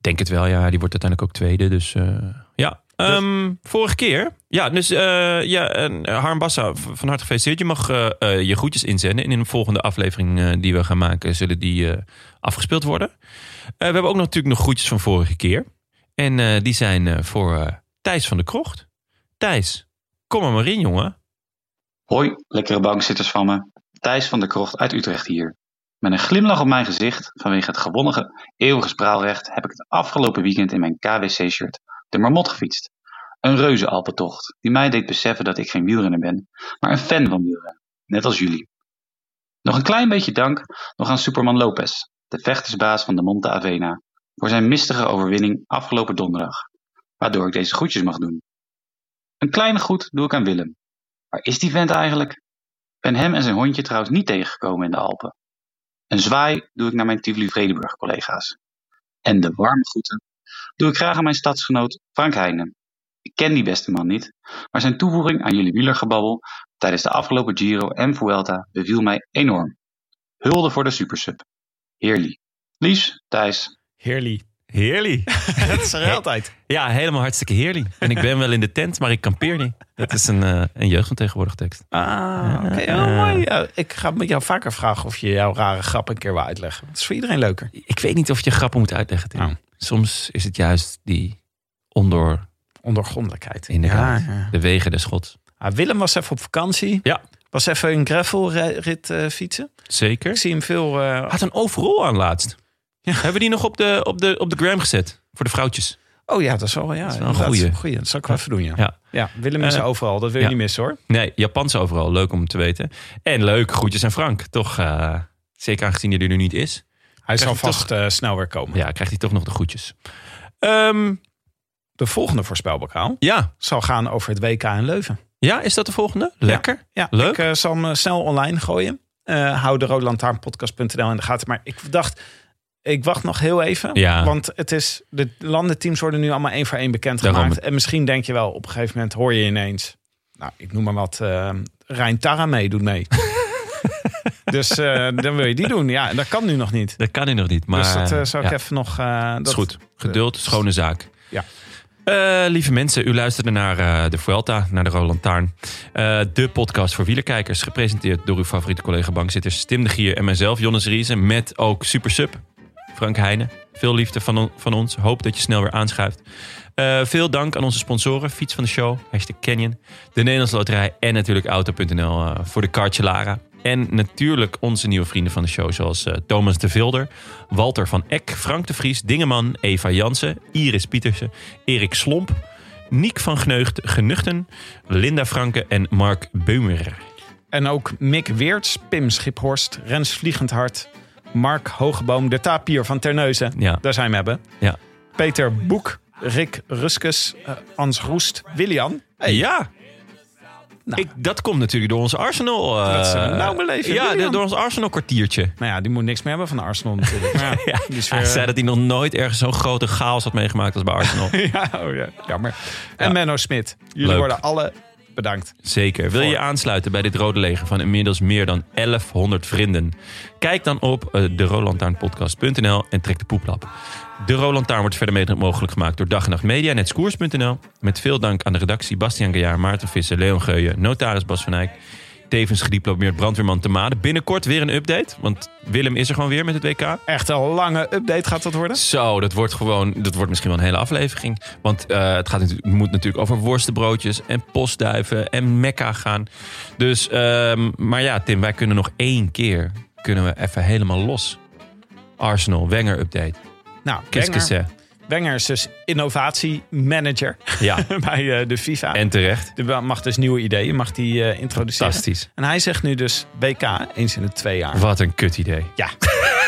Speaker 2: Denk het wel, ja. Die wordt uiteindelijk ook tweede. Dus eh, ja. Ehm, vorige keer. Ja, dus eh, ja, en, eh, Harm Bassa, v- van harte gefeliciteerd. Je mag eh, eh, je groetjes inzenden. En in de volgende aflevering eh, die we gaan maken, zullen die eh, afgespeeld worden. Eh, we hebben ook nog- natuurlijk nog groetjes van vorige keer. En eh, die zijn eh, voor eh, Thijs van de Krocht. Thijs, kom er maar in, jongen.
Speaker 5: Hoi, lekkere bankzitters van me. Thijs van der Krocht uit Utrecht hier. Met een glimlach op mijn gezicht vanwege het gewonnen eeuwige spraalrecht heb ik het afgelopen weekend in mijn KWC-shirt de Marmot gefietst. Een reuzenalpentocht die mij deed beseffen dat ik geen wielrenner ben, maar een fan van wielrennen, net als jullie. Nog een klein beetje dank nog aan Superman Lopez, de vechtersbaas van de Monte Avena, voor zijn mistige overwinning afgelopen donderdag, waardoor ik deze groetjes mag doen. Een kleine groet doe ik aan Willem. Waar is die vent eigenlijk? Ben hem en zijn hondje trouwens niet tegengekomen in de Alpen. Een zwaai doe ik naar mijn Tivoli Vredenburg collega's. En de warme groeten doe ik graag aan mijn stadsgenoot Frank Heijnen. Ik ken die beste man niet, maar zijn toevoeging aan jullie wielergebabbel tijdens de afgelopen Giro en Vuelta beviel mij enorm. Hulde voor de supersub. Heerlijk. Lies, Thijs.
Speaker 3: Heerlijk.
Speaker 2: Heerlijk.
Speaker 3: Dat is er altijd.
Speaker 2: Ja, helemaal hartstikke heerlijk. En ik ben wel in de tent, maar ik kampeer niet. Dat is een, eh een jeugd van tegenwoordig tekst.
Speaker 3: Ah, oké.
Speaker 2: eh,
Speaker 3: Oh, mooi. Ja, ik ga met jou vaker vragen of je jouw rare grap een keer wil uitleggen. Dat is voor iedereen leuker.
Speaker 2: Ik weet niet of je grappen moet uitleggen. Tim.
Speaker 3: Oh.
Speaker 2: Soms is het juist die ondoor
Speaker 3: Ondergrondelijkheid.
Speaker 2: Inderdaad.
Speaker 3: Ja, ja.
Speaker 2: de wegen des gods.
Speaker 3: Ah, Willem was even op vakantie.
Speaker 2: Ja.
Speaker 3: Was even een gravelrit eh fietsen. Ik
Speaker 2: Zeker.
Speaker 3: zie hem veel... eh,
Speaker 2: Had een overall aan laatst.
Speaker 3: Ja.
Speaker 2: Hebben we die nog op de, op, de, op de gram gezet? Voor de vrouwtjes.
Speaker 3: oh ja, dat is wel, ja, dat
Speaker 2: is wel een goeie.
Speaker 3: goeie. Dat zal ik wel even doen, ja. ja.
Speaker 2: Ja.
Speaker 3: Willem is
Speaker 2: Eh,
Speaker 3: overal. Dat wil je
Speaker 2: ja.
Speaker 3: niet missen, hoor.
Speaker 2: Nee, Japans overal. Leuk om te weten. En leuk, groetjes aan Frank. Toch, eh, zeker aangezien hij er nu niet is.
Speaker 3: Hij zal
Speaker 2: je toch-
Speaker 3: vast eh, snel weer komen.
Speaker 2: Ja, krijgt hij toch nog de groetjes. Ehm,
Speaker 3: De volgende voorspelbokaal
Speaker 2: ja.
Speaker 3: zal gaan over het WK in Leuven.
Speaker 2: ja, is dat de volgende? Lekker.
Speaker 3: Ja,
Speaker 2: Leuk.
Speaker 3: ik eh, zal hem eh, snel online gooien. Eh hou de roodlantaarnpodcast.nl in de gaten. Maar ik dacht, ik wacht nog heel even.
Speaker 2: Ja.
Speaker 3: Want het is, de landenteams worden nu allemaal één voor één bekendgemaakt.
Speaker 2: Daarom.
Speaker 3: En misschien denk je wel, op een gegeven moment hoor je ineens... Nou, ik noem maar wat, eh Rijn Tara mee doet mee. dus eh, dan wil je die doen. Ja, en dat kan nu nog niet.
Speaker 2: Dat kan hij nog niet. Maar,
Speaker 3: dus dat eh, zou ik
Speaker 2: ja.
Speaker 3: even nog... eh, dat
Speaker 2: Dat is goed. Geduld, schone zaak.
Speaker 3: Ja.
Speaker 2: Eh, lieve mensen, u luisterde naar eh, de Vuelta, naar de Roland Taarn. Eh, de podcast voor wielerkijkers, gepresenteerd door uw favoriete collega bankzitters Tim de Gier en mijzelf, Jonas Riesen. Met ook Super Sub, Frank Heijnen. Veel liefde van, on- van ons. Hoop dat je snel weer aanschuift. Eh, veel dank aan onze sponsoren, Fiets van de Show, hashtag Canyon, de Nederlandse Loterij en natuurlijk Auto.nl eh, voor de kaartje Lara. En natuurlijk onze nieuwe vrienden van de show, zoals eh, Thomas de Vilder, Walter van Eck, Frank de Vries, Dingeman, Eva Jansen, Iris Pietersen, Erik Slomp, Niek van Gneugd, Genuchten, Linda Franke en Mark Beumer.
Speaker 3: En ook Mick Weerts, Pim Schiphorst, Rens Vliegendhart, Mark Hogeboom, de tapier van Terneuzen.
Speaker 2: Ja.
Speaker 3: Daar zijn we hebben.
Speaker 2: Ja.
Speaker 3: Peter Boek, Rick Ruskus, eh, Hans Roest, Willian.
Speaker 2: Ja! Ik, dat komt natuurlijk door ons Arsenal. eh,
Speaker 3: Nou. Dat is een nauw beleven,
Speaker 2: Ja,
Speaker 3: William.
Speaker 2: door ons Arsenal kwartiertje.
Speaker 3: Nou ja, die moet niks meer hebben van Arsenal natuurlijk. Maar ja, die is weer-
Speaker 2: Hij zei dat hij nog nooit ergens zo'n grote chaos had meegemaakt als bij Arsenal.
Speaker 3: ja, oh ja, jammer. En Menno Smit. Jullie
Speaker 2: Leuk.
Speaker 3: worden alle bedankt.
Speaker 2: Zeker. Wil je je
Speaker 3: Voor.
Speaker 2: aansluiten bij dit rode leger van inmiddels meer dan 1100 vrienden? Kijk dan op eh, de rolandtaarnpodcast.nl en trek de poeplap. De Roland Taarn wordt verder mede mogelijk gemaakt door Dag en Nacht Media en Hetskoers.nl. Met veel dank aan de redactie Bastiaan Gajaar, Maarten Visser, Leon Geuyen, notaris Bas van Eyck. Tevens gediplomeerd brandweerman te Maden. Binnenkort weer een update, want Willem is er gewoon weer met het WK.
Speaker 3: Echt een lange update gaat dat worden.
Speaker 2: Zo, dat wordt gewoon, dat wordt misschien wel een hele aflevering. Want eh, het gaat natuurlijk, moet natuurlijk over worstenbroodjes en postduiven en mekka gaan. Dus, ehm, maar ja, Tim, wij kunnen nog één keer, kunnen we even helemaal los. Arsenal, Wenger update.
Speaker 3: Nou,
Speaker 2: Kiskes,
Speaker 3: Wenger, Wenger is dus innovatiemanager
Speaker 2: Ja,
Speaker 3: bij eh, de FIFA.
Speaker 2: en terecht.
Speaker 3: Die mag dus nieuwe ideeën mag die, eh, introduceren.
Speaker 2: Fantastisch.
Speaker 3: En hij zegt nu dus WK eens in de twee jaar.
Speaker 2: Wat een kut idee.
Speaker 3: Ja.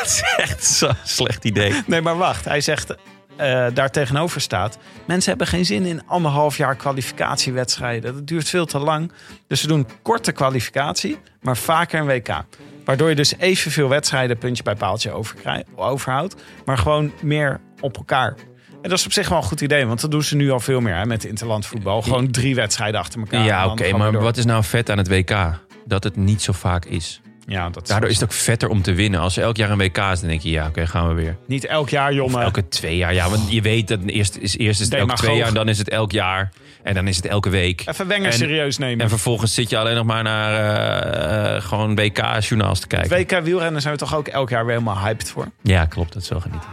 Speaker 2: Het is echt zo'n slecht idee.
Speaker 3: Nee, maar wacht. Hij zegt, eh daar tegenover staat... mensen hebben geen zin in anderhalf jaar kwalificatiewedstrijden. Dat duurt veel te lang. Dus ze doen korte kwalificatie, maar vaker een WK. Waardoor je dus evenveel wedstrijden puntje bij paaltje overkrij- overhoudt... maar gewoon meer op elkaar. En dat is op zich wel een goed idee, want dat doen ze nu al veel meer hè, met interland voetbal. Gewoon drie wedstrijden achter elkaar.
Speaker 2: Ja,
Speaker 3: en dan
Speaker 2: oké,
Speaker 3: gewoon
Speaker 2: maar
Speaker 3: weer door.
Speaker 2: wat is nou vet aan het WK? Dat het niet zo vaak is.
Speaker 3: Ja, dat is
Speaker 2: Daardoor is het ook vetter om te winnen. Als er elk jaar een WK is, dan denk je, ja, oké, gaan we weer.
Speaker 3: niet elk jaar,
Speaker 2: Of
Speaker 3: jongen.
Speaker 2: elke twee jaar. Ja, want je weet dat eerst is, eerst is het elke
Speaker 3: Demagoog.
Speaker 2: twee jaar, en dan is het elk jaar. En dan is het elke week.
Speaker 3: Even Wenger
Speaker 2: En-
Speaker 3: serieus nemen.
Speaker 2: En vervolgens zit je alleen nog maar naar eh, eh, gewoon WK-journaals te kijken.
Speaker 3: WK wielrennen zijn we toch ook elk jaar weer helemaal hyped voor.
Speaker 2: Ja, klopt. Dat is wel genieten.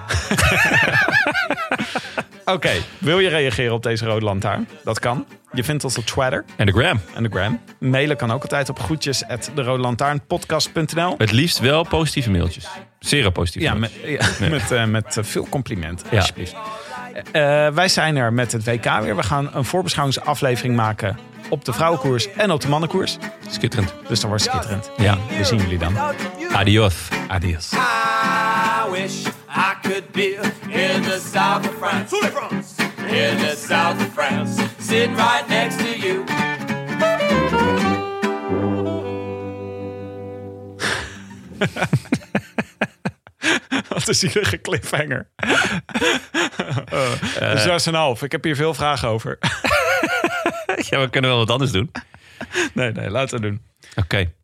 Speaker 3: Oké, wil je reageren op deze rode lantaarn? Dat kan. Je vindt ons op Twitter
Speaker 2: En de gram.
Speaker 3: en de gram. Mailen kan ook altijd op groetjes at deroodlantaarnpodcast.nl.
Speaker 2: Het liefst wel positieve mailtjes. Zeer positieve
Speaker 3: Ja,
Speaker 2: mailtjes.
Speaker 3: met, ja, met, eh, met eh, veel complimenten,
Speaker 2: Ja.
Speaker 3: alsjeblieft. Eh, wij zijn er met het WK weer. We gaan een voorbeschouwingsaflevering maken op de vrouwenkoers en op de mannenkoers.
Speaker 2: Schitterend.
Speaker 3: Dus dat wordt schitterend.
Speaker 2: Ja.
Speaker 3: We zien jullie dan.
Speaker 2: Adios. Adios.
Speaker 4: I wish I could be in the south of France. In the south of France. Sitting right next to you.
Speaker 3: Wat een zielige cliffhanger. Uh, Zes en een half. Ik heb hier veel vragen over.
Speaker 2: Ja, we kunnen wel wat anders doen.
Speaker 3: Nee, nee, laten we doen.
Speaker 2: Oké.